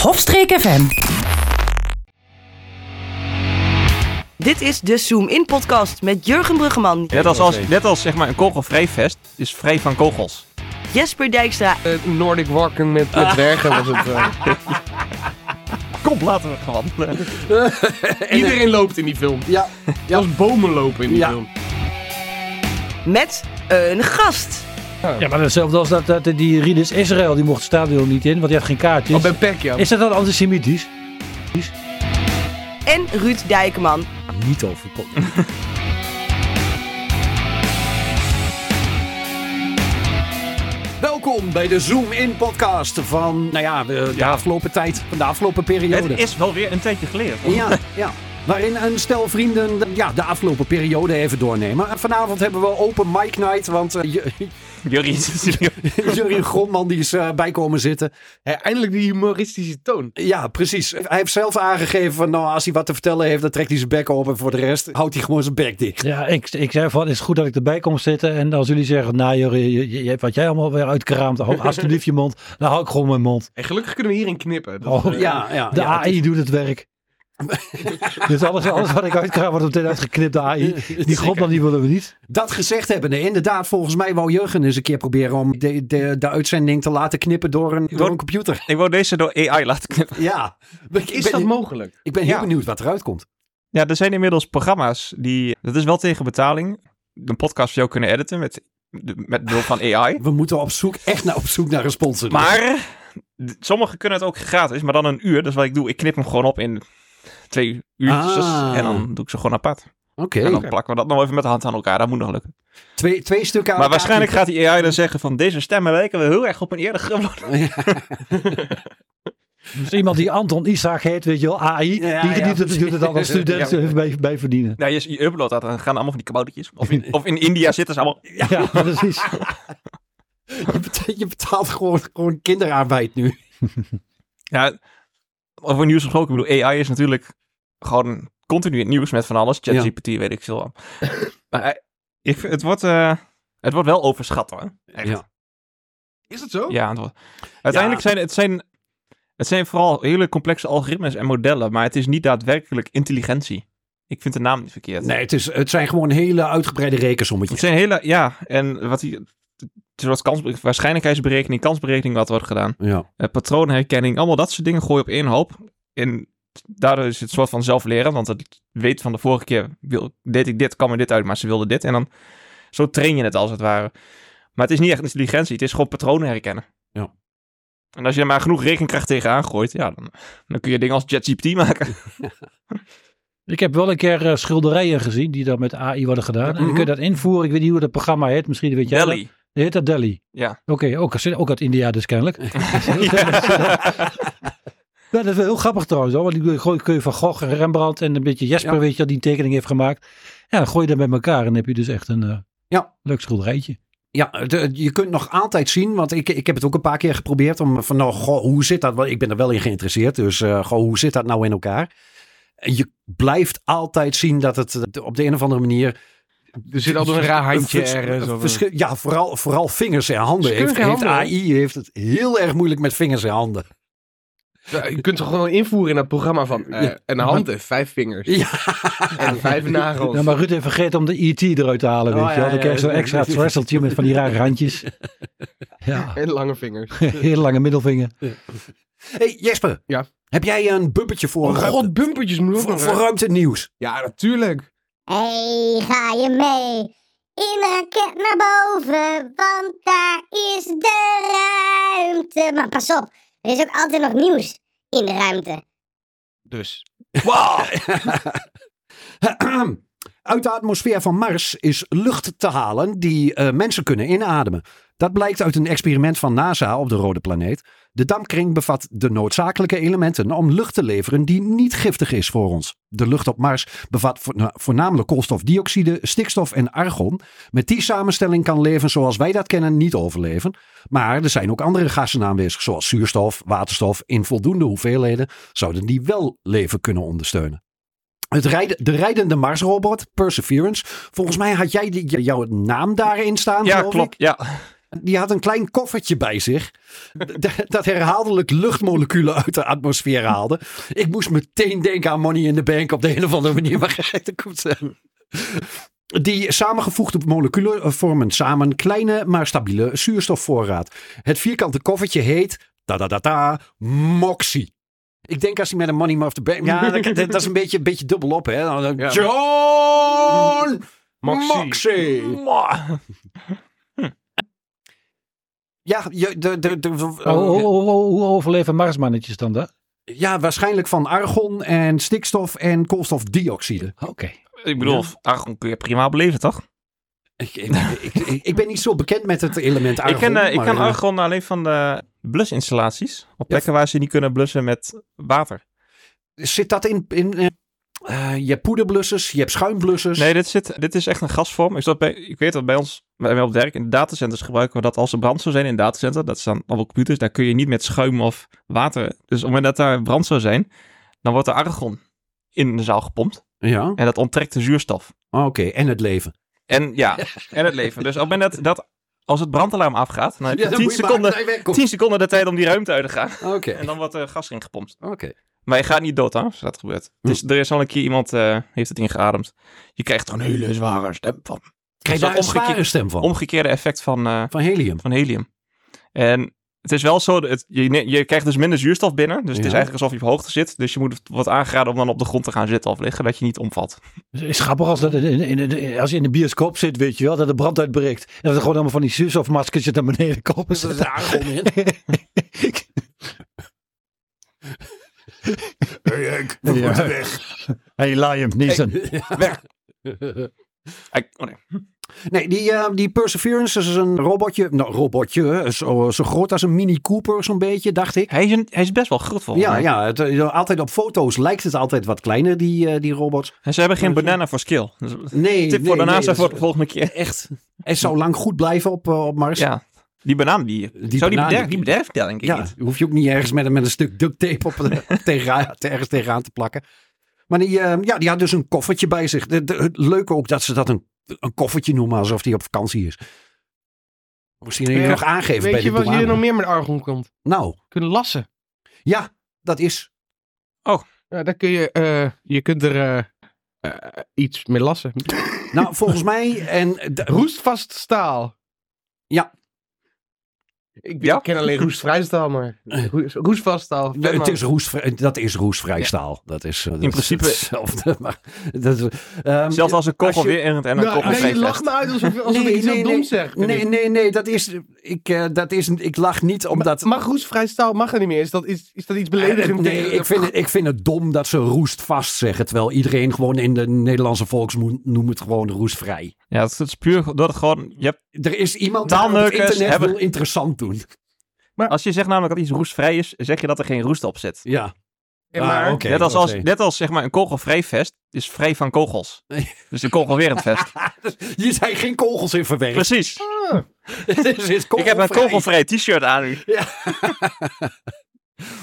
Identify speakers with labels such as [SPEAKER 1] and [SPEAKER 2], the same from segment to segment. [SPEAKER 1] Hofstreek FM.
[SPEAKER 2] Dit is de Zoom In Podcast met Jurgen Bruggeman,
[SPEAKER 3] Net als, als, net als zeg maar een kogelvrij vest is vrij van kogels.
[SPEAKER 2] Jesper Dijkstra
[SPEAKER 4] Eh, Nordic Walken met, met dwergen was het. eh.
[SPEAKER 3] Kom, laten we gewoon.
[SPEAKER 4] Iedereen loopt in die film.
[SPEAKER 5] Ja,
[SPEAKER 4] Zelfs bomen lopen in die
[SPEAKER 5] Ja.
[SPEAKER 4] film.
[SPEAKER 2] met een gast.
[SPEAKER 6] Ja, maar hetzelfde als dat, dat die Rieders Israël, die mocht het stadion niet in, want die had geen kaartjes.
[SPEAKER 4] Oh, bij Peck, ja.
[SPEAKER 6] Is dat dan antisemitisch?
[SPEAKER 2] En Ruud Dijkman.
[SPEAKER 6] Niet over.
[SPEAKER 5] welkom bij de Zoom In podcast van nou ja, de, de afgelopen tijd, van de afgelopen periode.
[SPEAKER 3] Het is wel weer een tijdje geleden.
[SPEAKER 5] Ja, ja. Waarin een stel vrienden ja, de afgelopen periode even doornemen. En Vanavond hebben we open mic night, want eh, J-
[SPEAKER 3] Jullie
[SPEAKER 5] Jurien Grondman die is eh, bij komen zitten.
[SPEAKER 4] Hé, eindelijk die humoristische toon.
[SPEAKER 5] Ja, precies. Hij heeft zelf aangegeven van nou, als hij wat te vertellen heeft, dan trekt hij zijn bek op. En voor de rest houdt hij gewoon zijn bek dicht.
[SPEAKER 6] Ja, ik, ik zei van, is het goed dat ik erbij kom zitten? En als jullie zeggen, nou joh, je, je- je- wat jij allemaal weer uitkraamt, hou alsjeblieft je mond. Dan hou ik gewoon mijn mond.
[SPEAKER 4] En gelukkig kunnen we hierin knippen. Dat, eh,
[SPEAKER 6] Oh,
[SPEAKER 5] Ja, ja.
[SPEAKER 6] de
[SPEAKER 5] ja,
[SPEAKER 6] AI doet het werk. dus alles, alles wat ik uitkraam wordt meteen uitgeknipt, de AI. Die grond dan, die willen we niet.
[SPEAKER 5] Dat gezegd hebbende, inderdaad, volgens mij wou Jurgen eens een keer proberen om de, de, de uitzending te laten knippen door een, door een computer.
[SPEAKER 3] Ik wou deze door AI laten knippen.
[SPEAKER 5] Ja, ik, ik
[SPEAKER 4] is
[SPEAKER 5] ben,
[SPEAKER 4] dat mogelijk?
[SPEAKER 5] ik ben heel
[SPEAKER 3] Ja.
[SPEAKER 5] benieuwd wat eruit komt.
[SPEAKER 3] Ja, er zijn inmiddels programma's die. Dat is wel tegen betaling. Een podcast voor jou kunnen editen met, met behulp van AI.
[SPEAKER 5] We moeten op zoek, echt naar, op zoek naar een sponsor. Dus-
[SPEAKER 3] Maar d- sommigen kunnen het ook gratis, maar dan een uur. Dat is wat ik doe. Ik knip hem gewoon op in twee uurtjes
[SPEAKER 5] Ah.
[SPEAKER 3] en dan doe ik ze gewoon apart.
[SPEAKER 5] Oké,
[SPEAKER 3] En dan plakken we dat nog even met de hand aan elkaar. Dat moet nog lukken.
[SPEAKER 5] twee, twee stukken aan
[SPEAKER 3] Maar
[SPEAKER 5] elkaar
[SPEAKER 3] waarschijnlijk gaat die AI dan zeggen van deze stemmen lijken we heel erg op een eerder geworden.
[SPEAKER 6] Dus iemand die Anton Isaac heet, weet je wel, AI,
[SPEAKER 5] Ja,
[SPEAKER 6] die, die
[SPEAKER 5] ja,
[SPEAKER 6] doet- doet het dan als student
[SPEAKER 3] Ja.
[SPEAKER 6] eh, bij, bij verdienen.
[SPEAKER 3] Nou, je, je uploadt dat dan gaan allemaal van die kaboutertjes. Of in, of in India zitten ze allemaal.
[SPEAKER 6] Ja, precies.
[SPEAKER 5] Je betaalt, je betaalt gewoon, gewoon kinderarbeid nu.
[SPEAKER 3] Ja, over nieuws gesproken. Ik bedoel, AI is natuurlijk gewoon continu in het nieuws met van alles. ChatGPT weet ik veel. wat. Maar eh, ik, vind- het, wordt, eh, het wordt wel overschat hoor. Echt.
[SPEAKER 5] Ja.
[SPEAKER 4] Is dat zo?
[SPEAKER 3] Ja, het wordt- uiteindelijk zijn het, zijn het zijn vooral hele complexe algoritmes en modellen. Maar het is niet daadwerkelijk intelligentie. Ik vind de naam niet verkeerd.
[SPEAKER 5] Nee, het, is, het zijn gewoon hele uitgebreide
[SPEAKER 3] Het
[SPEAKER 5] rekensommetjes.
[SPEAKER 3] zijn hele, ja, en wat die, zoals kans, waarschijnlijkheidsberekening, kansberekening, wat wordt gedaan.
[SPEAKER 5] Ja.
[SPEAKER 3] Eh, patroonherkenning, allemaal dat soort dingen gooi je op één hoop. En daardoor is het soort van zelfleren, want het weet van de vorige keer, wil, deed ik dit, kwam er dit uit, maar ze wilde dit. En dan, zo train je het als het ware. Maar het is niet echt intelligentie, het is gewoon patronen herkennen.
[SPEAKER 5] Ja.
[SPEAKER 3] En als je er maar genoeg rekenkracht tegenaan gooit, ja, dan, dan kun je dingen als ChatGPT maken.
[SPEAKER 6] Ik heb wel een keer eh, schilderijen gezien die dan met AI worden gedaan. En dan kun je
[SPEAKER 5] Mhm.
[SPEAKER 6] dat invoeren. Ik weet niet hoe dat programma heet. Misschien weet jij dat.
[SPEAKER 3] Jelly.
[SPEAKER 6] Heet dat Delhi?
[SPEAKER 3] Ja.
[SPEAKER 6] Oké, ook, ook uit India dus kennelijk. Ja, dat is wel heel grappig trouwens. Hoor, want die gooi- kun je van Gogh en Rembrandt en een beetje Jesper,
[SPEAKER 5] Ja.
[SPEAKER 6] weet je, wel, die een tekening heeft gemaakt. Ja, dan gooi je dat met elkaar en dan heb je dus echt een eh,
[SPEAKER 5] Ja.
[SPEAKER 6] leuk schilderijtje.
[SPEAKER 5] Ja, de- je kunt nog altijd zien, want ik, ik heb het ook een paar keer geprobeerd om van nou, goh, hoe zit dat? Want ik ben er wel in geïnteresseerd, dus eh, goh, hoe zit dat nou in elkaar? En Je blijft altijd zien dat het eh, op de een of andere manier...
[SPEAKER 4] Er zit altijd een raar handje
[SPEAKER 5] Vers-
[SPEAKER 4] ergens. of-
[SPEAKER 5] verschil- ja, vooral, vooral vingers en handen.
[SPEAKER 4] Ze kunnen
[SPEAKER 5] Heeft,
[SPEAKER 4] geen
[SPEAKER 5] heeft
[SPEAKER 4] handen,
[SPEAKER 5] AI heeft het heel erg moeilijk met vingers en handen.
[SPEAKER 4] Ja, je kunt ze gewoon invoeren in dat programma van eh, een hand en vijf vingers.
[SPEAKER 5] Ja.
[SPEAKER 4] En vijf nagels.
[SPEAKER 6] Ja, maar Ruud heeft vergeten om de ET eruit te halen,
[SPEAKER 5] Oh,
[SPEAKER 6] weet je wel.
[SPEAKER 5] ja,
[SPEAKER 6] Dan krijg je
[SPEAKER 5] ja,
[SPEAKER 6] zo'n
[SPEAKER 5] ja.
[SPEAKER 6] extra twisteltje met van die rare handjes. Ja,
[SPEAKER 4] En lange vingers.
[SPEAKER 6] heel lange middelvinger.
[SPEAKER 5] hey, Jesper,
[SPEAKER 4] Ja.
[SPEAKER 5] heb jij een bubbetje voor,
[SPEAKER 4] Oh
[SPEAKER 5] ruimte-
[SPEAKER 4] god, bumpertjes moet ook
[SPEAKER 5] voor,
[SPEAKER 4] nog.
[SPEAKER 5] voor ruimte nieuws?
[SPEAKER 4] Ja, natuurlijk.
[SPEAKER 7] Hey, ga je mee in een raket naar boven, want daar is de ruimte. Maar pas op, er is ook altijd nog nieuws in de ruimte.
[SPEAKER 4] Dus.
[SPEAKER 5] Wow. Uit de atmosfeer van Mars is lucht te halen die eh, mensen kunnen inademen. Dat blijkt uit een experiment van NASA op de rode planeet. De dampkring bevat de noodzakelijke elementen om lucht te leveren die niet giftig is voor ons. De lucht op Mars bevat vo- na- voornamelijk koolstofdioxide, stikstof en argon. Met die samenstelling kan leven zoals wij dat kennen niet overleven. Maar er zijn ook andere gassen aanwezig, zoals zuurstof, waterstof. In voldoende hoeveelheden zouden die wel leven kunnen ondersteunen. Het rijden, de rijdende Marsrobot, Perseverance. Volgens mij had jij die, jouw naam daarin staan.
[SPEAKER 3] Ja,
[SPEAKER 5] geloof ik.
[SPEAKER 3] klopt. Ja.
[SPEAKER 5] Die had een klein koffertje bij zich. d- dat herhaaldelijk luchtmoleculen uit de atmosfeer haalde. Ik moest meteen denken aan Money in the Bank op de een of andere manier. Maar het komt. eh, Die samengevoegde moleculen eh, vormen samen een kleine maar stabiele zuurstofvoorraad. Het vierkante koffertje heet. Da da da da. Moxie. Ik denk als hij met een money muff de bank. Ja, dat, dat- dat is een beetje, een beetje dubbel op, hè? Dan- dan-
[SPEAKER 4] Ja.
[SPEAKER 5] John
[SPEAKER 3] Moxie.
[SPEAKER 5] Moxie.
[SPEAKER 3] Mwah.
[SPEAKER 5] Ja, je, de, de, de,
[SPEAKER 6] Maar
[SPEAKER 5] Oh,
[SPEAKER 6] hoe, hoe, hoe, hoe overleven Marsmannetjes dan dat?
[SPEAKER 5] ja, waarschijnlijk van argon en stikstof en koolstofdioxide.
[SPEAKER 6] Oh, Oké.
[SPEAKER 3] Ik bedoel, argon kun je prima beleven, toch?
[SPEAKER 5] Ik, ik, ik, ik ben niet zo bekend met het element argon.
[SPEAKER 3] ik ken, eh, ik
[SPEAKER 5] maar,
[SPEAKER 3] ken
[SPEAKER 5] eh,
[SPEAKER 3] argon alleen van de blusinstallaties. Op plekken waar ze niet kunnen blussen met water.
[SPEAKER 5] Zit dat in... in eh, eh, je hebt poederblussers, je hebt schuimblussers.
[SPEAKER 3] Nee, dit, zit, dit is echt een gasvorm. Ik, zat bij, ik weet dat bij ons, bij mij op het werk, in datacenters gebruiken we dat als er brand zou zijn in een datacenter. Dat staan allemaal computers, daar kun je niet met schuim of water. Dus op het moment dat daar brand zou zijn, dan wordt er argon in de zaal gepompt.
[SPEAKER 5] Ja,
[SPEAKER 3] En dat onttrekt de zuurstof.
[SPEAKER 5] oké. En het leven.
[SPEAKER 3] En ja, en het leven. Dus op het moment dat, dat als het brandalarm afgaat, dan heb je
[SPEAKER 5] Ja, dan
[SPEAKER 3] 10,
[SPEAKER 5] moet je maar
[SPEAKER 3] seconden,
[SPEAKER 5] blij wegkomen.
[SPEAKER 3] 10 seconden de tijd om die ruimte uit te gaan. En
[SPEAKER 5] Oké,
[SPEAKER 3] dan wordt er gas ingepompt.
[SPEAKER 5] oké.
[SPEAKER 3] Maar je gaat niet dood aan, als dat gebeurt.
[SPEAKER 5] Hm.
[SPEAKER 3] Dus er is al een keer iemand, eh, heeft het ingeademd. Je krijgt er een hele zware stem van.
[SPEAKER 5] Krijg je
[SPEAKER 3] Dat
[SPEAKER 5] daar een
[SPEAKER 3] is omgeke-
[SPEAKER 5] zware stem van?
[SPEAKER 3] Omgekeerde effect van, eh,
[SPEAKER 5] Van helium.
[SPEAKER 3] van helium. En het is wel zo, dat het, je, ne- je krijgt dus minder zuurstof binnen. Dus het is
[SPEAKER 5] Ja.
[SPEAKER 3] eigenlijk alsof je op hoogte zit. Dus je moet wat aangeraden om dan op de grond te gaan zitten of liggen, dat je niet omvalt.
[SPEAKER 6] Het is grappig als, dat in, in- in- in- als je in de bioscoop zit, weet je wel, dat de brand uitbreekt. En dat er gewoon allemaal van die zuurstofmaskers naar beneden komen.
[SPEAKER 5] Er zit argon in.
[SPEAKER 6] we moeten weg. Hey Liam Neeson.
[SPEAKER 3] Ik- oh nee.
[SPEAKER 5] Nee, die, eh, die Perseverance is een robotje. Nou, robotje. eh, Zo, zo groot als een Mini Cooper, zo'n beetje, dacht ik.
[SPEAKER 3] hij, is een- hij is best wel groot volgens
[SPEAKER 5] Ja,
[SPEAKER 3] mij.
[SPEAKER 5] ja het, eh, altijd op foto's lijkt het altijd wat kleiner, die, eh, die robots.
[SPEAKER 3] En ze hebben geen banana voor skill. Dus
[SPEAKER 5] Nee,
[SPEAKER 3] Tip
[SPEAKER 5] nee,
[SPEAKER 3] voor de
[SPEAKER 5] nee,
[SPEAKER 3] NASA
[SPEAKER 5] dat
[SPEAKER 3] voor
[SPEAKER 5] is-
[SPEAKER 3] de volgende keer.
[SPEAKER 5] Echt. Het zou lang goed blijven op, eh, op Mars.
[SPEAKER 3] Ja, die banaan die,
[SPEAKER 5] Die
[SPEAKER 3] zou die
[SPEAKER 5] banaan,
[SPEAKER 3] bederf,
[SPEAKER 5] die-
[SPEAKER 3] die bederft denk ik
[SPEAKER 5] Ja,
[SPEAKER 3] niet.
[SPEAKER 5] hoef je ook niet ergens met, een- met een stuk duct tape op, de- tegenaan, te- ergens tegenaan te plakken. Maar die, eh, ja, die had dus een koffertje bij zich. De, de- het leuke ook dat ze dat een, een koffertje noemen alsof die op vakantie is. Misschien even
[SPEAKER 4] Ja,
[SPEAKER 5] nog aangeven bij
[SPEAKER 4] Weet
[SPEAKER 5] de
[SPEAKER 4] je wat
[SPEAKER 5] douane.
[SPEAKER 4] hier nog meer met argon komt?
[SPEAKER 5] Nou,
[SPEAKER 4] Kunnen lassen.
[SPEAKER 5] ja, dat is.
[SPEAKER 4] Ja, daar kun je, eh, je kunt er eh, eh, iets mee lassen.
[SPEAKER 5] Nou, volgens mij. En de-
[SPEAKER 4] Roestvast staal.
[SPEAKER 5] Ja.
[SPEAKER 4] Ik,
[SPEAKER 3] Ja?
[SPEAKER 4] ik ken alleen roestvrij staal, maar roes- roestvast staal.
[SPEAKER 5] de- het is roestvrij, dat is roestvrij staal. Dat is, eh, dat is
[SPEAKER 3] principe-
[SPEAKER 5] hetzelfde. Maar, dat, is- ehm,
[SPEAKER 3] Zelfs als een kogel
[SPEAKER 5] als je-
[SPEAKER 3] weer erend en een
[SPEAKER 4] Nou,
[SPEAKER 3] kogel
[SPEAKER 4] nee, je
[SPEAKER 3] vliegt
[SPEAKER 4] lacht
[SPEAKER 3] echt.
[SPEAKER 4] me uit alsof, alsof ik iets heel doms zeg.
[SPEAKER 5] Nee, nee, nee, dat is. Ik, eh, dat is ik lach niet omdat. Eh,
[SPEAKER 4] Mag roestvrij staal mag er niet meer? Is dat iets, is dat iets beledigend?
[SPEAKER 5] Nee,
[SPEAKER 4] tegen-
[SPEAKER 5] ik vind, het, ik vind het dom dat ze roestvast zeggen. Terwijl iedereen gewoon in de Nederlandse volksmond noemt het gewoon roestvrij.
[SPEAKER 3] Ja, het is- het is puur door het gewoon... Je hebt,
[SPEAKER 5] Er is iemand die op het
[SPEAKER 3] Taalneukers
[SPEAKER 5] internet
[SPEAKER 3] hebben-
[SPEAKER 5] wil interessant doen.
[SPEAKER 3] als je zegt namelijk dat iets roestvrij is, zeg je dat er geen roest op zit.
[SPEAKER 5] Ja.
[SPEAKER 4] Ja, maar-
[SPEAKER 5] Ah, oké,
[SPEAKER 3] net als,
[SPEAKER 5] oké.
[SPEAKER 3] als, net als zeg maar, een kogelvrij vest is vrij van kogels. Dus een kogelwerend vest.
[SPEAKER 5] Hier zijn geen kogels in verwerkt.
[SPEAKER 3] Precies.
[SPEAKER 5] Dit is
[SPEAKER 3] Ik heb een
[SPEAKER 5] kogelvrij.
[SPEAKER 3] kogelvrij t-shirt aan nu.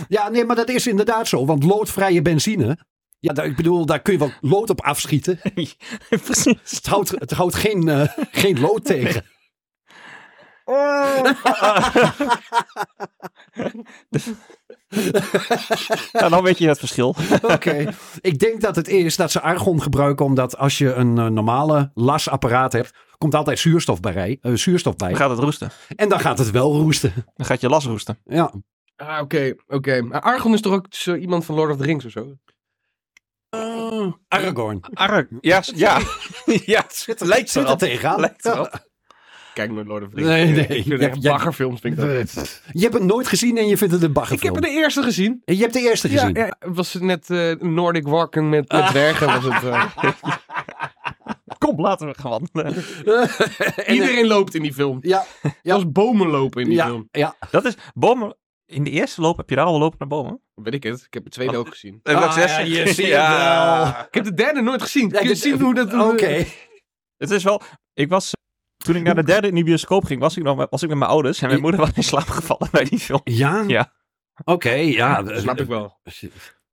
[SPEAKER 5] Ja, nee, maar dat is inderdaad zo. Want loodvrije benzine. Ja, daar- ik bedoel, daar kun je wel lood op afschieten.
[SPEAKER 3] Precies.
[SPEAKER 5] Het houdt, het houdt geen, eh, geen lood tegen.
[SPEAKER 3] Nou, dan weet je het verschil.
[SPEAKER 5] Oké. Ik denk dat het is dat ze argon gebruiken. Omdat als je een eh, normale lasapparaat hebt. komt altijd zuurstof bij. rij- eh, zuurstof bij.
[SPEAKER 3] Dan gaat het roesten.
[SPEAKER 5] En dan gaat het wel roesten.
[SPEAKER 3] Dan gaat je las roesten.
[SPEAKER 5] Ja.
[SPEAKER 4] Ah, oké, oké. Maar Argon is toch ook zo iemand van Lord of the Rings of zo?
[SPEAKER 5] Aragorn.
[SPEAKER 3] Ark. Ja, s- ja. ja het lijkt
[SPEAKER 5] Zit
[SPEAKER 3] erop.
[SPEAKER 5] er tegenaan?
[SPEAKER 3] Lijkt erop.
[SPEAKER 4] Kijk nooit Lord of the
[SPEAKER 5] Rings. Nee, nee. Ik vind echt Ja, ja.
[SPEAKER 4] baggerfilms, vind
[SPEAKER 5] Je hebt het nooit gezien en je vindt het een
[SPEAKER 4] Ik heb
[SPEAKER 5] baggerfilm.
[SPEAKER 4] er de eerste gezien.
[SPEAKER 5] Je hebt de eerste
[SPEAKER 4] Ja,
[SPEAKER 5] gezien.
[SPEAKER 4] ja, het was net eh, Nordic Walking met, met dwergen. Was het, eh.
[SPEAKER 3] Kom, laten we gaan wandelen.
[SPEAKER 4] Iedereen loopt in die film.
[SPEAKER 5] eh, Ja, ja.
[SPEAKER 4] Zelfs bomen lopen in die
[SPEAKER 5] ja,
[SPEAKER 4] film.
[SPEAKER 5] ja.
[SPEAKER 3] Dat is bomen. In de eerste loop heb je daar al lopen naar bomen.
[SPEAKER 4] Weet ik het. Ik heb de tweede ook gezien.
[SPEAKER 3] En
[SPEAKER 5] Ah, ja, je ziet het wel.
[SPEAKER 4] Ik heb de derde nooit gezien. Kun je
[SPEAKER 5] dit-
[SPEAKER 4] zien hoe dat...
[SPEAKER 5] Oké.
[SPEAKER 3] Het is wel. Ik was. Toen ik naar de derde in de bioscoop ging, was ik, nog, met- was ik met mijn ouders. En mijn
[SPEAKER 5] I-
[SPEAKER 3] moeder was in slaap gevallen bij die film.
[SPEAKER 5] Ja?
[SPEAKER 3] Ja.
[SPEAKER 5] Oké, ja.
[SPEAKER 4] Dat snap ik wel.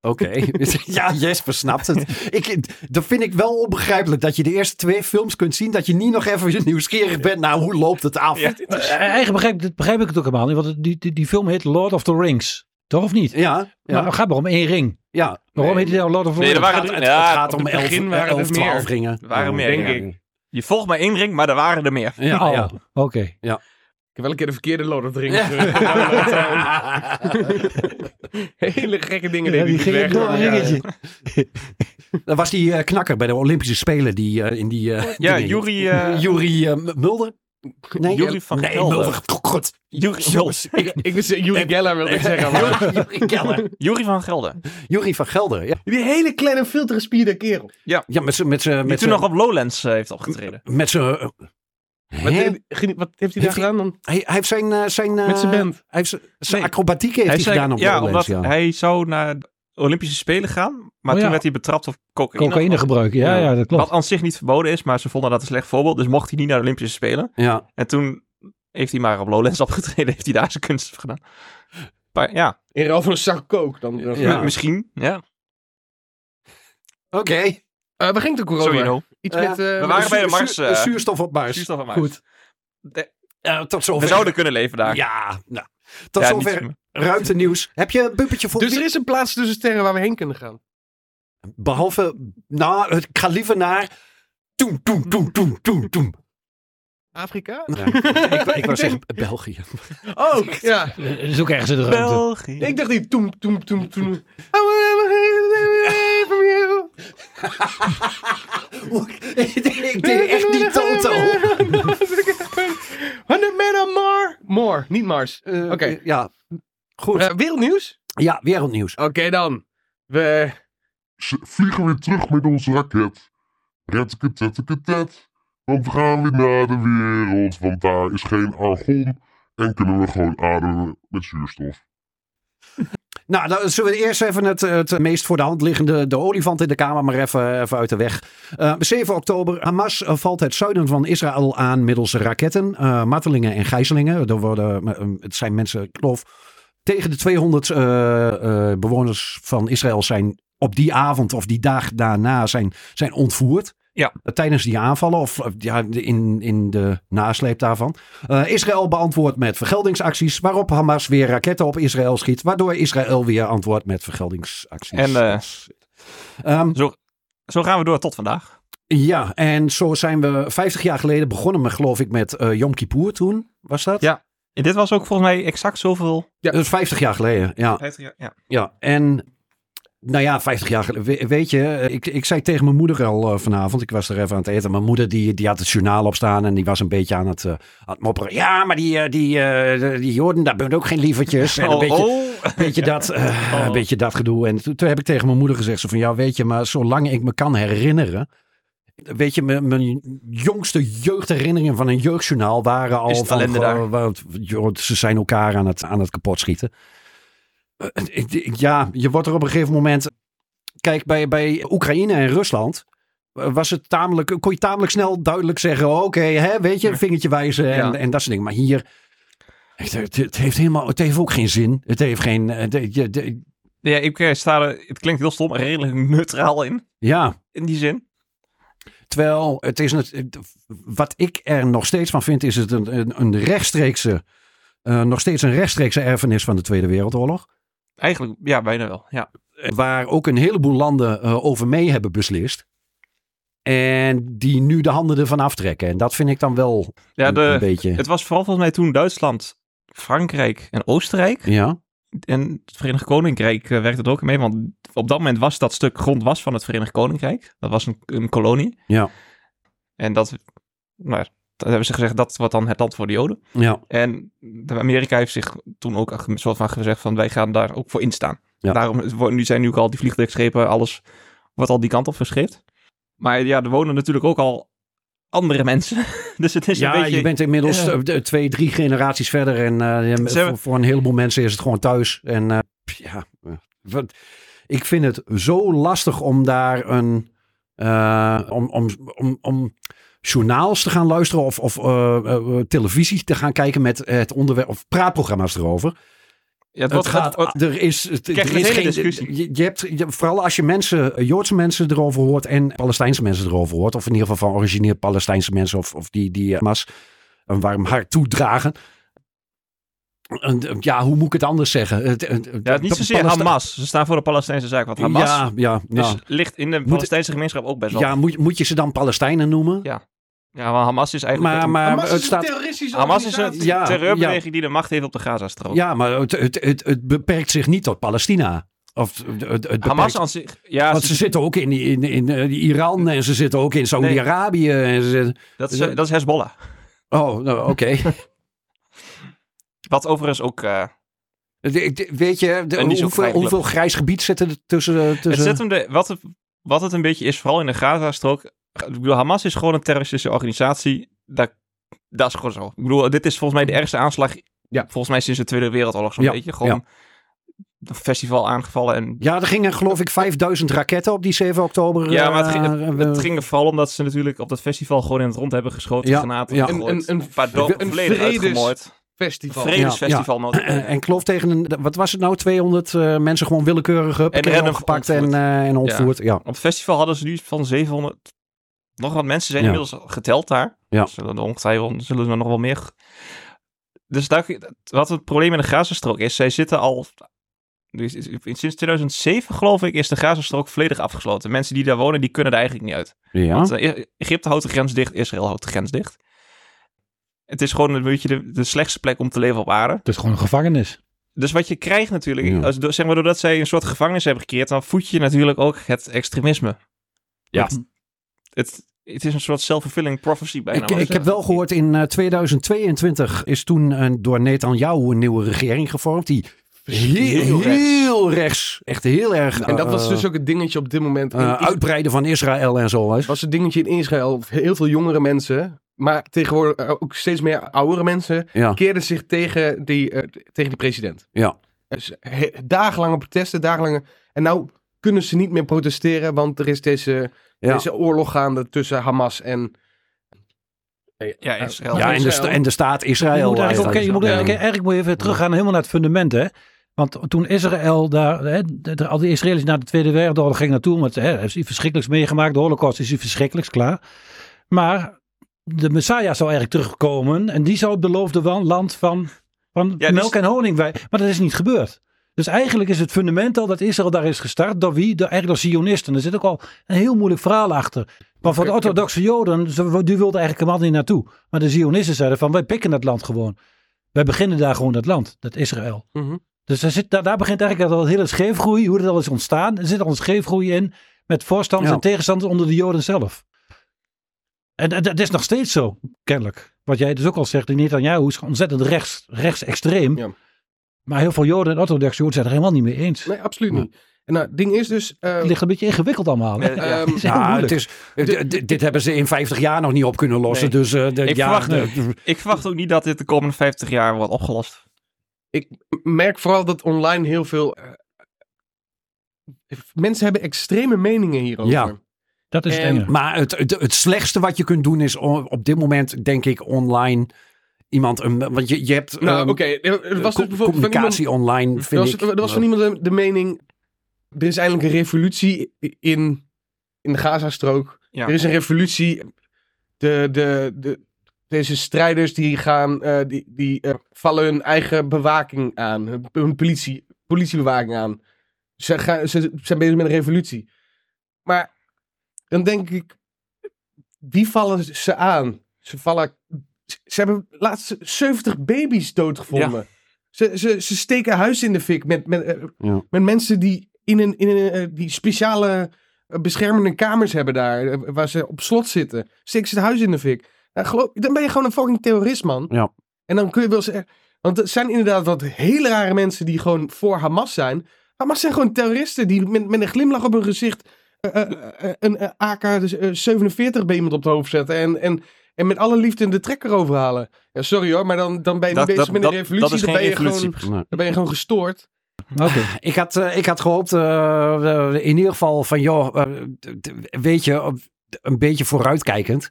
[SPEAKER 5] Oké. ja, Jesper snapt het. Ik, dat vind ik wel onbegrijpelijk. Dat je de eerste twee films kunt zien. Dat je niet nog even nieuwsgierig bent naar hoe loopt het af. Ja.
[SPEAKER 6] Eh, Eigenlijk begrijp, dit begrijp ik het ook helemaal niet. Want het- die, die, die film heet Lord of the Rings. Toch of niet?
[SPEAKER 5] Ja.
[SPEAKER 6] Maar
[SPEAKER 5] ja,
[SPEAKER 6] het gaat maar om één ring. Waarom
[SPEAKER 4] Nee.
[SPEAKER 6] heet die nou Lord of the
[SPEAKER 3] Nee, er
[SPEAKER 6] Rings?
[SPEAKER 3] waren
[SPEAKER 5] Het,
[SPEAKER 3] er,
[SPEAKER 5] het
[SPEAKER 3] ja,
[SPEAKER 5] gaat
[SPEAKER 3] op
[SPEAKER 5] om
[SPEAKER 3] het
[SPEAKER 5] 11,
[SPEAKER 4] begin waren er
[SPEAKER 5] 11 12
[SPEAKER 4] meer.
[SPEAKER 5] ringen.
[SPEAKER 3] Er waren meer,
[SPEAKER 4] Denk
[SPEAKER 3] ja.
[SPEAKER 4] ik.
[SPEAKER 3] Je volgt maar één ring, maar er waren er meer.
[SPEAKER 5] Ja,
[SPEAKER 6] Oh,
[SPEAKER 5] ja.
[SPEAKER 6] oké.
[SPEAKER 4] Ik heb wel een keer de verkeerde Lord of the Rings.
[SPEAKER 5] Ja.
[SPEAKER 4] eh, Hele gekke dingen
[SPEAKER 6] Ja,
[SPEAKER 4] deed
[SPEAKER 6] die
[SPEAKER 4] hij weg.
[SPEAKER 6] ging door een
[SPEAKER 4] Ja,
[SPEAKER 6] ringetje.
[SPEAKER 5] Dat was die eh, knakker bij de Olympische Spelen. Die eh, in die... eh,
[SPEAKER 3] Ja,
[SPEAKER 5] dingen-
[SPEAKER 3] Jury... eh
[SPEAKER 5] Jury eh, M- Mulder? Nee, eh,
[SPEAKER 3] Jury van
[SPEAKER 5] nee,
[SPEAKER 3] Gelder.
[SPEAKER 5] Mulder. Goed.
[SPEAKER 3] Jury,
[SPEAKER 5] Jongens, ik-
[SPEAKER 4] Ik wist Jury Geller wilde ik zeggen. Maar
[SPEAKER 5] Jury Keller.
[SPEAKER 3] Jury van Gelder.
[SPEAKER 5] Jury van Gelder, ja.
[SPEAKER 4] die hele kleine filtergespierde kerel.
[SPEAKER 5] Ja, met z'n... Met z'n-
[SPEAKER 3] Die
[SPEAKER 5] met
[SPEAKER 3] toen
[SPEAKER 5] z'n-
[SPEAKER 3] nog op Lowlands eh, heeft opgetreden.
[SPEAKER 5] met z'n... eh,
[SPEAKER 4] Wat,
[SPEAKER 5] hè?
[SPEAKER 4] deed- ging- wat heeft hij
[SPEAKER 5] Heeft
[SPEAKER 4] daar
[SPEAKER 5] hij-
[SPEAKER 4] gedaan dan?
[SPEAKER 5] Hij, hij heeft zijn... eh, zijn eh,
[SPEAKER 4] Met zijn band.
[SPEAKER 5] Hij heeft zijn, zijn
[SPEAKER 3] Nee.
[SPEAKER 5] acrobatiek heeft hij,
[SPEAKER 3] zei-
[SPEAKER 5] gedaan op
[SPEAKER 3] ja,
[SPEAKER 5] Lowlands,
[SPEAKER 3] omdat
[SPEAKER 5] ja.
[SPEAKER 3] hij zou naar de Olympische Spelen gaan, maar toen
[SPEAKER 6] Oh, ja.
[SPEAKER 3] werd hij betrapt op cocaïne.
[SPEAKER 6] Cocaïne gebruiken. Ja,
[SPEAKER 5] Ja.
[SPEAKER 6] ja, dat klopt.
[SPEAKER 3] Wat aan zich niet verboden is, maar ze vonden dat een slecht voorbeeld, dus mocht hij niet naar de Olympische Spelen.
[SPEAKER 5] Ja.
[SPEAKER 3] En toen heeft hij maar op Lowlands opgetreden, heeft hij daar zijn kunst gedaan. Maar ja,
[SPEAKER 4] In ruil van een zak kook. Dan, dan-
[SPEAKER 5] Ja.
[SPEAKER 3] m- misschien. Ja,
[SPEAKER 5] Oké.
[SPEAKER 4] Eh, waar ging de corona?
[SPEAKER 3] sowieso.
[SPEAKER 4] Iets
[SPEAKER 5] Eh,
[SPEAKER 4] met...
[SPEAKER 3] we waren bij de Mars,
[SPEAKER 5] Zuur-
[SPEAKER 3] eh,
[SPEAKER 5] zuurstof op Mars.
[SPEAKER 3] Zuurstof aan Mars.
[SPEAKER 5] Goed.
[SPEAKER 3] De-
[SPEAKER 5] Eh, tot zover.
[SPEAKER 3] We zouden kunnen leven daar.
[SPEAKER 5] Ja, nou. Tot
[SPEAKER 3] Ja, niet-
[SPEAKER 5] zover ruimte nieuws. Heb je een bumpertje voor
[SPEAKER 4] Dus
[SPEAKER 5] wie-
[SPEAKER 4] er is een plaats tussen sterren waar we heen kunnen gaan.
[SPEAKER 5] Behalve, nou, het- ik ga liever naar... Toem, toem, toem, toem, toem, toem.
[SPEAKER 4] Afrika?
[SPEAKER 5] Ja, ik, ik, ik wou
[SPEAKER 4] denk-
[SPEAKER 5] zeggen België.
[SPEAKER 4] Oh, ja.
[SPEAKER 6] Het is ook ergens in de ruimte.
[SPEAKER 3] België.
[SPEAKER 4] Ik dacht die toem, toem, toem, toem. I wanna get away eh, from you.
[SPEAKER 5] ik deed echt niet Toto.
[SPEAKER 4] 100 men on Mars. More, niet Mars.
[SPEAKER 5] Eh,
[SPEAKER 4] Oké.
[SPEAKER 5] Ja, goed.
[SPEAKER 4] Eh, wereldnieuws?
[SPEAKER 5] ja, wereldnieuws.
[SPEAKER 4] Oké dan. We...
[SPEAKER 1] Ze vliegen weer terug met onze raket. Retteketetteketet. Want we gaan weer naar de wereld, want daar is geen argon. En kunnen we gewoon ademen met zuurstof.
[SPEAKER 5] Nou, dan zullen we eerst even het, het meest voor de hand liggende, de olifant in de kamer, maar even, even uit de weg. Eh, 7 oktober, Hamas eh, valt het zuiden van Israël aan middels raketten, eh, martelingen en gijzelingen. Er worden, eh, het zijn mensen, ik geloof, tegen de 200 eh, eh, bewoners van Israël zijn op die avond of die dag daarna zijn, zijn ontvoerd.
[SPEAKER 3] Ja.
[SPEAKER 5] Eh, Tijdens die aanvallen of eh, ja, in, in de nasleep daarvan. Eh, Israël beantwoordt met vergeldingsacties, waarop Hamas weer raketten op Israël schiet, waardoor Israël weer antwoordt met vergeldingsacties.
[SPEAKER 3] En, eh,
[SPEAKER 5] Ehm,
[SPEAKER 3] Zo gaan we door tot vandaag.
[SPEAKER 5] ja, en zo zijn we 50 jaar geleden begonnen, met, geloof ik, met eh Yom Kippur toen, was dat?
[SPEAKER 3] Ja. En dit was ook volgens mij exact zoveel.
[SPEAKER 5] Dat is 50 jaar geleden, ja.
[SPEAKER 3] Ja.
[SPEAKER 5] ja. En, nou ja, 50 jaar geleden, we- weet je, eh, ik, ik zei tegen mijn moeder al eh, vanavond, ik was er even aan het eten, mijn moeder die, die had het journaal op staan en die was een beetje aan het, eh, aan het mopperen. Ja, maar die, eh, die, eh, die Jorden, daar bent ook geen lievertjes. En een
[SPEAKER 3] Oh,
[SPEAKER 5] beetje,
[SPEAKER 3] oh.
[SPEAKER 5] beetje dat, eh, een beetje dat gedoe. En toen, toen heb ik tegen mijn moeder gezegd: zo van ja, weet je, maar zolang ik me kan herinneren. Weet je, mijn, mijn jongste jeugdherinneringen van een jeugdjournaal waren al
[SPEAKER 3] Is het
[SPEAKER 5] van.
[SPEAKER 3] ellende daar?
[SPEAKER 5] goh, wat- joh, ze zijn elkaar aan het, aan het kapotschieten. Eh, ik- ik- Ja, je wordt er op een gegeven moment. Kijk, bij, bij Oekraïne en Rusland eh, was het tamelijk, kon je tamelijk snel duidelijk zeggen: oké, hè, weet je, vingertje wijzen en,
[SPEAKER 3] Ja.
[SPEAKER 5] en dat soort dingen. Maar hier het, het- het heeft helemaal, het heeft ook geen zin. Het heeft geen. eh, de- je- de-
[SPEAKER 3] Ja, ik eh, sta er, het klinkt heel stom, redelijk neutraal in.
[SPEAKER 5] ja,
[SPEAKER 3] In die zin.
[SPEAKER 5] terwijl het is. net- het- wat ik er nog steeds van vind, is het een, een, een rechtstreekse. eh, nog steeds een rechtstreekse erfenis van de Tweede Wereldoorlog.
[SPEAKER 3] Eigenlijk, ja, bijna wel. Ja.
[SPEAKER 5] Eh, Waar ook een heleboel landen eh, over mee hebben beslist. En die nu de handen ervan aftrekken. En dat vind ik dan wel
[SPEAKER 3] Ja,
[SPEAKER 5] een, een
[SPEAKER 3] de,
[SPEAKER 5] beetje.
[SPEAKER 3] het was vooral volgens mij toen Duitsland, Frankrijk en Oostenrijk.
[SPEAKER 5] ja,
[SPEAKER 3] En het Verenigd Koninkrijk eh, werkte er ook mee. Want op dat moment was dat stuk grond was van het Verenigd Koninkrijk. Dat was een, een kolonie.
[SPEAKER 5] ja,
[SPEAKER 3] En dat, nou, ja, dat hebben ze gezegd, dat wordt dan het land voor de Joden.
[SPEAKER 5] ja.
[SPEAKER 3] En de- Amerika heeft zich toen ook een soort van gezegd van wij gaan daar ook voor instaan.
[SPEAKER 5] Ja.
[SPEAKER 3] Daarom is- worden- nu zijn nu ook al die vliegtuigschepen, alles wordt al die kant op verscheept. Maar ja, er wonen natuurlijk ook al andere mensen. Dus het is
[SPEAKER 5] ja,
[SPEAKER 3] een beetje...
[SPEAKER 5] je bent inmiddels
[SPEAKER 3] Ja.
[SPEAKER 5] eh, de- twee, drie generaties verder. En eh, ja,
[SPEAKER 3] hebben-
[SPEAKER 5] voor, voor een heleboel mensen is het gewoon thuis. En eh, pff, ja, eh, wat, ik vind het zo lastig om daar een. eh, om, om, om, om journaals te gaan luisteren of, of eh, eh, televisie te gaan kijken met het onderwerp. of praatprogramma's erover.
[SPEAKER 3] Ja, het
[SPEAKER 5] Het
[SPEAKER 3] wordt,
[SPEAKER 5] gaat,
[SPEAKER 3] het wordt-
[SPEAKER 5] er is, het-
[SPEAKER 3] krijg
[SPEAKER 5] er
[SPEAKER 3] een
[SPEAKER 5] is
[SPEAKER 3] hele
[SPEAKER 5] geen
[SPEAKER 3] discussie.
[SPEAKER 5] Je, je hebt, je- vooral als je mensen, Joodse mensen erover hoort en Palestijnse mensen erover hoort, of in ieder geval van origineel Palestijnse mensen of, of die, die eh, Hamas een warm hart toedragen. En, eh, Ja, hoe moet ik het anders zeggen? Het, het-
[SPEAKER 3] ja, het is niet zozeer
[SPEAKER 5] Palestijn-
[SPEAKER 3] Hamas. Ze staan voor de Palestijnse zaak. Want Hamas
[SPEAKER 5] Ja, ja,
[SPEAKER 3] is,
[SPEAKER 5] nou,
[SPEAKER 3] ligt in de Palestijnse gemeenschap ook best wel.
[SPEAKER 5] ja moet, moet je ze dan Palestijnen noemen?
[SPEAKER 3] Ja, ja, maar Hamas is eigenlijk...
[SPEAKER 5] Maar, maar
[SPEAKER 4] Hamas
[SPEAKER 5] het
[SPEAKER 4] is een
[SPEAKER 5] staat
[SPEAKER 4] terroristische
[SPEAKER 3] Hamas is een
[SPEAKER 4] organisatie.
[SPEAKER 5] Ja,
[SPEAKER 3] terreurbeweging die de macht heeft op de Gazastrook.
[SPEAKER 5] Ja, maar het, het, het, het beperkt zich niet tot Palestina. Of het, het beperkt-
[SPEAKER 3] Hamas aan zich... Ja,
[SPEAKER 5] Want
[SPEAKER 3] ze-
[SPEAKER 5] ze zitten ook in, in, in eh, Iran en ze zitten ook in Saudi-Arabië. en ze zitten-
[SPEAKER 3] dat, is, dat is Hezbollah.
[SPEAKER 5] Oh, nou, oké.
[SPEAKER 3] Wat overigens ook... eh,
[SPEAKER 5] De- de- Weet je, de-
[SPEAKER 3] En die is ook
[SPEAKER 5] hoeveel,
[SPEAKER 3] vrij club.
[SPEAKER 5] hoeveel grijs gebied zit er tussen? eh,
[SPEAKER 3] het
[SPEAKER 5] tussen...
[SPEAKER 3] zet hem de, wat, het, wat het een beetje is, vooral in de Gazastrook... Ik bedoel, Hamas is gewoon een terroristische organisatie. Dat, dat is gewoon zo. Ik bedoel, dit is volgens mij de ergste aanslag...
[SPEAKER 4] Ja.
[SPEAKER 3] Volgens mij sinds de Tweede Wereldoorlog zo'n
[SPEAKER 5] Ja,
[SPEAKER 3] beetje. Gewoon een festival aangevallen en...
[SPEAKER 5] Ja, er gingen geloof ik 5000 raketten op die 7 oktober.
[SPEAKER 3] Ja, maar het ging,
[SPEAKER 5] eh,
[SPEAKER 3] het, het ging er vooral omdat ze natuurlijk op dat festival gewoon in het rond hebben geschoten,
[SPEAKER 5] Ja,
[SPEAKER 3] granaten
[SPEAKER 5] ja.
[SPEAKER 3] gegooid,
[SPEAKER 4] Een- een- een-
[SPEAKER 3] Oh, paar dorpen
[SPEAKER 4] een
[SPEAKER 3] volledig
[SPEAKER 4] vredes-
[SPEAKER 3] uitgemoord.
[SPEAKER 4] Festival.
[SPEAKER 3] Vredesfestival ja,
[SPEAKER 5] eh, en ik geloof tegen, een, wat was het nou, 200 eh, mensen gewoon willekeurig hup,
[SPEAKER 3] En
[SPEAKER 5] keer
[SPEAKER 3] random
[SPEAKER 5] opgepakt en,
[SPEAKER 3] ontvoerd.
[SPEAKER 5] eh, en ontvoerd. Ja.
[SPEAKER 3] Op het festival hadden ze nu van 700. Nog wat mensen zijn
[SPEAKER 5] Ja.
[SPEAKER 3] inmiddels geteld daar.
[SPEAKER 5] Ja.
[SPEAKER 3] Zullen er ongetwijfeld zullen er nog wel meer. Dus daar, wat het probleem in de Gazastrook is, zij zitten al. dus is- Sinds 2007, geloof ik, is de Gazastrook volledig afgesloten. Mensen die daar wonen, die kunnen er eigenlijk niet uit.
[SPEAKER 6] Oh.
[SPEAKER 3] Want, eh, Egypte houdt de grens dicht, Israël houdt de grens dicht. Het is gewoon een beetje de, de slechtste plek om te leven op aarde.
[SPEAKER 6] Het is gewoon een gevangenis.
[SPEAKER 3] Dus wat je krijgt natuurlijk,
[SPEAKER 5] Ja.
[SPEAKER 3] als, do- zeg maar, doordat zij een soort gevangenis hebben gecreëerd, dan voed je natuurlijk ook het extremisme.
[SPEAKER 5] Ja.
[SPEAKER 3] Het, het, het is een soort self-fulfilling prophecy bijna.
[SPEAKER 5] Ik,
[SPEAKER 3] wel.
[SPEAKER 5] ik heb wel gehoord, in eh, 2022 is toen een, door Netanyahu een nieuwe regering gevormd. Die heel, heel rechts. echt heel erg...
[SPEAKER 4] En dat was
[SPEAKER 5] eh,
[SPEAKER 4] dus ook het dingetje op dit moment. in
[SPEAKER 5] eh,
[SPEAKER 4] Israël.
[SPEAKER 5] uitbreiden van Israël en zo. hè.
[SPEAKER 4] was het dingetje in Israël. Heel veel jongere mensen, maar tegenwoordig ook steeds meer oudere mensen,
[SPEAKER 5] Ja.
[SPEAKER 4] keerden zich tegen die, eh, tegen die president.
[SPEAKER 5] Ja.
[SPEAKER 4] Dus he- dagenlange protesten, dagenlange... En nou kunnen ze niet meer protesteren, want er is deze,
[SPEAKER 5] Ja.
[SPEAKER 4] deze oorlog gaande tussen Hamas en...
[SPEAKER 3] Ja, Israël.
[SPEAKER 5] Ja, en de, sta- en de staat Israël.
[SPEAKER 6] Je moet eigenlijk,
[SPEAKER 5] eigenlijk.
[SPEAKER 6] ook- je moet
[SPEAKER 5] Ja.
[SPEAKER 6] eigenlijk, eigenlijk moet je even teruggaan helemaal naar het fundament, hè. Want toen Israël daar, hè, de- de- al die Israëli's naar de Tweede Wereldoorlog gingen naartoe, want hè, er is iets verschrikkelijks meegemaakt, de Holocaust is iets verschrikkelijks, klaar. Maar de Messiah zou eigenlijk terugkomen en die zou het beloofde wa- land van, van
[SPEAKER 3] Ja, die
[SPEAKER 6] melk en honing wij. Maar dat is niet gebeurd. Dus eigenlijk is het fundament al dat Israël daar is gestart. Door wie? Door, eigenlijk door Zionisten. Er zit ook al een heel moeilijk verhaal achter. Maar voor de orthodoxe Joden, ze- die wilden eigenlijk helemaal niet naartoe. Maar de Zionisten zeiden van, wij pikken dat land gewoon. Wij beginnen daar gewoon dat land, dat Israël.
[SPEAKER 4] Mhm.
[SPEAKER 6] Dus daar, zit, daar, daar begint eigenlijk al een hele scheefgroei, hoe dat al is ontstaan. Er zit al een scheefgroei in met voorstanders
[SPEAKER 5] Ja.
[SPEAKER 6] en tegenstanders onder de Joden zelf. En, en dat is nog steeds zo, kennelijk. Wat jij dus ook al zegt, die Netanyahu is ontzettend rechts, rechtsextreem.
[SPEAKER 4] Ja.
[SPEAKER 6] Maar heel veel Joden en orthodoxe Joden zijn het er helemaal niet mee eens.
[SPEAKER 4] Nee, absoluut niet. En nou, het ding is dus... eh,
[SPEAKER 6] Het ligt een beetje ingewikkeld allemaal. hè?
[SPEAKER 3] Eh,
[SPEAKER 4] ehm,
[SPEAKER 6] Het is heel
[SPEAKER 5] Ja,
[SPEAKER 6] moeilijk.
[SPEAKER 5] het is, d- d- dit hebben ze in 50 jaar nog niet op kunnen lossen.
[SPEAKER 3] Nee.
[SPEAKER 5] Dus eh, de-
[SPEAKER 3] Ik
[SPEAKER 5] ja,
[SPEAKER 3] verwacht
[SPEAKER 5] de-
[SPEAKER 3] Ik verwacht ook niet dat dit de komende 50 jaar wordt opgelost.
[SPEAKER 4] nou, merk vooral dat online heel veel... eh, mensen hebben extreme meningen hierover.
[SPEAKER 5] Ja.
[SPEAKER 6] dat is het
[SPEAKER 4] en-
[SPEAKER 6] enge.
[SPEAKER 5] Maar het, het, het slechtste wat je kunt doen is o- op dit moment, denk ik, online iemand. Een, want je, je hebt
[SPEAKER 4] Nou,
[SPEAKER 5] ehm,
[SPEAKER 4] oké. Er was
[SPEAKER 5] co-
[SPEAKER 4] dus bijvoorbeeld van iemand-
[SPEAKER 5] communicatie online.
[SPEAKER 4] Er
[SPEAKER 5] Vind
[SPEAKER 4] was,
[SPEAKER 5] ik, eh,
[SPEAKER 4] er was van iemand de, de mening. Er is eindelijk een revolutie in, in de Gazastrook.
[SPEAKER 3] Ja.
[SPEAKER 4] Er is een revolutie. De, de, de, deze strijders die gaan. eh, die die eh, vallen hun eigen bewaking aan. Hun, hun politie, politiebewaking aan. Ze, gaan, ze zijn bezig met een revolutie. Maar dan denk ik. Wie vallen ze aan? Ze vallen. Ze hebben laatst 70 baby's doodgevonden. Ze, ze, ze steken huis in de fik met, met, eh,
[SPEAKER 5] Ja.
[SPEAKER 4] met mensen die, in een, in een, eh, die speciale eh, beschermende kamers hebben daar, eh, waar ze op slot zitten. Steken ze het huis in de fik. Nou, geloof, dan ben je gewoon een fucking terrorist, man.
[SPEAKER 5] Ja.
[SPEAKER 4] En dan kun je wel zeggen... Want er zijn inderdaad wat hele rare mensen die gewoon voor Hamas zijn. Hamas zijn gewoon terroristen die met, met een glimlach op hun gezicht... eh, eh, eh, een eh, AK-47 bij iemand op het hoofd zetten en... en en met alle liefde de trekker overhalen. Ja, sorry hoor, maar dan, dan ben je niet bezig met een revolutie.
[SPEAKER 3] dat is
[SPEAKER 4] dan
[SPEAKER 3] geen
[SPEAKER 4] ben je
[SPEAKER 3] revolutie.
[SPEAKER 4] Gewoon, dan ben je gewoon gestoord.
[SPEAKER 6] Oké.
[SPEAKER 5] Ik had, eh, ik had gehoopt, eh, eh, in ieder geval van, joh, eh, d- d- weet je, eh, een beetje vooruitkijkend.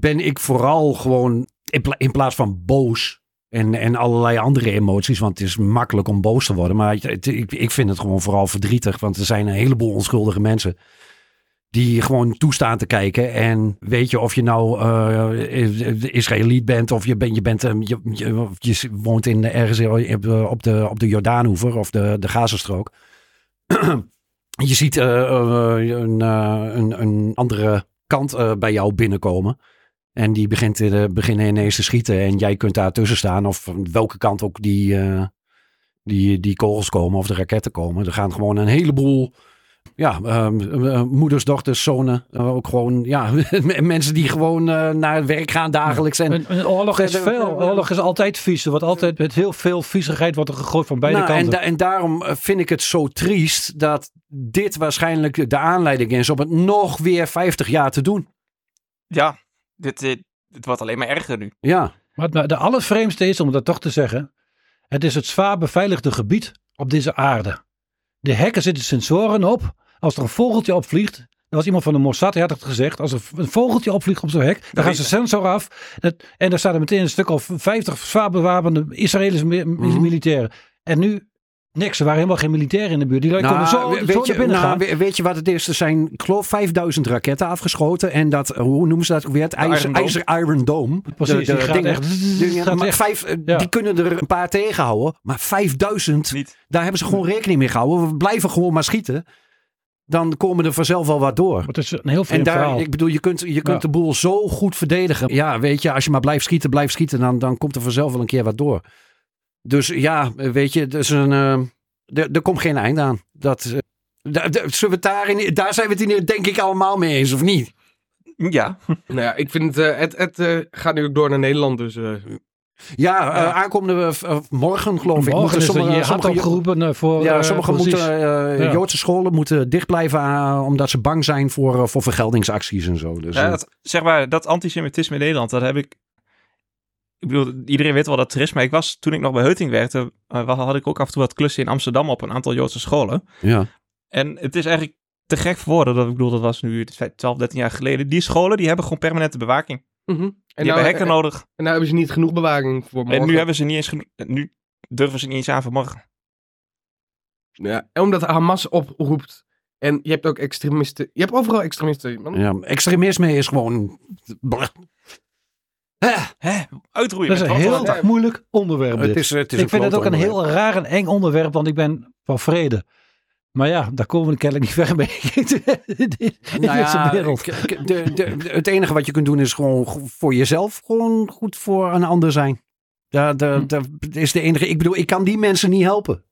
[SPEAKER 5] Ben ik vooral gewoon, in, pla- in plaats van boos, En, en allerlei andere emoties, want het is makkelijk om boos te worden. Maar het- het- ik, ik vind het gewoon vooral verdrietig, want er zijn een heleboel onschuldige mensen die gewoon toestaan te kijken. En weet je of je nou eh, Israëliet bent of je, ben, je, bent, eh, je, je, of je woont in, ergens in- op de, op de Jordaanhoever of de, de Gazastrook. je ziet eh, eh, een, eh, een, een andere kant eh, bij jou binnenkomen. En die begint, eh, beginnen ineens te schieten. En jij kunt daar tussen staan. Of van welke kant ook die, eh, die, die kogels komen of de raketten komen. Er gaan gewoon een heleboel ja, ehm, eh, moeders, dochters, zonen. eh, ook gewoon ja, mensen die gewoon eh, naar het werk gaan dagelijks. En,
[SPEAKER 6] Een, een oorlog is veel. Oorlog is altijd vies. Er wordt altijd met heel veel viezigheid wordt er gegooid van beide
[SPEAKER 5] Nou,
[SPEAKER 6] kanten.
[SPEAKER 5] En, da- en daarom eh, vind ik het zo triest dat dit waarschijnlijk de aanleiding is om het nog weer 50 jaar te doen.
[SPEAKER 3] Ja, dit, dit, dit wordt alleen maar erger nu.
[SPEAKER 5] Ja,
[SPEAKER 6] Maar het de allervreemdste is, om dat toch te zeggen, het is het zwaar beveiligde gebied op deze aarde. De hekken zitten sensoren op. Als er een vogeltje opvliegt, er was iemand van de Mossad, die had het gezegd, als er een vogeltje opvliegt op zo'n hek, dan gaan ze sensor af. Dat- en daar staan er meteen een stuk of 50 zwaar bewapende Israëlische mi-
[SPEAKER 5] Mhm.
[SPEAKER 6] militairen. En nu, niks, er waren helemaal geen militairen in de buurt. Die lijken
[SPEAKER 5] Nou,
[SPEAKER 6] zo,
[SPEAKER 5] we-
[SPEAKER 6] zo
[SPEAKER 5] weet,
[SPEAKER 6] naar
[SPEAKER 5] je,
[SPEAKER 6] binnen
[SPEAKER 5] nou,
[SPEAKER 6] gaan.
[SPEAKER 5] we- weet je wat het is? Er zijn, ik geloof, 5000 raketten afgeschoten. En dat, eh, hoe noemen ze dat ook weer? Het
[SPEAKER 3] Iron
[SPEAKER 5] IJzer,
[SPEAKER 3] Dome.
[SPEAKER 5] IJzer Iron Dome.
[SPEAKER 6] Precies, die gaat
[SPEAKER 5] dingen.
[SPEAKER 6] echt-
[SPEAKER 5] Die dingen,
[SPEAKER 6] gaat
[SPEAKER 5] maar
[SPEAKER 6] echt-
[SPEAKER 5] vijf, eh,
[SPEAKER 6] ja.
[SPEAKER 5] Die kunnen er een paar tegenhouden. Maar 5000,
[SPEAKER 3] Niet.
[SPEAKER 5] daar hebben ze gewoon rekening mee gehouden. We blijven gewoon maar schieten. Dan komen er vanzelf wel wat door.
[SPEAKER 6] Maar Het is een heel
[SPEAKER 5] En
[SPEAKER 6] vreemd
[SPEAKER 5] daar,
[SPEAKER 6] verhaal.
[SPEAKER 5] ik bedoel, je kunt, je kunt
[SPEAKER 6] Ja.
[SPEAKER 5] de boel zo goed verdedigen. Ja, weet je, als je maar blijft schieten, blijft schieten, dan, dan komt er vanzelf wel een keer wat door. Dus ja, eh, weet je, er, is een, eh, er, er komt geen eind aan. Dat, eh, daar- daar- zullen we het daarin, daar zijn we het in, denk ik allemaal mee eens, of niet?
[SPEAKER 3] Ja,
[SPEAKER 4] Nou ja, ik vind eh, het, het eh, gaat nu ook door naar Nederland, dus... eh,
[SPEAKER 5] Ja, eh, aankomende eh, v- eh, morgen geloof ik.
[SPEAKER 6] Morgen
[SPEAKER 5] moeten
[SPEAKER 6] is er-
[SPEAKER 5] sommige-
[SPEAKER 6] je had
[SPEAKER 5] sommige-
[SPEAKER 6] opgeroepen eh, voor...
[SPEAKER 5] Ja,
[SPEAKER 6] eh,
[SPEAKER 5] sommige
[SPEAKER 6] precies.
[SPEAKER 5] moeten, eh,
[SPEAKER 6] Ja.
[SPEAKER 5] Joodse scholen moeten dicht blijven eh, omdat ze bang zijn voor, eh, voor vergeldingsacties en zo. Dus,
[SPEAKER 3] ja
[SPEAKER 5] eh,
[SPEAKER 3] dat, zeg maar, dat antisemitisme in Nederland, dat heb ik... Ik bedoel, iedereen weet wel dat er is, maar ik was, toen ik nog bij Heuting werkte, eh, had ik ook af en toe wat klussen in Amsterdam op een aantal Joodse scholen.
[SPEAKER 5] ja.
[SPEAKER 3] En het is eigenlijk te gek voor woorden. Dat, ik bedoel, dat was nu 12, 13 jaar geleden. Die scholen die hebben gewoon permanente bewaking. Die
[SPEAKER 4] mhm. en,
[SPEAKER 3] hebben
[SPEAKER 4] nou,
[SPEAKER 3] hekken
[SPEAKER 6] eh,
[SPEAKER 4] en,
[SPEAKER 3] nodig.
[SPEAKER 4] en nou hebben ze niet genoeg bewaking voor morgen.
[SPEAKER 3] En nu hebben ze niet eens. geno- eh, Nu durven ze niet eens aan vanmorgen.
[SPEAKER 4] Nou Ja, en omdat Hamas oproept. En je hebt ook extremisten. Je hebt overal extremisten. Man.
[SPEAKER 5] Ja, extremisme is gewoon. Brr. Eh,
[SPEAKER 3] Hè? Uitroeien.
[SPEAKER 6] Dat is
[SPEAKER 3] met
[SPEAKER 6] een
[SPEAKER 3] wat
[SPEAKER 6] heel
[SPEAKER 3] dan ook.
[SPEAKER 6] moeilijk onderwerp dit.
[SPEAKER 5] het is, het is
[SPEAKER 6] ik vind
[SPEAKER 5] klote
[SPEAKER 6] het ook een
[SPEAKER 5] onderwerp.
[SPEAKER 6] heel raar en eng onderwerp, want ik ben van vrede. Maar ja, daar komen we kennelijk niet ver mee in deze
[SPEAKER 5] Nou ja,
[SPEAKER 6] wereld.
[SPEAKER 5] k- k- de- de- de- het enige wat je kunt doen is gewoon go- voor jezelf gewoon goed voor een ander zijn. Ja, de,
[SPEAKER 6] Hm.
[SPEAKER 5] de- is de enige. Ik bedoel, ik kan die mensen niet helpen.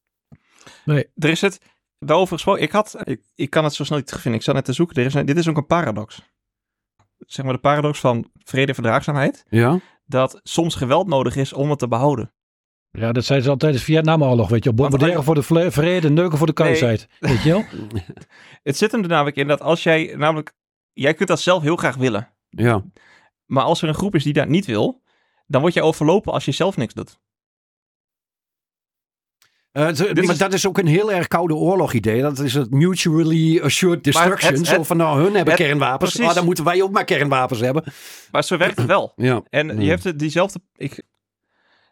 [SPEAKER 3] Er is het. Daarover gesproken. Ik had. Ik, ik kan het zo snel niet terugvinden. Ik zat net te zoeken. Er is, een- dit is ook een paradox. Zeg maar de paradox van vrede en verdraagzaamheid.
[SPEAKER 5] Ja.
[SPEAKER 3] Dat soms geweld nodig is om het te behouden.
[SPEAKER 6] Ja, dat zijn ze altijd tijdens de Vietnamoorlog, weet je wel. Bombarderen
[SPEAKER 3] Want-
[SPEAKER 6] voor de vle- vrede, neuken voor de kousheid. Weet je wel?
[SPEAKER 3] Het zit hem er namelijk in dat als jij. Namelijk. Jij kunt dat zelf heel graag willen.
[SPEAKER 5] Ja.
[SPEAKER 3] Maar als er een groep is die dat niet wil. Dan word je overlopen als je zelf niks doet.
[SPEAKER 5] Eh, het- maar
[SPEAKER 3] is-
[SPEAKER 5] dat is ook een heel erg koude oorlog idee. Dat is het mutually assured destruction.
[SPEAKER 3] het-
[SPEAKER 5] Zo
[SPEAKER 3] het-
[SPEAKER 5] van, nou, hun hebben
[SPEAKER 3] het-
[SPEAKER 5] kernwapens.
[SPEAKER 3] precies.
[SPEAKER 5] Ah, dan moeten wij ook maar kernwapens hebben.
[SPEAKER 3] Maar zo werkt het wel.
[SPEAKER 5] Ja.
[SPEAKER 3] En
[SPEAKER 5] Hmm.
[SPEAKER 3] je hebt de- diezelfde. Ik,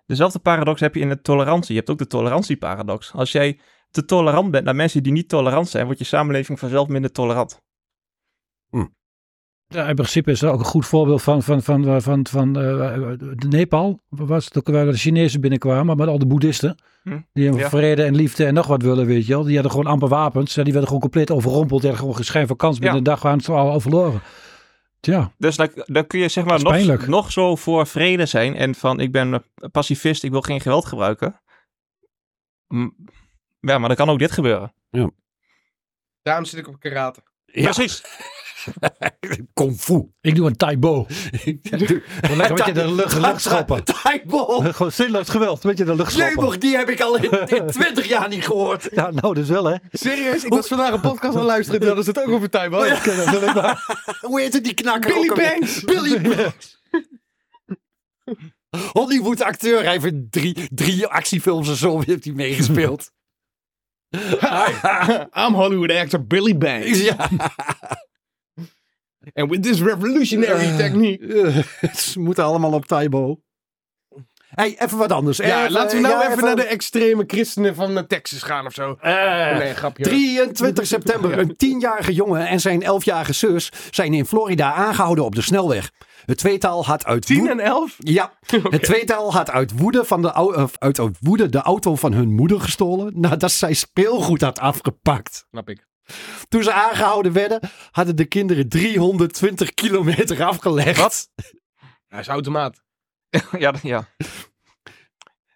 [SPEAKER 3] dezelfde paradox heb je in de tolerantie. Je hebt ook de tolerantieparadox. Als jij te tolerant bent naar mensen die niet tolerant zijn, wordt je samenleving vanzelf minder tolerant.
[SPEAKER 6] Ja, in principe is er ook een goed voorbeeld van, van, van, van, van, eh, de Nepal. Waar was het ook waar de Chinezen binnenkwamen, maar al de boeddhisten.
[SPEAKER 3] Hm,
[SPEAKER 6] Die hebben
[SPEAKER 3] ja.
[SPEAKER 6] vrede en liefde en nog wat willen, weet je wel. Die hadden gewoon amper wapens. En die werden gewoon compleet overrompeld. Die hadden gewoon geen van kans. Binnen
[SPEAKER 3] Ja.
[SPEAKER 6] een dag waren ze al al verloren. Tja.
[SPEAKER 3] Dus dan, dan kun je zeg maar
[SPEAKER 6] Dat is
[SPEAKER 3] nog,
[SPEAKER 6] pijnlijk.
[SPEAKER 3] nog zo voor vrede zijn en van ik ben eh, pacifist, ik wil geen geweld gebruiken. M- Ja, maar dan kan ook dit gebeuren.
[SPEAKER 4] Daarom zit ik op karate.
[SPEAKER 5] Ja.
[SPEAKER 3] Precies.
[SPEAKER 5] Kung fu.
[SPEAKER 6] Ik doe een taibo. Gewoon lekker met je de lucht, lucht schoppen.
[SPEAKER 5] Tijbol.
[SPEAKER 6] Gewoon zinloos geweld, weet je, de lucht schoppen.
[SPEAKER 5] Leubog, die heb ik al in, in 20 jaar niet gehoord.
[SPEAKER 6] Ja, nou, dus wel, hè.
[SPEAKER 4] Serieus? Ik was vandaag een podcast aan luisteren. Dat is het ook over time. hoor.
[SPEAKER 5] Hoe heette die knakker?
[SPEAKER 4] Billy
[SPEAKER 5] ook alweer?
[SPEAKER 4] Banks.
[SPEAKER 5] Billy Banks. Hollywood acteur. Hij heeft in drie, drie actiefilms en zo heeft hij meegespeeld.
[SPEAKER 4] I'm Hollywood actor Billy Banks.
[SPEAKER 5] ja.
[SPEAKER 4] And with this revolutionary technique.
[SPEAKER 5] Ze moeten allemaal op Taibo. hey, even wat anders.
[SPEAKER 4] Ja, laten we nou
[SPEAKER 5] ja,
[SPEAKER 4] even, naar de extreme christenen van eh, Texas gaan of zo.
[SPEAKER 5] Eh,
[SPEAKER 4] nee, grapje.
[SPEAKER 5] 23 september. Een tienjarige jongen en zijn elfjarige zus zijn in Florida aangehouden op de snelweg. Het tweetal had uit
[SPEAKER 4] 10
[SPEAKER 5] woe-
[SPEAKER 4] en 11?
[SPEAKER 5] Ja, het tweetal had uit woede, van de, au- eh, uit uit woede de auto van hun moeder gestolen nadat zij speelgoed had afgepakt.
[SPEAKER 4] Snap ik.
[SPEAKER 5] Toen ze aangehouden werden, hadden de kinderen 320 kilometer afgelegd.
[SPEAKER 3] Wat?
[SPEAKER 4] Hij is automaat.
[SPEAKER 3] ja, d- ja.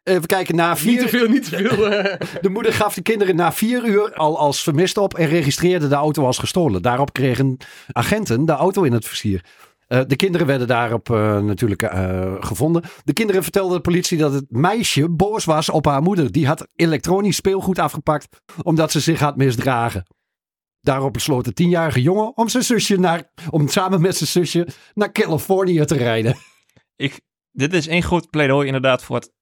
[SPEAKER 5] Even kijken, na
[SPEAKER 4] Niet te
[SPEAKER 5] vier,
[SPEAKER 4] veel, niet te veel. eh.
[SPEAKER 5] de moeder gaf de kinderen na vier uur al als vermist op en registreerde de auto als gestolen. Daarop kregen agenten de auto in het versier. Eh, de kinderen werden daarop eh, natuurlijk eh, gevonden. De kinderen vertelden de politie dat het meisje boos was op haar moeder. Die had elektronisch speelgoed afgepakt omdat ze zich had misdragen. Daarop besloot de tienjarige jongen om, zijn zusje naar, om samen met zijn zusje naar Californië te rijden.
[SPEAKER 3] Ik, dit is één groot pleidooi inderdaad voor het,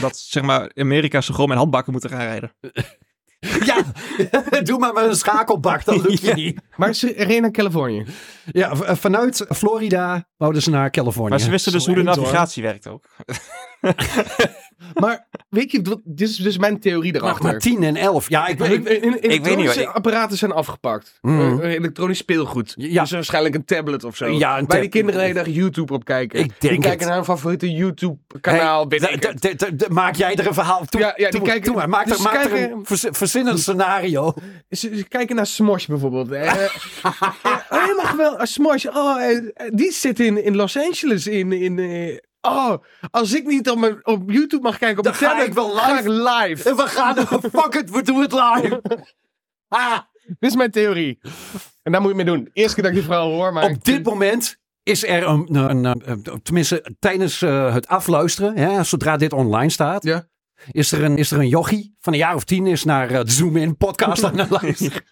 [SPEAKER 3] dat zeg maar, Amerika zo gewoon met handbakken moeten gaan rijden.
[SPEAKER 5] Ja, doe maar met een schakelbak, dan lukt het
[SPEAKER 3] Ja.
[SPEAKER 5] niet.
[SPEAKER 4] Maar ze reed naar Californië.
[SPEAKER 5] Ja, v- eh, vanuit Florida wouden ze naar Californië.
[SPEAKER 3] Maar ze wisten dus
[SPEAKER 4] zo
[SPEAKER 3] hoe de
[SPEAKER 4] eind, hoor.
[SPEAKER 3] navigatie werkt ook.
[SPEAKER 4] Maar weet je, wat- dit is dus mijn theorie
[SPEAKER 5] Wacht,
[SPEAKER 4] erachter.
[SPEAKER 5] maar 10 en 11. Ja, ik,
[SPEAKER 4] Maar
[SPEAKER 5] ik,
[SPEAKER 4] in- in- in-
[SPEAKER 3] niet,
[SPEAKER 4] elektronische
[SPEAKER 3] hoor. Ik-
[SPEAKER 4] apparaten zijn afgepakt.
[SPEAKER 5] Mhm.
[SPEAKER 4] Eh, elektronisch speelgoed.
[SPEAKER 5] Ja.
[SPEAKER 4] Dus waarschijnlijk een tablet of zo.
[SPEAKER 5] Ja, een
[SPEAKER 4] Waar die
[SPEAKER 5] tab-
[SPEAKER 4] kinderen de hele dag YouTube op kijken.
[SPEAKER 5] Ik denk
[SPEAKER 4] die kijken
[SPEAKER 5] het.
[SPEAKER 4] naar hun favoriete YouTube-kanaal.
[SPEAKER 5] Hey,
[SPEAKER 4] weet ik
[SPEAKER 5] d-
[SPEAKER 4] het.
[SPEAKER 5] d- d- d- maak jij er een verhaal? Toe,
[SPEAKER 4] Ja, ja, die
[SPEAKER 5] toe-
[SPEAKER 4] kijken-
[SPEAKER 5] toe maar, maak
[SPEAKER 4] dus
[SPEAKER 5] er, maak er
[SPEAKER 4] kijken-
[SPEAKER 5] een verzi- verzinnend scenario.
[SPEAKER 4] Ze, ze kijken naar Smosh bijvoorbeeld. Eh, eh, oh, je mag wel. eh, Smosh, oh, eh, eh, die zit in, in Los Angeles. In, in, eh, oh, als ik niet op, mijn, op YouTube mag kijken op
[SPEAKER 5] Dan
[SPEAKER 4] mijn
[SPEAKER 5] ga
[SPEAKER 4] tablet,
[SPEAKER 5] ik wel
[SPEAKER 4] ga
[SPEAKER 5] live.
[SPEAKER 4] ik live.
[SPEAKER 5] En we gaan, fuck it, we doen het live. Ah,
[SPEAKER 4] Dit is mijn theorie. En daar moet je mee doen. Eerst keer dat ik dit verhaal hoor, maar...
[SPEAKER 5] op dit moment is er een, een, een- een- tenminste tijdens eh, het afluisteren, hè, zodra dit online staat,
[SPEAKER 4] Ja.
[SPEAKER 5] is, er een, is er een jochie van een jaar of tien is naar eh, de Zoom In podcast aan het luisteren.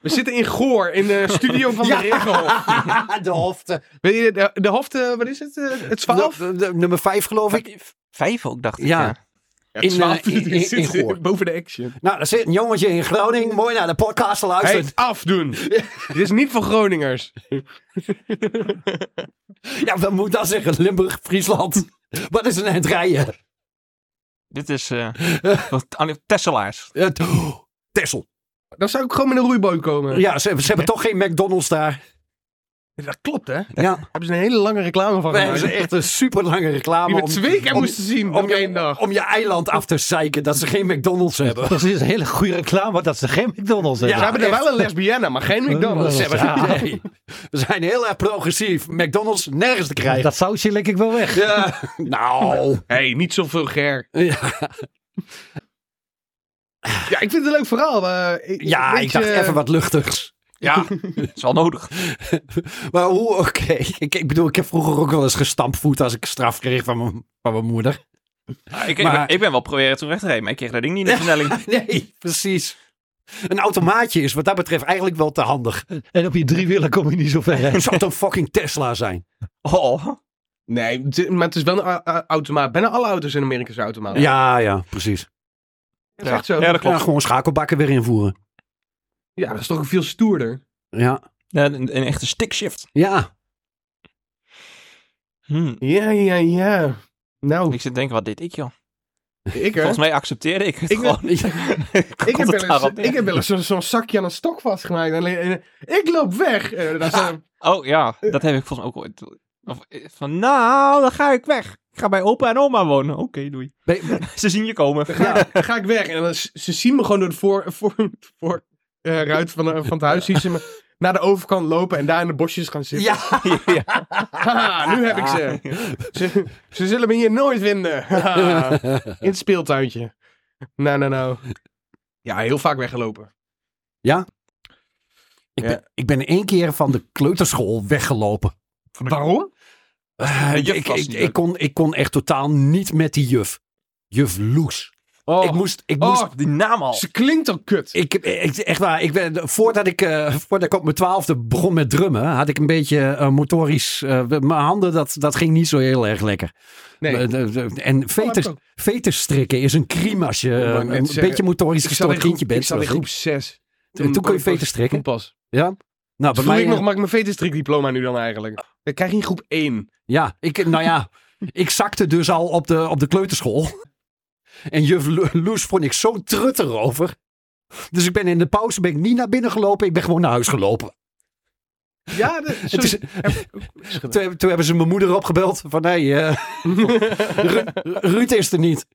[SPEAKER 4] We zitten in Goor, in de studio van
[SPEAKER 5] Ja.
[SPEAKER 4] de Regenhof.
[SPEAKER 5] de hofte.
[SPEAKER 4] Weet je, de, de Hofte, wat is het? eh, Het 12?
[SPEAKER 5] De- de- nummer 5 geloof ik.
[SPEAKER 3] Vijf ook, dacht ik.
[SPEAKER 5] Ja.
[SPEAKER 3] ja.
[SPEAKER 5] in, eh, in- in- in Goor.
[SPEAKER 4] boven de action.
[SPEAKER 5] Nou, er zit een jongetje in Groningen. Mooi naar de podcast te luisteren.
[SPEAKER 4] Hey, afdoen. Dit is niet voor Groningers.
[SPEAKER 5] Ja, wat moet ik dan zeggen? Limburg, Friesland. Wat is een eind rijden?
[SPEAKER 3] Dit is eh wat- Tesselaars.
[SPEAKER 5] Het- oh, Texel.
[SPEAKER 4] Dan zou ik gewoon met een roeiboot komen.
[SPEAKER 5] Ja, ze, ze hebben toch geen McDonald's daar.
[SPEAKER 4] Dat klopt, hè? Daar
[SPEAKER 5] Ja.
[SPEAKER 4] hebben ze een hele lange reclame van
[SPEAKER 5] We hebben ze
[SPEAKER 4] gemaakt.
[SPEAKER 5] echt een super lange reclame.
[SPEAKER 4] Die we
[SPEAKER 5] om-
[SPEAKER 4] twee keer
[SPEAKER 5] om-
[SPEAKER 4] moesten zien
[SPEAKER 5] om
[SPEAKER 4] op
[SPEAKER 5] je-
[SPEAKER 4] één dag.
[SPEAKER 5] Om je eiland af te zeiken dat ze geen McDonald's hebben.
[SPEAKER 6] Dat is een hele goede reclame dat ze geen McDonald's
[SPEAKER 4] Ze
[SPEAKER 6] hebben.
[SPEAKER 4] hebben er wel een lesbienne, maar geen McDonald's.
[SPEAKER 5] Ze
[SPEAKER 6] Ja.
[SPEAKER 5] hebben, nee. We zijn heel erg progressief. McDonald's nergens te krijgen.
[SPEAKER 6] Dat sausje lek ik wel weg.
[SPEAKER 5] Ja, nou.
[SPEAKER 4] Hé, hey, niet zo vulgair.
[SPEAKER 5] Ja,
[SPEAKER 4] Ja, ik vind het een leuk verhaal. eh, ik,
[SPEAKER 5] ja
[SPEAKER 4] weet
[SPEAKER 5] ik dacht
[SPEAKER 4] je-
[SPEAKER 5] even wat luchtigs.
[SPEAKER 3] Ja, is wel nodig.
[SPEAKER 5] Maar hoe, oké. Ik, ik bedoel, ik heb vroeger ook wel eens gestampvoet als ik straf kreeg van mijn, van mijn moeder.
[SPEAKER 3] Ik, ik,
[SPEAKER 5] Maar-
[SPEAKER 3] ben, ik ben wel proberen toen recht te rijden, maar ik kreeg dat ding niet in de versnelling.
[SPEAKER 5] Nee, precies. Een automaatje is wat dat betreft eigenlijk wel te handig.
[SPEAKER 6] En op je driewielen kom je niet zo ver. hè.
[SPEAKER 5] Het zou toch een fucking Tesla zijn?
[SPEAKER 3] Oh,
[SPEAKER 4] Nee, het is- maar het is wel een a- a- automaat. Bijna alle auto's in Amerika zijn
[SPEAKER 3] Oh,
[SPEAKER 4] automaat.
[SPEAKER 5] Ja, ja, precies.
[SPEAKER 4] dat is echt zo.
[SPEAKER 3] ja dat
[SPEAKER 5] Ja,
[SPEAKER 3] klopt.
[SPEAKER 5] gewoon schakelbakken weer invoeren.
[SPEAKER 4] Ja, dat is toch veel stoerder.
[SPEAKER 5] Ja,
[SPEAKER 3] Ja, een, een echte stickshift.
[SPEAKER 5] ja.
[SPEAKER 3] Hmm.
[SPEAKER 4] Ja, ja, ja. Nou,
[SPEAKER 3] Ik zit te denken, wat deed ik joh?
[SPEAKER 4] ik er.
[SPEAKER 3] Volgens mij accepteerde ik het
[SPEAKER 4] Ik wil-
[SPEAKER 3] gewoon.
[SPEAKER 4] Ik heb, wel eens,
[SPEAKER 3] daarop neer.
[SPEAKER 4] ik heb wel eens zo- zo'n zakje aan een stok vastgemaakt. En, en- ik loop weg. Eh, dat is, eh,
[SPEAKER 3] Oh ja, dat heb ik volgens mij ook ooit. Of, eh, van nou, dan ga ik weg. Ik ga bij opa en oma wonen. Oké, doei.
[SPEAKER 5] Ben-
[SPEAKER 3] Ze zien je komen.
[SPEAKER 4] ga, ga ik weg. En dan, s- ze zien me gewoon door de voor, voor, voor, eh, ruit van, eh, van het huis. Zien ze me naar de overkant lopen en daar in de bosjes gaan zitten.
[SPEAKER 5] Ja,
[SPEAKER 4] Haha, nu heb ik ze. ze. Ze zullen me hier nooit vinden. Haha, in het speeltuintje. Nou, nou, nou. Ja, heel vaak weggelopen.
[SPEAKER 5] ik
[SPEAKER 4] Ja.
[SPEAKER 5] ben, ik ben één keer van de kleuterschool weggelopen.
[SPEAKER 4] Waarom?
[SPEAKER 5] Eh,
[SPEAKER 3] De juf
[SPEAKER 5] ik,
[SPEAKER 3] was
[SPEAKER 5] ik,
[SPEAKER 3] niet
[SPEAKER 5] ik
[SPEAKER 3] leuk.
[SPEAKER 5] kon, ik kon echt totaal niet met die juf. Juf Loes.
[SPEAKER 4] Oh,
[SPEAKER 5] Ik moest, ik
[SPEAKER 4] Oh.
[SPEAKER 5] moest
[SPEAKER 3] Die naam al.
[SPEAKER 4] Ze klinkt al kut.
[SPEAKER 5] Ik, ik, echt waar, ik ben, voordat, ik, eh, voordat ik op mijn twaalfde begon met drummen, had ik een beetje eh, motorisch. eh, w- mijn handen, dat, dat ging niet zo heel erg lekker.
[SPEAKER 4] nee. Oh,
[SPEAKER 5] Eh, de- de- en vetus,
[SPEAKER 4] ik ook.
[SPEAKER 5] vetus strikken is een crime als je
[SPEAKER 4] Ik wou
[SPEAKER 5] eh,
[SPEAKER 4] net
[SPEAKER 5] een
[SPEAKER 4] zeggen,
[SPEAKER 5] beetje motorisch
[SPEAKER 4] Ik zat
[SPEAKER 5] gestoord
[SPEAKER 4] in groep-
[SPEAKER 5] kindje bent.
[SPEAKER 4] Ik zat in
[SPEAKER 5] zoals
[SPEAKER 4] groep 6.
[SPEAKER 5] ik. En toen kon je vetus strikken.
[SPEAKER 4] Pas.
[SPEAKER 5] Ja. Nou,
[SPEAKER 4] Toen
[SPEAKER 5] bij
[SPEAKER 4] ik
[SPEAKER 5] mij.
[SPEAKER 4] nog,
[SPEAKER 5] eh, Oh.
[SPEAKER 4] maak ik mijn veterstrikdiploma nu dan eigenlijk. Dan krijg je in groep 1.
[SPEAKER 5] Ja, ik, nou ja. Ik zakte dus al op de, op de kleuterschool. En juf Lo- Loes vond ik zo trutter over. Dus ik ben in de pauze ben ik niet naar binnen gelopen. Ik ben gewoon naar huis gelopen.
[SPEAKER 4] Ja, dat
[SPEAKER 5] Het is- Toen, toen hebben ze mijn moeder opgebeld. Van hé, hey, eh, Ru- Ruud is er niet.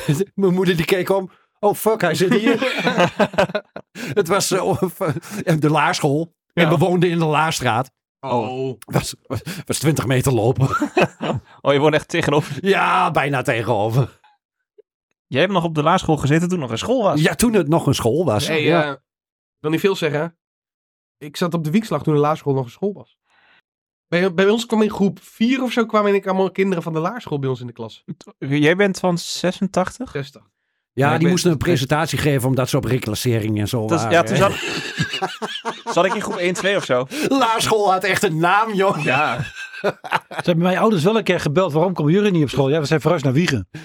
[SPEAKER 5] mijn moeder die keek om. Oh fuck, hij zit hier. Het was eh, of, eh, de laarschool. En we woonden in de Laarstraat.
[SPEAKER 4] Oh.
[SPEAKER 5] Was, was, was 20 meter lopen.
[SPEAKER 3] Oh, je woont echt tegenover.
[SPEAKER 5] ja, bijna tegenover.
[SPEAKER 3] Jij hebt nog op de laarschool gezeten toen nog een school was.
[SPEAKER 5] Ja, toen het nog een school was.
[SPEAKER 4] Hey,
[SPEAKER 5] ja.
[SPEAKER 4] eh, wil niet veel zeggen. Ik zat op de wiekslag toen de laarschool nog een school was. Bij, bij ons kwam in groep 4 of zo kwamen ik allemaal kinderen van de laarschool bij ons in de klas.
[SPEAKER 3] Jij bent van 86?
[SPEAKER 4] 60. Ja,
[SPEAKER 5] Ja,
[SPEAKER 4] ik
[SPEAKER 5] die
[SPEAKER 4] weet-
[SPEAKER 5] moesten een presentatie geven omdat ze op reclassering en zo
[SPEAKER 3] Dat is-
[SPEAKER 5] waren.
[SPEAKER 3] ja, toen
[SPEAKER 5] hè.
[SPEAKER 3] zat, zat ik in groep 1, 2 of zo.
[SPEAKER 5] Laarschool had echt een naam, joh.
[SPEAKER 4] Ja.
[SPEAKER 6] Ze hebben mijn ouders wel een keer gebeld. Waarom komen jullie niet op school? Ja, we zijn verhuisd naar Wiegen.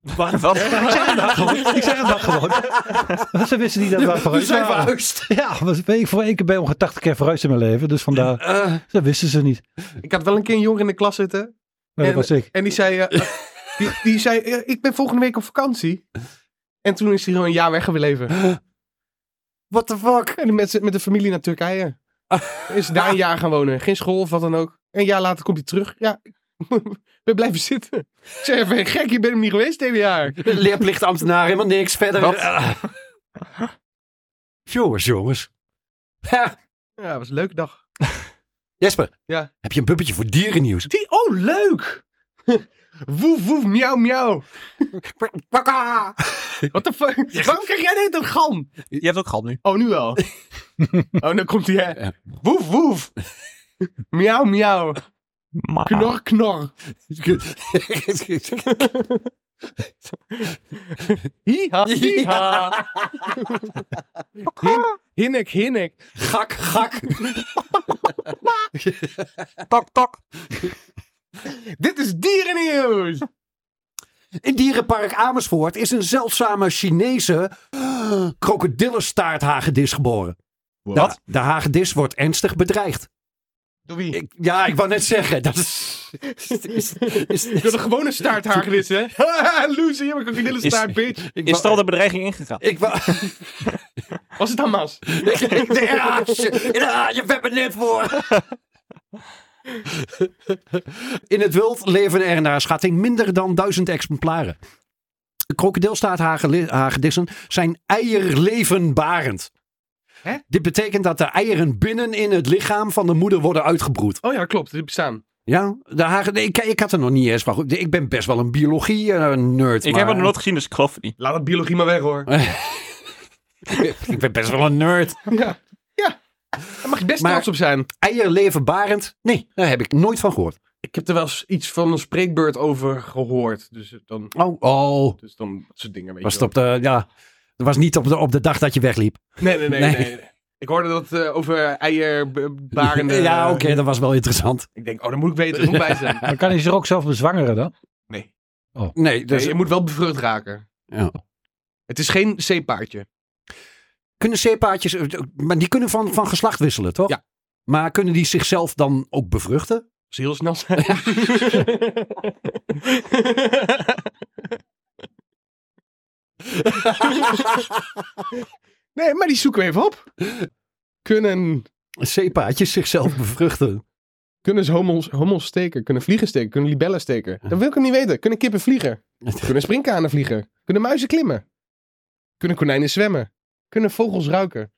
[SPEAKER 3] Wat?
[SPEAKER 6] Ik zeg het daar gewoon. Ik zeg het daar gewoon. Ze wisten niet dat we daar
[SPEAKER 5] We
[SPEAKER 6] verhuisd
[SPEAKER 5] zijn
[SPEAKER 6] waren.
[SPEAKER 5] verhuisd.
[SPEAKER 6] Ja, was, ben ik voor één keer bij ongeveer 80 keer verhuisd in mijn leven. Dus vandaar,
[SPEAKER 5] Eh,
[SPEAKER 6] dat wisten ze niet.
[SPEAKER 4] Ik had wel een keer een jongen in de klas zitten.
[SPEAKER 6] Maar dat was ik.
[SPEAKER 4] En die zei, eh, eh, die, die zei eh, ik ben volgende week op vakantie. En toen is hij gewoon een jaar weggebleven.
[SPEAKER 5] what the fuck?
[SPEAKER 4] En met, z'n- met de familie naar Turkije. Is daar een jaar gaan wonen. Geen school of wat dan ook. Een jaar later komt hij terug. Ja, we blijven zitten. Ik zeg even, gek, je bent hem niet geweest dit jaar.
[SPEAKER 5] Leerplichtambtenaar, helemaal niks verder. Eh. jongens, jongens. Ha,
[SPEAKER 4] Ja, dat was een leuke dag.
[SPEAKER 5] Jesper,
[SPEAKER 4] Ja.
[SPEAKER 5] heb je een puppetje voor dierennieuws?
[SPEAKER 4] Die, oh, leuk! woef, woef, miauw, miauw.
[SPEAKER 5] Kwakka!
[SPEAKER 4] What the fuck? Waarom krijg jij dit een galm?
[SPEAKER 3] Je hebt ook gehad nu.
[SPEAKER 4] Oh, nu wel. oh, dan komt hij, hè.
[SPEAKER 5] Ja.
[SPEAKER 4] Woef, woef. miauw, miauw.
[SPEAKER 3] Maar,
[SPEAKER 4] Knor, knor. Hiha, hiha. Hin- hinnik, hinnik.
[SPEAKER 5] gak, gak.
[SPEAKER 3] tok, tok.
[SPEAKER 4] Dit is dierennieuws.
[SPEAKER 5] In dierenpark Amersfoort is een zeldzame Chinese eh, krokodillenstaarthagedis geboren. Dat, de hagedis wordt ernstig bedreigd.
[SPEAKER 4] Door wie?
[SPEAKER 5] Ik, ja, ik wou net zeggen, dat is... is- is-
[SPEAKER 4] Door de gewone staarthagedis, hè? Haha, Lucy, je hebt een krokodillenstaart, bitch.
[SPEAKER 5] ik
[SPEAKER 3] Is er
[SPEAKER 5] wou-
[SPEAKER 3] al de bedreiging ingegaan?
[SPEAKER 5] Ik wou...
[SPEAKER 4] Was het Hamas?
[SPEAKER 5] ja, shit. Ja, je bent me net voor. In het wild leven er naar schatting minder dan duizend exemplaren. De krokodilstaathagedissen zijn eierlevenbarend.
[SPEAKER 4] Hè?
[SPEAKER 5] Dit betekent dat de eieren binnen in het lichaam van de moeder worden uitgebroed.
[SPEAKER 4] Oh ja, klopt. Die bestaan.
[SPEAKER 5] Ja, de hage- nee, ik, ik had er nog niet eens van. goed, Ik ben best wel een eh, biologie-nerd.
[SPEAKER 3] Ik heb het nog nooit gezien, dus ik geloof het niet.
[SPEAKER 4] Laat dat biologie maar weg, hoor.
[SPEAKER 5] Ik ben best wel een nerd.
[SPEAKER 4] Ja. Ja. Daar mag je best
[SPEAKER 5] Maar-
[SPEAKER 4] trots op zijn.
[SPEAKER 5] Eierlevenbarend? Nee, daar heb ik nooit van gehoord.
[SPEAKER 4] Ik heb er wel eens iets van een spreekbeurt over gehoord. Dus dan,
[SPEAKER 5] Oh, oh.
[SPEAKER 4] dus dan dat soort dingen. Weet
[SPEAKER 5] Was
[SPEAKER 4] je
[SPEAKER 5] het op de, ja, het was niet op de, op de dag dat je wegliep.
[SPEAKER 4] wel. Nee, nee, nee.
[SPEAKER 5] Nee.
[SPEAKER 4] nee. Ik hoorde dat eh, over eierbarende...
[SPEAKER 5] ja, oké, dat was wel interessant.
[SPEAKER 4] Ik denk, oh, dan moet ik weten. Daar moet ik bij zijn.
[SPEAKER 6] Dan kan hij zich ook zelf bezwangeren dan.
[SPEAKER 4] Nee.
[SPEAKER 5] Nee, dus,
[SPEAKER 4] Nee, je moet wel bevrucht raken.
[SPEAKER 5] Ja.
[SPEAKER 4] Het is geen zeepaardje.
[SPEAKER 5] kunnen zeepaardjes, eh, maar die kunnen van, van geslacht wisselen, toch?
[SPEAKER 4] Ja.
[SPEAKER 5] Maar kunnen die zichzelf dan ook bevruchten?
[SPEAKER 4] Dat is heel snel zijn. nee, maar die zoeken we even op. Kunnen,
[SPEAKER 5] Zeepaardjes zichzelf bevruchten.
[SPEAKER 4] kunnen ze hommels, hommels steken? Kunnen vliegen steken? Kunnen libellen steken? Dat wil ik hem niet weten. Kunnen kippen vliegen?
[SPEAKER 5] Eh,
[SPEAKER 4] Kunnen sprinkhanen vliegen? Kunnen muizen klimmen? Kunnen konijnen zwemmen? Kunnen vogels ruiken?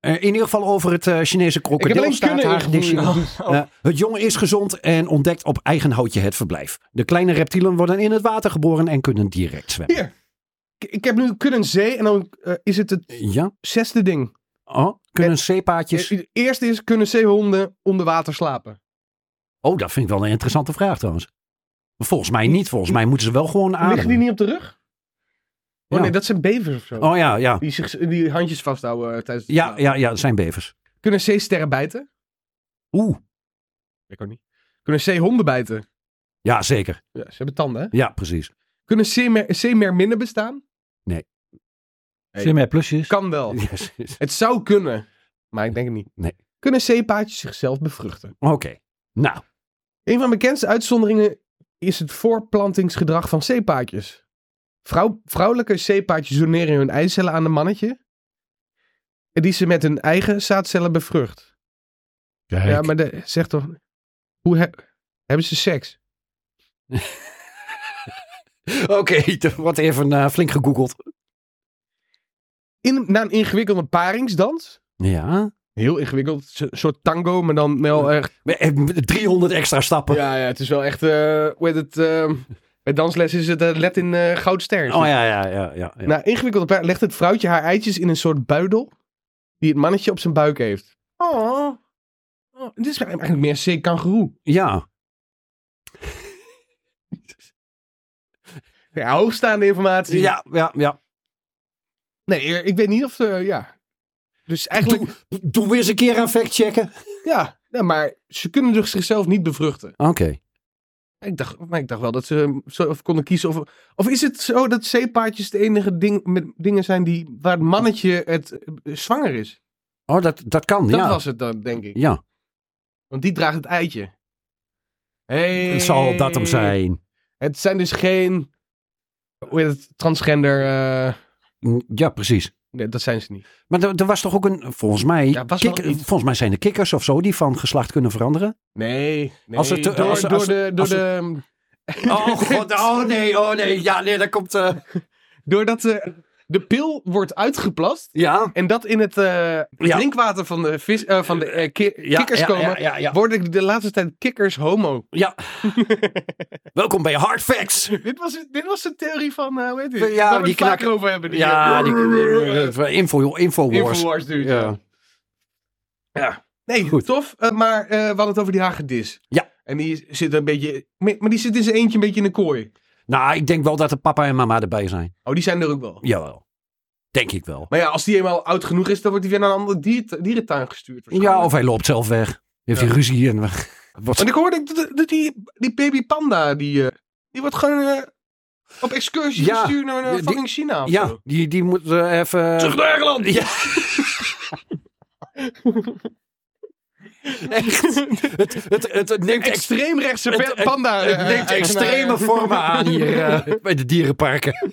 [SPEAKER 5] Eh, in ieder geval over het eh, Chinese krokodilstaarthagedis.
[SPEAKER 4] ingevoerd.
[SPEAKER 5] Ja, het jong is gezond en ontdekt op eigen houtje het verblijf. De kleine reptielen worden in het water geboren en kunnen direct zwemmen.
[SPEAKER 4] Hier. Ik, ik heb nu kunnen zee en dan eh, is het het
[SPEAKER 5] Ja?
[SPEAKER 4] zesde ding. Eh,
[SPEAKER 5] Oh, kunnen zeepaardjes...
[SPEAKER 4] Het eerste is, kunnen zeehonden onder water slapen?
[SPEAKER 5] Oh, dat vind ik wel een interessante vraag trouwens. Volgens mij niet. Volgens mij moeten ze wel gewoon
[SPEAKER 4] Liggen die
[SPEAKER 5] ademen.
[SPEAKER 4] niet op de rug? Oh
[SPEAKER 5] Ja.
[SPEAKER 4] nee, dat zijn bevers of zo.
[SPEAKER 5] Oh ja, ja.
[SPEAKER 4] Die, zich, die handjes vasthouden eh, tijdens het
[SPEAKER 5] Ja,
[SPEAKER 4] slapen.
[SPEAKER 5] ja, ja, het zijn bevers.
[SPEAKER 4] Kunnen zeesterren bijten?
[SPEAKER 5] Oeh.
[SPEAKER 4] Ik ook niet. Kunnen zeehonden bijten?
[SPEAKER 5] Ja, zeker.
[SPEAKER 4] Ja, ze hebben tanden, hè?
[SPEAKER 5] Ja, precies.
[SPEAKER 4] Kunnen zeemer, zeemerminnen bestaan? Hey.
[SPEAKER 6] Zie je mijn plusjes?
[SPEAKER 4] Kan wel.
[SPEAKER 5] Ja, precies.
[SPEAKER 4] Het zou kunnen, maar ik denk het niet.
[SPEAKER 5] Nee.
[SPEAKER 4] Kunnen zeepaardjes zichzelf bevruchten?
[SPEAKER 5] Oké. Nou,
[SPEAKER 4] Een van de bekendste uitzonderingen is het voorplantingsgedrag van zeepaadjes. Vrouw, vrouwelijke zeepaadjes doneren hun eicellen aan een mannetje. en Die ze met hun eigen zaadcellen bevrucht.
[SPEAKER 6] Kijk.
[SPEAKER 4] Ja, maar de, zeg toch. Hoe he- hebben ze seks?
[SPEAKER 5] Oké, er wordt even eh, flink gegoogeld.
[SPEAKER 4] In, na een ingewikkelde paringsdans.
[SPEAKER 5] Ja.
[SPEAKER 4] Heel ingewikkeld. so- soort tango, maar dan wel echt.
[SPEAKER 5] Maar, eh, 300 extra stappen.
[SPEAKER 4] Ja, ja, het is wel echt. eh, hoe heet het? eh, bij dansles is het eh, let in eh goudster.
[SPEAKER 5] Oh ja, ja, ja. ja, ja.
[SPEAKER 4] Na ingewikkelde paar legt het vrouwtje haar eitjes in een soort buidel. die het mannetje op zijn buik heeft. Oh. Oh, dit is eigenlijk meer zeer kangeroe.
[SPEAKER 5] ja.
[SPEAKER 4] Ja, hoogstaande informatie.
[SPEAKER 5] Ja, ja, ja.
[SPEAKER 4] Nee, eh, ik weet niet of. eh, ja. Dus eigenlijk.
[SPEAKER 5] Doe, doe weer eens een keer aan factchecken.
[SPEAKER 4] Ja, ja, maar ze kunnen dus zichzelf niet bevruchten.
[SPEAKER 5] Oké.
[SPEAKER 4] Ik dacht, maar ik dacht wel dat ze eh, zo- of konden kiezen. Of, of is het zo dat zeepaardjes de enige ding, met, dingen zijn die, waar het mannetje het, eh, zwanger is?
[SPEAKER 5] Oh, dat, dat kan,
[SPEAKER 4] Dat
[SPEAKER 5] ja.
[SPEAKER 4] was het dan, denk ik.
[SPEAKER 5] Ja,
[SPEAKER 4] Want die draagt het eitje. Hey.
[SPEAKER 5] het zal dat hem zijn.
[SPEAKER 4] Het zijn dus geen. Hoe heet het? Transgender. eh,
[SPEAKER 5] Mm, Ja, precies.
[SPEAKER 4] nee, dat zijn ze niet.
[SPEAKER 5] Maar er, er was toch ook een, volgens mij,
[SPEAKER 4] Ja, was wel
[SPEAKER 5] kik-
[SPEAKER 4] iets.
[SPEAKER 5] volgens mij zijn er kikkers of zo die van geslacht kunnen veranderen.
[SPEAKER 4] Nee. nee.
[SPEAKER 5] Als het, eh,
[SPEAKER 4] door,
[SPEAKER 5] als-
[SPEAKER 4] door
[SPEAKER 5] als-
[SPEAKER 4] de. ehm, Door de
[SPEAKER 5] als- Oh god, oh nee, oh nee. Ja, nee, dat komt... eh,
[SPEAKER 4] doordat de, de pil wordt uitgeplast.
[SPEAKER 5] Ja.
[SPEAKER 4] En dat in het eh,
[SPEAKER 5] Ja.
[SPEAKER 4] drinkwater van de, vis, eh, van de eh, ki-
[SPEAKER 5] Ja,
[SPEAKER 4] kikkers
[SPEAKER 5] ja,
[SPEAKER 4] komen.
[SPEAKER 5] Ja, ja, ja.
[SPEAKER 4] Worden de laatste tijd kikkers homo?
[SPEAKER 5] Ja. Welkom bij Hard Facts.
[SPEAKER 4] dit, was, dit was de theorie van, eh hoe heet
[SPEAKER 5] Ja,
[SPEAKER 4] het? Waar we het
[SPEAKER 5] die
[SPEAKER 4] vaker
[SPEAKER 5] knakker.
[SPEAKER 4] over hebben. Die eh,
[SPEAKER 5] Ja, die, eh, info, Infowars.
[SPEAKER 4] Infowars dude.
[SPEAKER 5] Ja.
[SPEAKER 4] Ja. ja. Nee,
[SPEAKER 5] Goed.
[SPEAKER 4] tof. eh, maar eh, we hadden het over die hagedis.
[SPEAKER 5] Ja.
[SPEAKER 4] En die zit een beetje... Maar maar die zit in zijn eentje een beetje in een kooi.
[SPEAKER 5] Nou, ik denk wel dat er papa en mama erbij zijn.
[SPEAKER 4] Oh, die zijn er ook wel.
[SPEAKER 5] Jawel. Denk ik wel.
[SPEAKER 4] Maar ja, als die eenmaal oud genoeg is, dan wordt hij weer naar een andere dier- dierentuin gestuurd. waarschijnlijk.
[SPEAKER 5] Ja, of hij loopt zelf weg. Heeft hij ruzie en wat?
[SPEAKER 4] Want ik hoorde dat, dat die, die baby panda, die, eh, die wordt gewoon eh, op excursie
[SPEAKER 5] Ja,
[SPEAKER 4] gestuurd naar eh,
[SPEAKER 5] die-
[SPEAKER 4] fucking China of
[SPEAKER 5] Ja,
[SPEAKER 4] zo.
[SPEAKER 5] die, die moet eh, even...
[SPEAKER 4] Terug naar Engeland!
[SPEAKER 5] Ja. Echt. Het, het, het, het neemt extreem.
[SPEAKER 4] Extreemrechtse
[SPEAKER 5] Het-
[SPEAKER 4] pe- panda.
[SPEAKER 5] Het
[SPEAKER 4] eh,
[SPEAKER 5] neemt
[SPEAKER 4] eigenaar.
[SPEAKER 5] extreme vormen aan hier eh, bij de dierenparken.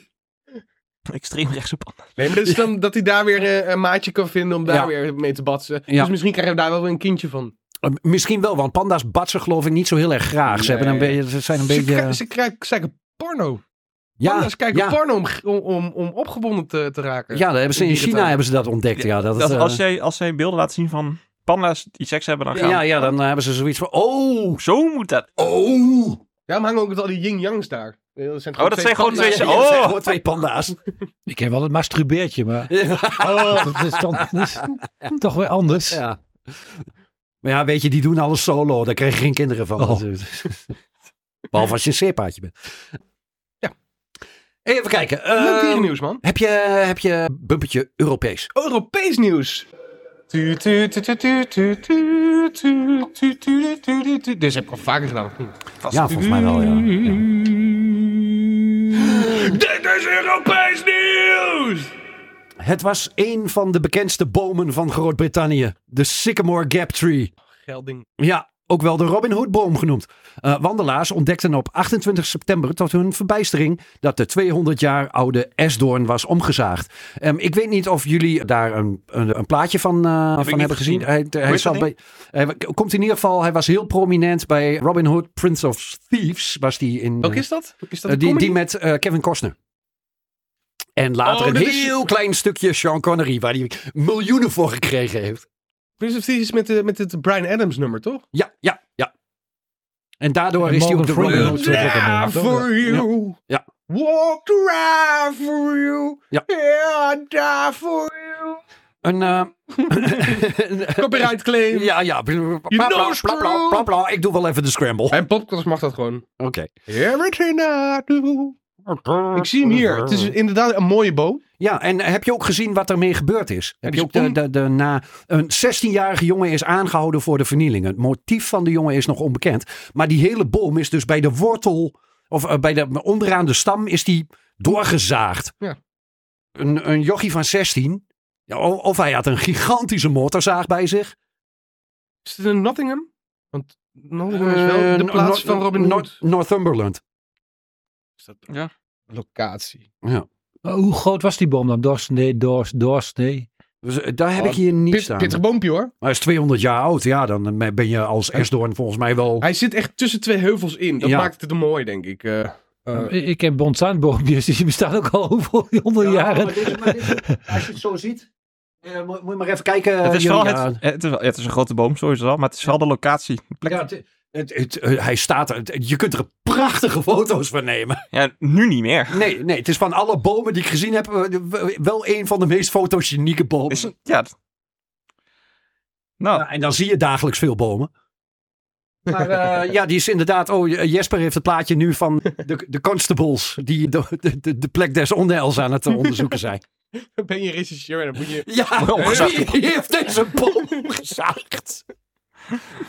[SPEAKER 3] Extreem rechtse panda.
[SPEAKER 4] Nee, maar dat is dan dat hij daar weer eh, een maatje kan vinden om daar
[SPEAKER 5] Ja.
[SPEAKER 4] weer mee te batsen.
[SPEAKER 5] Ja.
[SPEAKER 4] Dus misschien krijgen we daar wel weer een kindje van.
[SPEAKER 5] Eh, Misschien wel, want panda's batsen geloof ik niet zo heel erg graag. Ze, hebben een
[SPEAKER 4] Nee.
[SPEAKER 5] beetje, ze zijn een
[SPEAKER 4] Ze, kri-
[SPEAKER 5] beetje... eh,
[SPEAKER 4] ze krijgen, ze kijken porno.
[SPEAKER 5] Ja,
[SPEAKER 4] Panda's kijken
[SPEAKER 5] ja,
[SPEAKER 4] porno om, om, om, om opgewonden te, te raken.
[SPEAKER 5] ja, dat hebben ze in
[SPEAKER 4] Dierentuin.
[SPEAKER 5] China hebben ze dat ontdekt. Ja, dat, het,
[SPEAKER 3] Dat,
[SPEAKER 5] eh,
[SPEAKER 3] als, jij, als jij beelden laat zien van panda's die seks hebben, dan gaan
[SPEAKER 5] ja, ja, dan hebben ze zoiets van... Oh,
[SPEAKER 3] Zo moet dat.
[SPEAKER 5] oh.
[SPEAKER 4] Daarom hangen ook al die yin-yangs daar. Eh, Dat zijn
[SPEAKER 3] Oh, dat zijn gewoon
[SPEAKER 4] panda's.
[SPEAKER 3] twee-
[SPEAKER 5] dat zijn
[SPEAKER 3] oh.
[SPEAKER 5] gewoon twee panda's.
[SPEAKER 6] Ik heb wel het masturbeertje, maar
[SPEAKER 4] Oh.
[SPEAKER 6] dat is dan dat is toch weer anders.
[SPEAKER 5] Ja. Maar ja, weet je, die doen alles solo. Daar krijg je geen kinderen van.
[SPEAKER 6] Oh.
[SPEAKER 5] Behalve als je een zeepaardje bent.
[SPEAKER 4] Ja.
[SPEAKER 5] Even kijken. eh,
[SPEAKER 4] Leuk dierennieuws, man.
[SPEAKER 5] heb, je, heb je bumpertje Europees?
[SPEAKER 4] Europees nieuws. Tu, tu, tu, tu, tu, tu, tu, tu, tu, tu, tu, tu, tu. Dit heb ik al vaker gedaan. of niet?
[SPEAKER 5] Ja, volgens mij wel, ja.
[SPEAKER 4] Mm-hmm.
[SPEAKER 5] ja.
[SPEAKER 4] Dit is Europees nieuws!
[SPEAKER 5] Het was een van de bekendste bomen van Groot-Brittannië. De Sycamore Gap Tree.
[SPEAKER 4] Gelding.
[SPEAKER 5] Ja, ook wel de Robin Hood-boom genoemd. Eh, wandelaars ontdekten op 28 september tot hun verbijstering dat de 200 jaar oude esdoorn was omgezaagd. Ehm, ik weet niet of jullie daar een, een, een plaatje van, eh, van
[SPEAKER 3] niet
[SPEAKER 5] hebben gezien.
[SPEAKER 3] gezien.
[SPEAKER 5] Hij, hij,
[SPEAKER 3] dat
[SPEAKER 5] zat bij, hij komt in ieder geval, hij was heel prominent bij Robin Hood, Prince of Thieves, was die in.
[SPEAKER 4] Welke is dat? Is dat
[SPEAKER 5] Eh,
[SPEAKER 4] een
[SPEAKER 5] die,
[SPEAKER 4] comedy?
[SPEAKER 5] die met eh, Kevin Costner. En later
[SPEAKER 4] Oh,
[SPEAKER 5] een
[SPEAKER 4] dat
[SPEAKER 5] heel
[SPEAKER 4] is-
[SPEAKER 5] klein stukje Sean Connery, waar hij miljoenen voor gekregen heeft.
[SPEAKER 4] Prince of Thieves is met, de, met het Brian Adams nummer, toch?
[SPEAKER 5] Ja, ja, ja. En daardoor
[SPEAKER 6] En
[SPEAKER 5] is hij op de
[SPEAKER 6] Morgan
[SPEAKER 5] Robin
[SPEAKER 6] Freeman.
[SPEAKER 5] Hood. eh,
[SPEAKER 6] Ja.
[SPEAKER 4] Ah,
[SPEAKER 6] dat-
[SPEAKER 4] for you.
[SPEAKER 5] Ja.
[SPEAKER 4] Walk around for you.
[SPEAKER 5] Ja.
[SPEAKER 4] Yeah, I die for you.
[SPEAKER 5] Een, eh,
[SPEAKER 4] Copyright claim.
[SPEAKER 5] ja, ja. Bla, bla, bla, bla, bla, bla, bla. Ik doe wel even de scramble. Oké.
[SPEAKER 4] En podcast mag dat gewoon. Everything I do. Ik zie hem hier. Het is inderdaad een mooie boom.
[SPEAKER 5] Ja, en heb je ook gezien wat ermee gebeurd is? Heb
[SPEAKER 4] die
[SPEAKER 5] je ook de,
[SPEAKER 4] om-
[SPEAKER 5] de, de- na, een 16-jarige jongen is aangehouden voor de vernieling. Het motief van de jongen is nog onbekend. Maar die hele boom is dus bij de wortel, of eh, bij de, onderaan de stam, is die doorgezaagd.
[SPEAKER 4] Ja.
[SPEAKER 5] Een, een jochie van 16. Ja, o- of hij had een gigantische motorzaag bij zich.
[SPEAKER 4] Is het in Nottingham? Want Nottingham is wel de
[SPEAKER 5] Eh,
[SPEAKER 4] plaats
[SPEAKER 5] Nor-
[SPEAKER 4] van Robin
[SPEAKER 5] Nor-
[SPEAKER 4] Hood.
[SPEAKER 5] Northumberland.
[SPEAKER 4] Is dat
[SPEAKER 3] Ja.
[SPEAKER 4] locatie?
[SPEAKER 6] Maar hoe groot was die boom dan? Doorsnee, doors, doorsnee.
[SPEAKER 5] Dus, eh, daar heb ik hier niet
[SPEAKER 4] Pit,
[SPEAKER 5] staan.
[SPEAKER 4] pittig boompje hoor.
[SPEAKER 5] Maar hij is 200 jaar oud. Ja, dan eh, ben je als Esdoorn volgens mij wel...
[SPEAKER 4] Hij zit echt tussen twee heuvels in. Dat
[SPEAKER 5] Ja.
[SPEAKER 4] maakt het mooi, denk ik. Eh, eh,
[SPEAKER 6] Ik ik ken bonsaanboompjes, die bestaan ook al hoeveel honderd jaren.
[SPEAKER 5] als je het zo ziet... eh, moet je maar even kijken.
[SPEAKER 3] het, is wel het, eh, het, is wel- het is een grote boom sowieso al, maar het is wel de locatie. De plek.
[SPEAKER 5] Ja,
[SPEAKER 3] Ja,
[SPEAKER 5] het, het- het- eh, hij staat er. Het- Je kunt er prachtige foto's van nemen.
[SPEAKER 3] nu niet meer.
[SPEAKER 5] Nee, nee, het is van alle bomen die ik gezien heb... eh, w- wel een van de meest fotogenieke bomen.
[SPEAKER 3] Is, ja. dat- Nou,
[SPEAKER 5] Nou, en dan zie je dagelijks veel bomen. Maar eh, ja, die is inderdaad... Oh, Jesper heeft het plaatje nu van de, de constables... die de, de, de plek des onheils aan het eh, onderzoeken zijn.
[SPEAKER 4] ben je regisseur en dan moet je...
[SPEAKER 5] Ja,
[SPEAKER 3] omgezaagd.
[SPEAKER 5] wie heeft deze boom omgezaagd?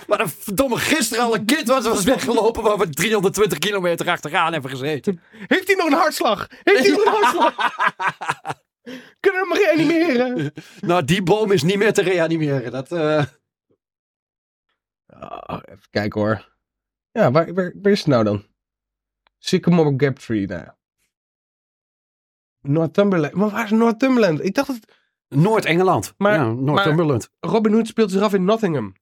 [SPEAKER 5] Maar een verdomme gisteren al een kind was, was weggelopen... waar we 320 kilometer achteraan hebben gezeten.
[SPEAKER 4] Heeft hij nog een hartslag? Heeft hij nog een hartslag? Kunnen we hem reanimeren?
[SPEAKER 5] Nou, die boom is niet meer te reanimeren. Dat, eh,
[SPEAKER 4] Ah, even kijken hoor. Ja, waar, waar, waar is het nou dan? Sycamore Gap Tree, nou ja. Northumberland. Maar waar is Northumberland? Ik dacht dat
[SPEAKER 5] Noord-Engeland.
[SPEAKER 4] Maar-
[SPEAKER 5] ja, Noord-Cumberland.
[SPEAKER 4] Robin Hood speelt zich af in Nottingham.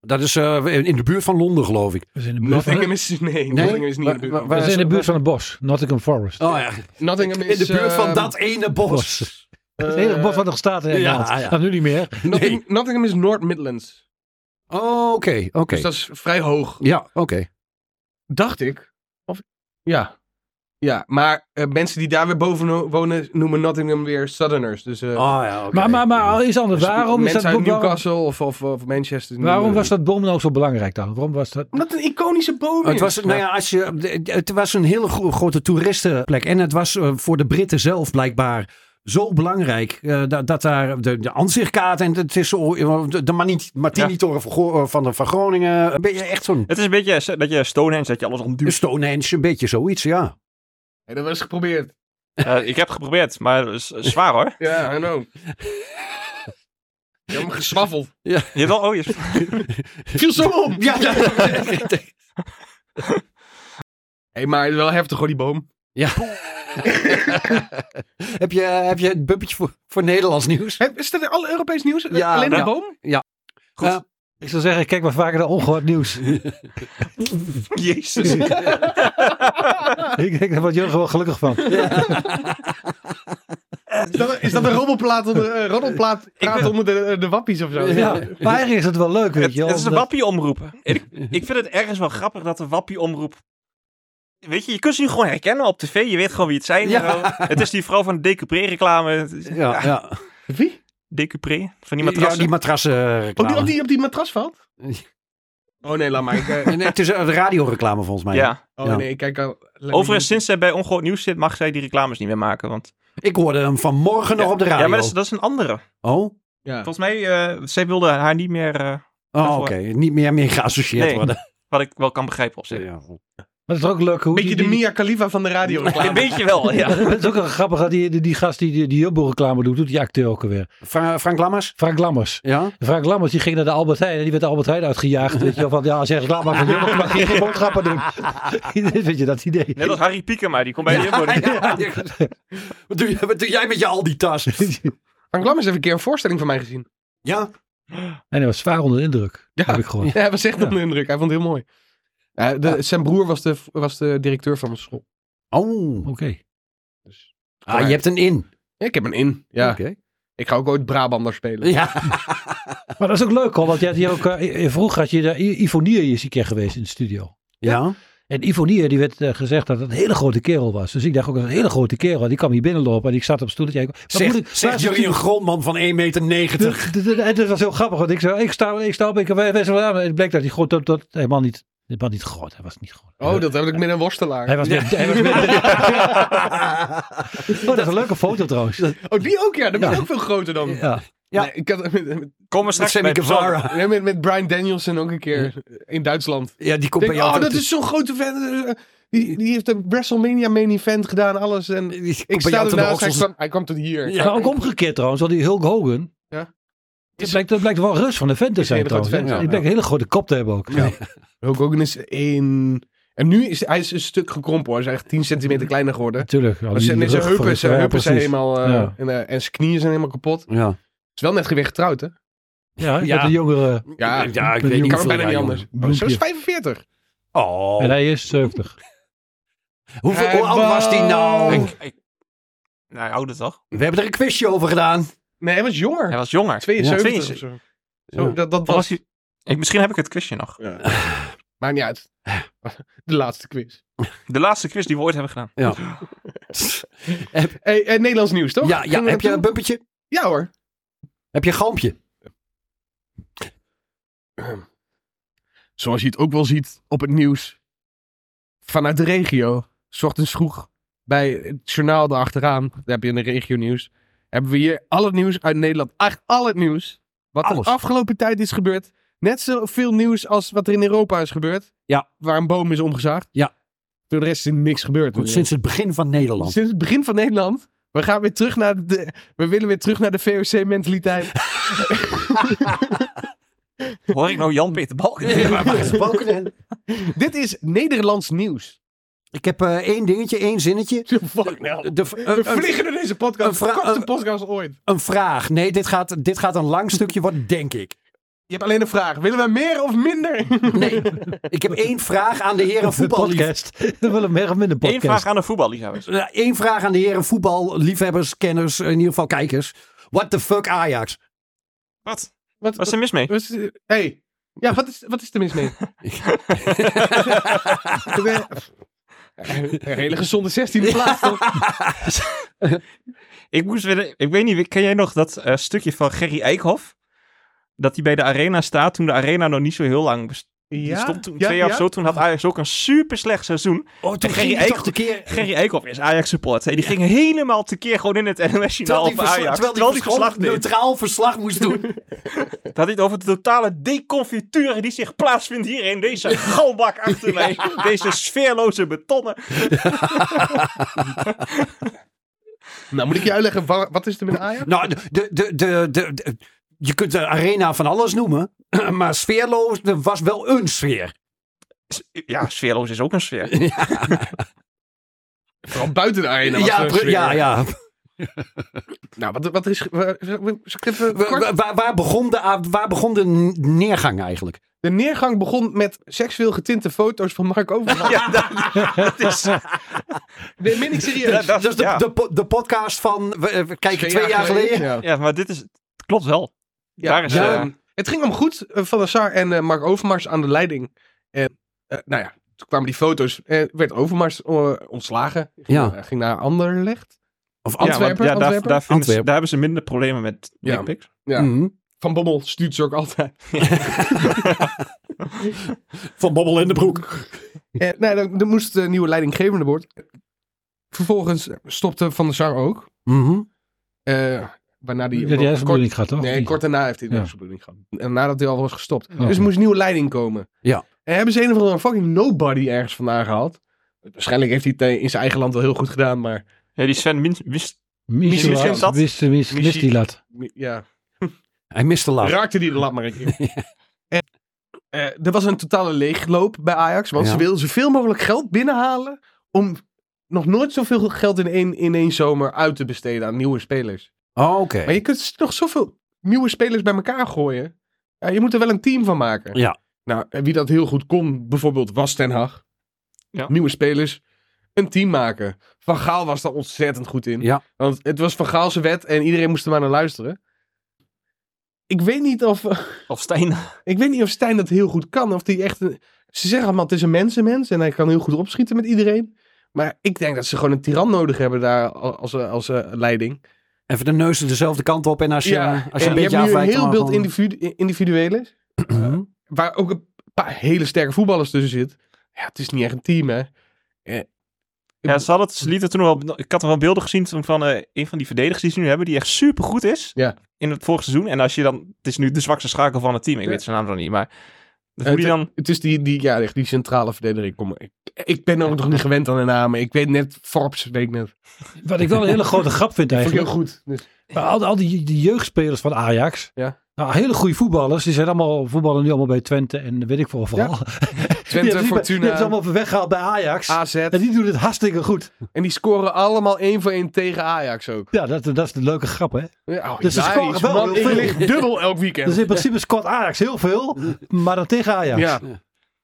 [SPEAKER 5] Dat is eh, in- in de buurt van Londen, geloof ik.
[SPEAKER 6] We zijn in de buurt van-
[SPEAKER 4] Nottingham is... Nee, Nottingham is niet in de buurt.
[SPEAKER 5] Waar-
[SPEAKER 4] van-
[SPEAKER 5] waar-
[SPEAKER 6] we zijn in de buurt van het bos, Nottingham Forest.
[SPEAKER 5] Oh ja,
[SPEAKER 4] Nottingham
[SPEAKER 5] in
[SPEAKER 4] is...
[SPEAKER 5] de buurt van
[SPEAKER 4] ehm,
[SPEAKER 5] dat ene bos.
[SPEAKER 6] het enige bos wat nog staat in
[SPEAKER 5] ja,
[SPEAKER 6] Engeland.
[SPEAKER 5] ja.
[SPEAKER 6] Nou, nu niet meer.
[SPEAKER 4] Nottingham,
[SPEAKER 5] Nee.
[SPEAKER 4] Nottingham is North Midlands.
[SPEAKER 5] Oh, Oké, oké.
[SPEAKER 4] Dus dat is vrij hoog.
[SPEAKER 5] Ja, oké.
[SPEAKER 4] Dacht ik. Of... Ja. Ja, maar eh, mensen die daar weer boven no- wonen noemen Nottingham weer Southerners. Dus... eh,
[SPEAKER 5] Oh ja, oké.
[SPEAKER 6] Maar, maar, maar is
[SPEAKER 4] dus
[SPEAKER 6] anders. Waarom, is
[SPEAKER 4] mensen
[SPEAKER 6] dat
[SPEAKER 4] uit
[SPEAKER 6] boom, waarom,
[SPEAKER 4] Newcastle of, of, of Manchester.
[SPEAKER 6] waarom was dat boom nou zo belangrijk dan? Waarom was dat... Oh,
[SPEAKER 4] Omdat het een iconische boom is.
[SPEAKER 5] Het was, nou ja, als je, het was een hele gro- grote toeristenplek. En het was eh, voor de Britten zelf blijkbaar zo belangrijk. eh, dat, dat daar de, de ansichtkaart en het is zo, de, de Mani- Martini-toren van, Go- van, de- van Groningen. Een beetje echt zo'n
[SPEAKER 3] het is een beetje eh, dat je Stonehenge, dat je alles omduwt.
[SPEAKER 5] Stonehenge, een beetje zoiets, ja.
[SPEAKER 4] Hey, dat was geprobeerd.
[SPEAKER 3] Eh, ik heb geprobeerd, maar het is is zwaar hoor.
[SPEAKER 4] Ja, I know. Je hebt hem geswaffeld.
[SPEAKER 3] Je hebt wel, oh, je,
[SPEAKER 4] Viel zo op.
[SPEAKER 5] Ja, ja.
[SPEAKER 4] Hé, hey, maar wel heftig hoor, die boom.
[SPEAKER 5] ja. heb, je, heb je een bumpetje voor, voor Nederlands nieuws?
[SPEAKER 4] Hey, is dat in alle Europees nieuws?
[SPEAKER 5] Ja,
[SPEAKER 4] Alleen de
[SPEAKER 5] ja.
[SPEAKER 4] boom?
[SPEAKER 3] Goed.
[SPEAKER 5] Eh,
[SPEAKER 6] Ik zou zeggen, kijk maar vaker naar ongehoord nieuws.
[SPEAKER 3] Jezus.
[SPEAKER 6] ik denk, daar wordt Jurgen wel gelukkig van.
[SPEAKER 4] Is dat, is dat een roddelplaat onder, eh, roddelplaat praat onder de, de wappies of zo?
[SPEAKER 6] Ja, maar eigenlijk is het wel leuk, weet
[SPEAKER 3] Het,
[SPEAKER 6] je wel.
[SPEAKER 3] het is de
[SPEAKER 6] omdat-
[SPEAKER 3] wappie-omroep. En Ik, ik vind het ergens wel grappig dat de wappie-omroep... Weet je, je kunt ze nu gewoon herkennen op tv. Je weet gewoon wie het zijn.
[SPEAKER 5] Ja.
[SPEAKER 3] Gewoon. Het is die vrouw van de Decupré-reclame. Het is-
[SPEAKER 5] Ja, ja.
[SPEAKER 4] Wie?
[SPEAKER 3] Decupré? Van die
[SPEAKER 5] ja,
[SPEAKER 3] matrassen.
[SPEAKER 5] die matrassen
[SPEAKER 4] Op Oh, die, op, die, op die matras valt? Nou. Oh nee, laat maar. Ik, eh,
[SPEAKER 5] En het is een radioreclame volgens mij.
[SPEAKER 3] ja.
[SPEAKER 4] oh
[SPEAKER 5] Ja.
[SPEAKER 4] nee, ik kijk al.
[SPEAKER 3] Overigens, sinds zij bij Ongehoord Nieuws zit, mag zij die reclames niet meer maken. Want...
[SPEAKER 5] Ik hoorde hem vanmorgen nog op de radio.
[SPEAKER 3] Ja, maar dat is, dat is een andere.
[SPEAKER 5] Oh?
[SPEAKER 4] Ja.
[SPEAKER 3] Volgens mij, eh, zij wilde haar niet meer, eh,
[SPEAKER 5] Oh,
[SPEAKER 3] Daarvoor.
[SPEAKER 5] oké. Niet meer mee geassocieerd
[SPEAKER 3] Nee.
[SPEAKER 5] worden.
[SPEAKER 3] wat ik wel kan begrijpen, op zich.
[SPEAKER 5] Ja.
[SPEAKER 6] Maar het is ook leuk hoe...
[SPEAKER 4] Beetje
[SPEAKER 6] die-
[SPEAKER 4] de
[SPEAKER 6] die-
[SPEAKER 4] Mia Khalifa van de radio.
[SPEAKER 3] Een beetje wel, ja.
[SPEAKER 6] Het is ook wel grappig dat die, die, die gast die die, die Jumbo-reclame doet, doet die acteur ook alweer.
[SPEAKER 5] Fra- Frank Lammers?
[SPEAKER 6] Frank Lammers.
[SPEAKER 5] Ja?
[SPEAKER 6] Frank Lammers die ging naar de Albert Heijn en die werd de Albert Heijn uitgejaagd. Weet je wel, van ja, zeg ik laat maar van Jumbo, mag je geen boodschappen doen. weet je, dat idee.
[SPEAKER 3] Net als Harry Piekema, die komt bij de Jumbo. Die-
[SPEAKER 5] wat, doe, je- wat doe jij met je Aldi-tas?
[SPEAKER 4] Frank Lammers heeft een keer een voorstelling van mij gezien.
[SPEAKER 5] ja?
[SPEAKER 6] En hij was zwaar onder de indruk,
[SPEAKER 4] Ja.
[SPEAKER 6] heb ik gehoord.
[SPEAKER 4] Ja, hij was echt
[SPEAKER 6] Ja.
[SPEAKER 4] onder de indruk. Hij vond het heel mooi. Ja, de, Zijn broer was de, was de directeur van mijn school.
[SPEAKER 5] Oh.
[SPEAKER 6] Oké.
[SPEAKER 5] Ah, je hebt een in.
[SPEAKER 4] Ja, ik heb een in. Ja.
[SPEAKER 5] Oké.
[SPEAKER 4] Ik ga ook ooit Brabander spelen.
[SPEAKER 5] Ja.
[SPEAKER 6] Maar dat is ook leuk hoor, want je had hier ook, eh, vroeger had je daar, I- Ivo Nier is een keer geweest in de studio.
[SPEAKER 5] Ja?
[SPEAKER 6] En Ivo Nier, die werd eh, gezegd dat het een hele grote kerel was. Dus ik dacht ook, dat is een hele grote kerel. Die kwam hier binnenlopen en ik zat op stoel. en ik- Wat moet ik-
[SPEAKER 5] Zegt
[SPEAKER 6] waar
[SPEAKER 5] zeg
[SPEAKER 6] is het-
[SPEAKER 5] jullie een grondman van 1,90 meter.
[SPEAKER 6] D- d- d- en dat was heel grappig, want ik zei, ik sta, ik sta op, ik wij- wij zijn wel aan. En Het bleek dat hij groot, dat, dat helemaal niet, helemaal niet groot, hij was niet groot.
[SPEAKER 4] Oh, dat heb ik met een worstelaar.
[SPEAKER 6] Hij was met, hij was met, oh, dat is een leuke foto trouwens.
[SPEAKER 4] Oh, die ook, ja. Dat ben ik
[SPEAKER 6] Ja.
[SPEAKER 4] ook veel groter dan.
[SPEAKER 6] Ja.
[SPEAKER 5] Ja.
[SPEAKER 4] Nee, ik had met, met,
[SPEAKER 3] Kom er
[SPEAKER 5] Met
[SPEAKER 3] straks
[SPEAKER 5] Sammy
[SPEAKER 3] bij.
[SPEAKER 5] Guevara.
[SPEAKER 4] nee, met, met Brian Danielson ook een keer in Duitsland.
[SPEAKER 5] Ja, die
[SPEAKER 4] Ik
[SPEAKER 5] komt
[SPEAKER 4] Denk,
[SPEAKER 5] bij jou.
[SPEAKER 4] oh, dat
[SPEAKER 5] toe.
[SPEAKER 4] is zo'n grote vent. eh, Die, die heeft de WrestleMania main event gedaan, alles. En
[SPEAKER 5] Die komt
[SPEAKER 4] ik
[SPEAKER 5] bij
[SPEAKER 4] sta
[SPEAKER 5] jou
[SPEAKER 4] ernaast,
[SPEAKER 5] te
[SPEAKER 4] hij
[SPEAKER 5] beochtelen.
[SPEAKER 6] Nou,
[SPEAKER 4] kwam, hij kwam tot hier.
[SPEAKER 5] Ja.
[SPEAKER 6] Maar ook omgekeerd trouwens, want die Hulk Hogan.
[SPEAKER 4] Ja.
[SPEAKER 6] Het blijkt, het blijkt wel Rus van de vent te
[SPEAKER 4] Is een
[SPEAKER 6] zijn
[SPEAKER 4] hele grote
[SPEAKER 6] trouwens. hè?
[SPEAKER 4] vent, ja.
[SPEAKER 6] Ik denk een hele grote kop te hebben ook.
[SPEAKER 4] Ja. Hulk Hogan is in... En nu is hij is een stuk gekrompen hoor. Hij is echt 10
[SPEAKER 5] Mm.
[SPEAKER 4] centimeter kleiner geworden.
[SPEAKER 6] Natuurlijk. al
[SPEAKER 4] Maar
[SPEAKER 6] die
[SPEAKER 4] zijn, zijn
[SPEAKER 6] rug van
[SPEAKER 4] heupen,
[SPEAKER 6] die-
[SPEAKER 4] zijn,
[SPEAKER 6] ja,
[SPEAKER 4] heupen zijn
[SPEAKER 6] precies.
[SPEAKER 4] helemaal... eh,
[SPEAKER 6] Ja.
[SPEAKER 4] en, eh, en zijn knieën zijn helemaal kapot.
[SPEAKER 5] Ja.
[SPEAKER 4] Is wel net weer getrouwd hè?
[SPEAKER 6] Ja,
[SPEAKER 5] Ja.
[SPEAKER 6] met een jongere.
[SPEAKER 4] Ja,
[SPEAKER 5] ja ik
[SPEAKER 6] kan
[SPEAKER 5] weet niet
[SPEAKER 4] kan het
[SPEAKER 5] hoeveel
[SPEAKER 4] bijna
[SPEAKER 5] jaar
[SPEAKER 4] niet
[SPEAKER 5] jonger.
[SPEAKER 4] anders. Oh,
[SPEAKER 6] Bloempje.
[SPEAKER 4] zo is 45.
[SPEAKER 5] Oh,
[SPEAKER 6] En hij is 70.
[SPEAKER 5] hoeveel,
[SPEAKER 4] Hij
[SPEAKER 5] hoe oud was die nou?
[SPEAKER 3] Ik, ik, nou, ouder toch?
[SPEAKER 5] We hebben er een quizje over gedaan.
[SPEAKER 4] Nee, hij was jonger.
[SPEAKER 3] Hij was jonger.
[SPEAKER 4] 72
[SPEAKER 3] Ja,
[SPEAKER 4] of zo. Zo,
[SPEAKER 5] Ja.
[SPEAKER 4] dat, dat
[SPEAKER 3] Of
[SPEAKER 4] was...
[SPEAKER 3] was hij- ik, misschien heb ik het quizje nog.
[SPEAKER 4] Maakt niet uit. De laatste quiz.
[SPEAKER 3] De laatste quiz die we ooit hebben gedaan.
[SPEAKER 5] Ja.
[SPEAKER 4] Hey, eh, Nederlands nieuws, toch?
[SPEAKER 5] ja, ja,
[SPEAKER 4] Gingen we
[SPEAKER 5] heb je een
[SPEAKER 4] naartoe?
[SPEAKER 5] bumpetje?
[SPEAKER 4] Ja hoor.
[SPEAKER 5] Heb je een galmpje?
[SPEAKER 4] Zoals je het ook wel ziet op het nieuws. Vanuit de regio. 's ochtends vroeg. Bij het journaal erachteraan. Daar heb je in de regio nieuws. Hebben we hier al het nieuws uit Nederland. Eigenlijk al het nieuws. Wat
[SPEAKER 5] Alles.
[SPEAKER 4] de afgelopen tijd is gebeurd. Net zoveel nieuws als wat er in Europa is gebeurd.
[SPEAKER 5] Ja.
[SPEAKER 4] Waar een boom is omgezaagd.
[SPEAKER 5] Ja.
[SPEAKER 4] Door de rest is niks gebeurd.
[SPEAKER 5] Goed, sinds het begin van Nederland.
[SPEAKER 4] Sinds het begin van Nederland. We gaan weer terug naar de. We willen weer terug naar de VOC-mentaliteit.
[SPEAKER 3] Hoor ik nou Jan-Peter Balken?
[SPEAKER 5] Gesproken en-
[SPEAKER 4] Dit is Nederlands nieuws.
[SPEAKER 5] Ik heb eh, één dingetje, één zinnetje.
[SPEAKER 4] Fuck
[SPEAKER 5] De,
[SPEAKER 4] nou.
[SPEAKER 5] v-
[SPEAKER 4] We
[SPEAKER 5] een- een,
[SPEAKER 4] vliegen in deze
[SPEAKER 5] een
[SPEAKER 4] podcast.
[SPEAKER 5] vra-
[SPEAKER 4] De kortste
[SPEAKER 5] een-
[SPEAKER 4] podcast ooit.
[SPEAKER 5] een vraag. Nee, dit gaat, dit gaat een lang stukje worden, denk ik.
[SPEAKER 4] Je hebt alleen een vraag. Willen we meer of minder?
[SPEAKER 5] Nee, ik heb één vraag aan de heren
[SPEAKER 6] De
[SPEAKER 5] voetballiefhebbers.
[SPEAKER 6] podcast. Dan willen we hem in de
[SPEAKER 3] Eén
[SPEAKER 6] podcast.
[SPEAKER 3] vraag aan de voetballiefhebbers.
[SPEAKER 5] Eén Eh, vraag aan de heren voetballiefhebbers, kenners, in ieder geval kijkers. What the fuck Ajax?
[SPEAKER 3] Wat?
[SPEAKER 4] Wat
[SPEAKER 3] Wat is er mis mee?
[SPEAKER 4] was- eh, Hey. Ja, wat is, wat is er mis mee? Ik ben- Een hele gezonde 16e plaats. toch?
[SPEAKER 3] Ik moest weer... Ik weet niet, ken jij nog dat eh, stukje van Gerry Eikhoff? Dat hij bij de Arena staat toen de Arena nog niet zo heel lang bestond. Die stond toen twee jaar of zo. Toen had Ajax ook een super slecht seizoen.
[SPEAKER 5] Oh, toen
[SPEAKER 3] Gerry
[SPEAKER 5] ging hij toch
[SPEAKER 3] Eik-
[SPEAKER 5] de keer...
[SPEAKER 3] Gerry Eikhoff is Ajax supporter. En die ging helemaal tekeer gewoon in het NOS-journaal
[SPEAKER 5] Terwijl
[SPEAKER 3] op
[SPEAKER 5] hij versla-
[SPEAKER 3] Ajax.
[SPEAKER 5] terwijl
[SPEAKER 3] Terwijl
[SPEAKER 5] hij
[SPEAKER 3] die
[SPEAKER 5] verslag,
[SPEAKER 3] verslag deed.
[SPEAKER 5] neutraal verslag moest doen.
[SPEAKER 3] Dat hij het over de totale deconfiture die zich plaatsvindt hier in deze galbak achter mij. Deze sfeerloze betonnen.
[SPEAKER 4] Nou, moet ik je uitleggen, wa- wat is er met Ajax?
[SPEAKER 5] nou, de, de, de, de, de- je kunt de arena van alles noemen. Maar sfeerloos, er was wel een sfeer.
[SPEAKER 3] Ja, sfeerloos is ook een sfeer.
[SPEAKER 4] Vooral buiten de arena. was
[SPEAKER 5] ja,
[SPEAKER 4] er een
[SPEAKER 5] pre-
[SPEAKER 4] sfeer.
[SPEAKER 5] ja, ja.
[SPEAKER 4] Nou, wat, wat is... ge- wa- zal ik even
[SPEAKER 5] Wa-
[SPEAKER 4] kort-
[SPEAKER 5] wa- Waar, waar, begon de, a- waar begon de n- neergang eigenlijk?
[SPEAKER 4] De neergang begon met seksueel getinte foto's van Mark Overmars.
[SPEAKER 3] Ja, dat, dat is...
[SPEAKER 4] Nee, meen ik
[SPEAKER 3] dat-
[SPEAKER 4] serieus.
[SPEAKER 3] dat-
[SPEAKER 5] Dus de,
[SPEAKER 3] ja.
[SPEAKER 5] de, po- de podcast van, we, eh, we kijken twee jaar geleden.
[SPEAKER 4] Ja.
[SPEAKER 3] ja, maar dit is... Het klopt wel.
[SPEAKER 4] Ja.
[SPEAKER 3] Daar is,
[SPEAKER 4] Ja.
[SPEAKER 3] eh,
[SPEAKER 4] Het ging om goed. eh, Van der Sar en eh, Mark Overmars aan de leiding. En, eh, nou ja, toen kwamen die foto's. En werd Overmars eh, ontslagen. Ging,
[SPEAKER 5] Ja.
[SPEAKER 4] eh, ging naar Anderlecht.
[SPEAKER 5] Of
[SPEAKER 3] ja, want,
[SPEAKER 4] Antwerpen,
[SPEAKER 3] ja, daar,
[SPEAKER 4] Antwerpen?
[SPEAKER 3] daar, vinden ze-
[SPEAKER 5] Antwerpen.
[SPEAKER 3] daar hebben ze minder problemen met
[SPEAKER 4] Ja.
[SPEAKER 3] dickpics.
[SPEAKER 4] Ja.
[SPEAKER 5] Mhm.
[SPEAKER 4] Van Bommel stuurt ze ook altijd.
[SPEAKER 5] Van Bobbel in de broek.
[SPEAKER 4] Eh, nee, dan, dan moest de nieuwe leidinggevende worden. Vervolgens stopte Van der Sar ook.
[SPEAKER 5] Mhm.
[SPEAKER 4] Eh, waarna die...
[SPEAKER 6] Ja, die hersenbloeding gaat toch?
[SPEAKER 4] Nee,
[SPEAKER 6] Die-
[SPEAKER 4] kort daarna heeft hij de
[SPEAKER 6] Ja. Oh.
[SPEAKER 4] hersenbloeding gehad. En nadat hij al was gestopt.
[SPEAKER 6] Ja.
[SPEAKER 4] Dus er moest nieuwe leiding komen.
[SPEAKER 5] Ja.
[SPEAKER 4] En hebben ze een of andere fucking nobody ergens vandaan gehaald. Waarschijnlijk heeft hij het eh, in zijn eigen land wel heel goed gedaan, maar...
[SPEAKER 3] Ja, die Sven Min- wist...
[SPEAKER 6] Michel,
[SPEAKER 3] Michel Stad.
[SPEAKER 6] wist, wist, wist
[SPEAKER 3] Michel-
[SPEAKER 6] die lat.
[SPEAKER 4] Ja,
[SPEAKER 5] Hij miste laag.
[SPEAKER 4] raakte die de lat maar een keer. En, eh, er was een totale leegloop bij Ajax. Want
[SPEAKER 5] Ja.
[SPEAKER 4] ze wilden zoveel mogelijk geld binnenhalen... om nog nooit zoveel geld in één, in één zomer uit te besteden aan nieuwe spelers.
[SPEAKER 5] Oh, Oké.
[SPEAKER 4] Maar je kunt nog zoveel nieuwe spelers bij elkaar gooien. Ja, je moet er wel een team van maken.
[SPEAKER 5] Ja.
[SPEAKER 4] Nou, en wie dat heel goed kon, bijvoorbeeld, was Ten Hag.
[SPEAKER 3] Ja.
[SPEAKER 4] Nieuwe spelers, een team maken. Van Gaal was daar ontzettend goed in.
[SPEAKER 5] Ja.
[SPEAKER 4] Want het was Van Gaalse wet en iedereen moest er maar naar luisteren. Ik weet niet of,
[SPEAKER 3] Of Stijn.
[SPEAKER 4] ik weet niet of Stijn dat heel goed kan. Of die echt een- ze zeggen allemaal, het is een mensenmens en hij kan heel goed opschieten met iedereen. Maar ik denk dat ze gewoon een tiran nodig hebben daar als, als, als eh, leiding.
[SPEAKER 5] Even de neus dezelfde kant op. En als je, als je
[SPEAKER 4] en
[SPEAKER 5] een beetje
[SPEAKER 4] hebt nu
[SPEAKER 5] afwijkt...
[SPEAKER 4] een heel
[SPEAKER 5] dan
[SPEAKER 4] beeld
[SPEAKER 5] gewoon-
[SPEAKER 4] individu individuele,
[SPEAKER 5] Mhm.
[SPEAKER 4] waar ook een paar hele sterke voetballers tussen zit. Ja, het is niet echt een team, hè.
[SPEAKER 3] Ja, ze, hadden het, ze lieten toen wel... Ik had er wel beelden gezien toen van eh, een van die verdedigers die ze nu hebben, die echt supergoed is
[SPEAKER 4] Ja.
[SPEAKER 3] in het vorige seizoen. En als je dan... Het is nu de zwakste schakel van het team. Ik
[SPEAKER 4] Ja.
[SPEAKER 3] weet zijn naam nog niet, maar... Dat
[SPEAKER 4] Eh,
[SPEAKER 3] hoe die dan...
[SPEAKER 4] Het is die, die, ja, echt die centrale verdediger. Kom, ik, ik ben ook nog niet gewend aan de namen. Ik weet net, Forbes weet ik net.
[SPEAKER 6] Wat ik wel een hele grote grap vind
[SPEAKER 4] Vond ik heel
[SPEAKER 6] eigenlijk.
[SPEAKER 4] goed. Dus,
[SPEAKER 6] Maar al, al die, die jeugdspelers van Ajax.
[SPEAKER 4] Ja.
[SPEAKER 6] Nou, hele goede voetballers. Die zijn allemaal voetballen nu allemaal bij Twente en weet ik veel vooral. Die hebben
[SPEAKER 4] Twente,
[SPEAKER 6] ze bij- Die hebben ze
[SPEAKER 4] Fortuna, Ah,
[SPEAKER 6] allemaal weer weggehaald bij Ajax.
[SPEAKER 4] AZ.
[SPEAKER 6] En die doen het hartstikke goed.
[SPEAKER 4] En die scoren allemaal één voor één tegen Ajax ook.
[SPEAKER 6] Ja, dat, dat is de leuke grap, hè?
[SPEAKER 4] Ja, oh,
[SPEAKER 6] Dus ze
[SPEAKER 4] hilarisch,
[SPEAKER 6] scoren wel
[SPEAKER 4] man.
[SPEAKER 6] heel
[SPEAKER 4] Ik
[SPEAKER 6] veel.
[SPEAKER 4] lig dubbel elk
[SPEAKER 6] Dus
[SPEAKER 4] weekend.
[SPEAKER 6] in principe scoort Ajax heel veel, maar dan tegen Ajax.
[SPEAKER 4] Ja.
[SPEAKER 6] Allemaal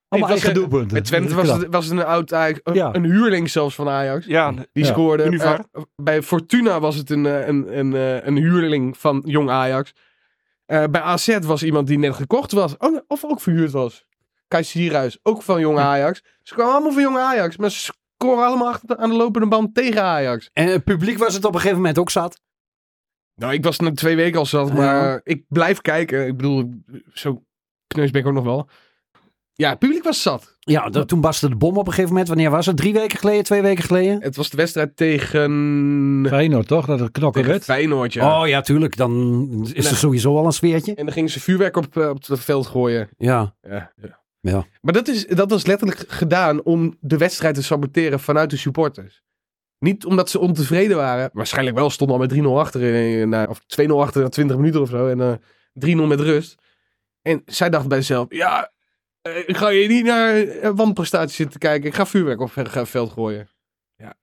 [SPEAKER 4] Ik was-
[SPEAKER 6] eigen doelpunten.
[SPEAKER 4] Met Twente was het, was het een oud Ajax, een-
[SPEAKER 6] Ja.
[SPEAKER 4] een huurling zelfs van Ajax.
[SPEAKER 3] Ja,
[SPEAKER 4] Die
[SPEAKER 6] Ja.
[SPEAKER 4] scoorde.
[SPEAKER 3] Univar.
[SPEAKER 4] Eh, bij Fortuna was het een, eh, een, een, eh, een huurling van jong Ajax. Eh, bij AZ was iemand die net gekocht was. Oh, nee, of ook verhuurd was. Kai Sierhuis, ook van jong Ajax. Ze kwamen allemaal van jong Ajax. Maar ze scoren allemaal achter de- aan de lopende band tegen Ajax.
[SPEAKER 5] En het publiek was het op een gegeven moment ook zat.
[SPEAKER 4] Nou, ik was na twee weken al zat. Maar ik blijf kijken. Ik bedoel, zo kneus ben ik ook nog wel. Ja, het publiek was zat.
[SPEAKER 5] Ja, dat, toen barstte de bom op een gegeven moment. Wanneer was het? Drie weken geleden? Twee weken geleden?
[SPEAKER 4] Het was de wedstrijd tegen...
[SPEAKER 6] Feyenoord, toch? Dat het knokken
[SPEAKER 4] Tegen
[SPEAKER 6] werd.
[SPEAKER 4] Feyenoord, ja.
[SPEAKER 5] Oh ja, tuurlijk. Dan is er
[SPEAKER 4] Nee.
[SPEAKER 5] sowieso al een sfeertje.
[SPEAKER 4] En dan gingen ze vuurwerk op, eh, op het veld gooien.
[SPEAKER 5] Ja,
[SPEAKER 4] Ja. ja.
[SPEAKER 5] Ja.
[SPEAKER 4] Maar dat, is, dat was letterlijk gedaan om de wedstrijd te saboteren vanuit de supporters. Niet omdat ze ontevreden waren. Waarschijnlijk wel stonden al met 3-0 achter. eh, na- Of 2-0 achter na 20 minuten of zo. En eh 3-0 met rust. En zij dacht bij zichzelf. Ja, eh, ik ga je niet naar eh, wanprestaties zitten kijken. Ik ga vuurwerk op eh, het veld gooien. Ja.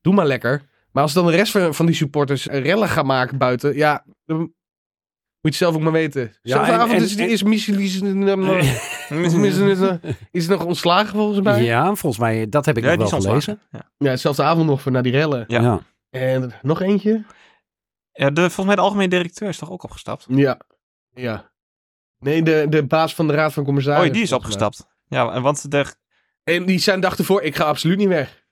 [SPEAKER 4] Doe maar lekker. Maar als dan de rest van, van die supporters eh, rellen gaan maken buiten. Ja, dan moet je het zelf ook maar weten.
[SPEAKER 5] Ja,
[SPEAKER 4] Ja, Zondagavond
[SPEAKER 5] en- en-
[SPEAKER 4] is het
[SPEAKER 5] en-
[SPEAKER 4] eerste missie... Tenminste, is, nog- is het nog ontslagen volgens mij? Ja,
[SPEAKER 5] ja volgens mij, dat heb ik nog wel gelezen.
[SPEAKER 3] Ja.
[SPEAKER 4] hetzelfde avond nog voor na die rellen.
[SPEAKER 3] Ja.
[SPEAKER 5] Ja.
[SPEAKER 4] En nog eentje?
[SPEAKER 3] Ja, de, volgens mij de algemene directeur is toch ook opgestapt?
[SPEAKER 4] Ja. Ja. Nee, de, de baas van de Raad van Commissarissen.
[SPEAKER 3] Oh, die is
[SPEAKER 4] volgens mij.
[SPEAKER 3] opgestapt. Ja, en want de,
[SPEAKER 4] En die zijn dag ervoor, ik ga absoluut niet weg.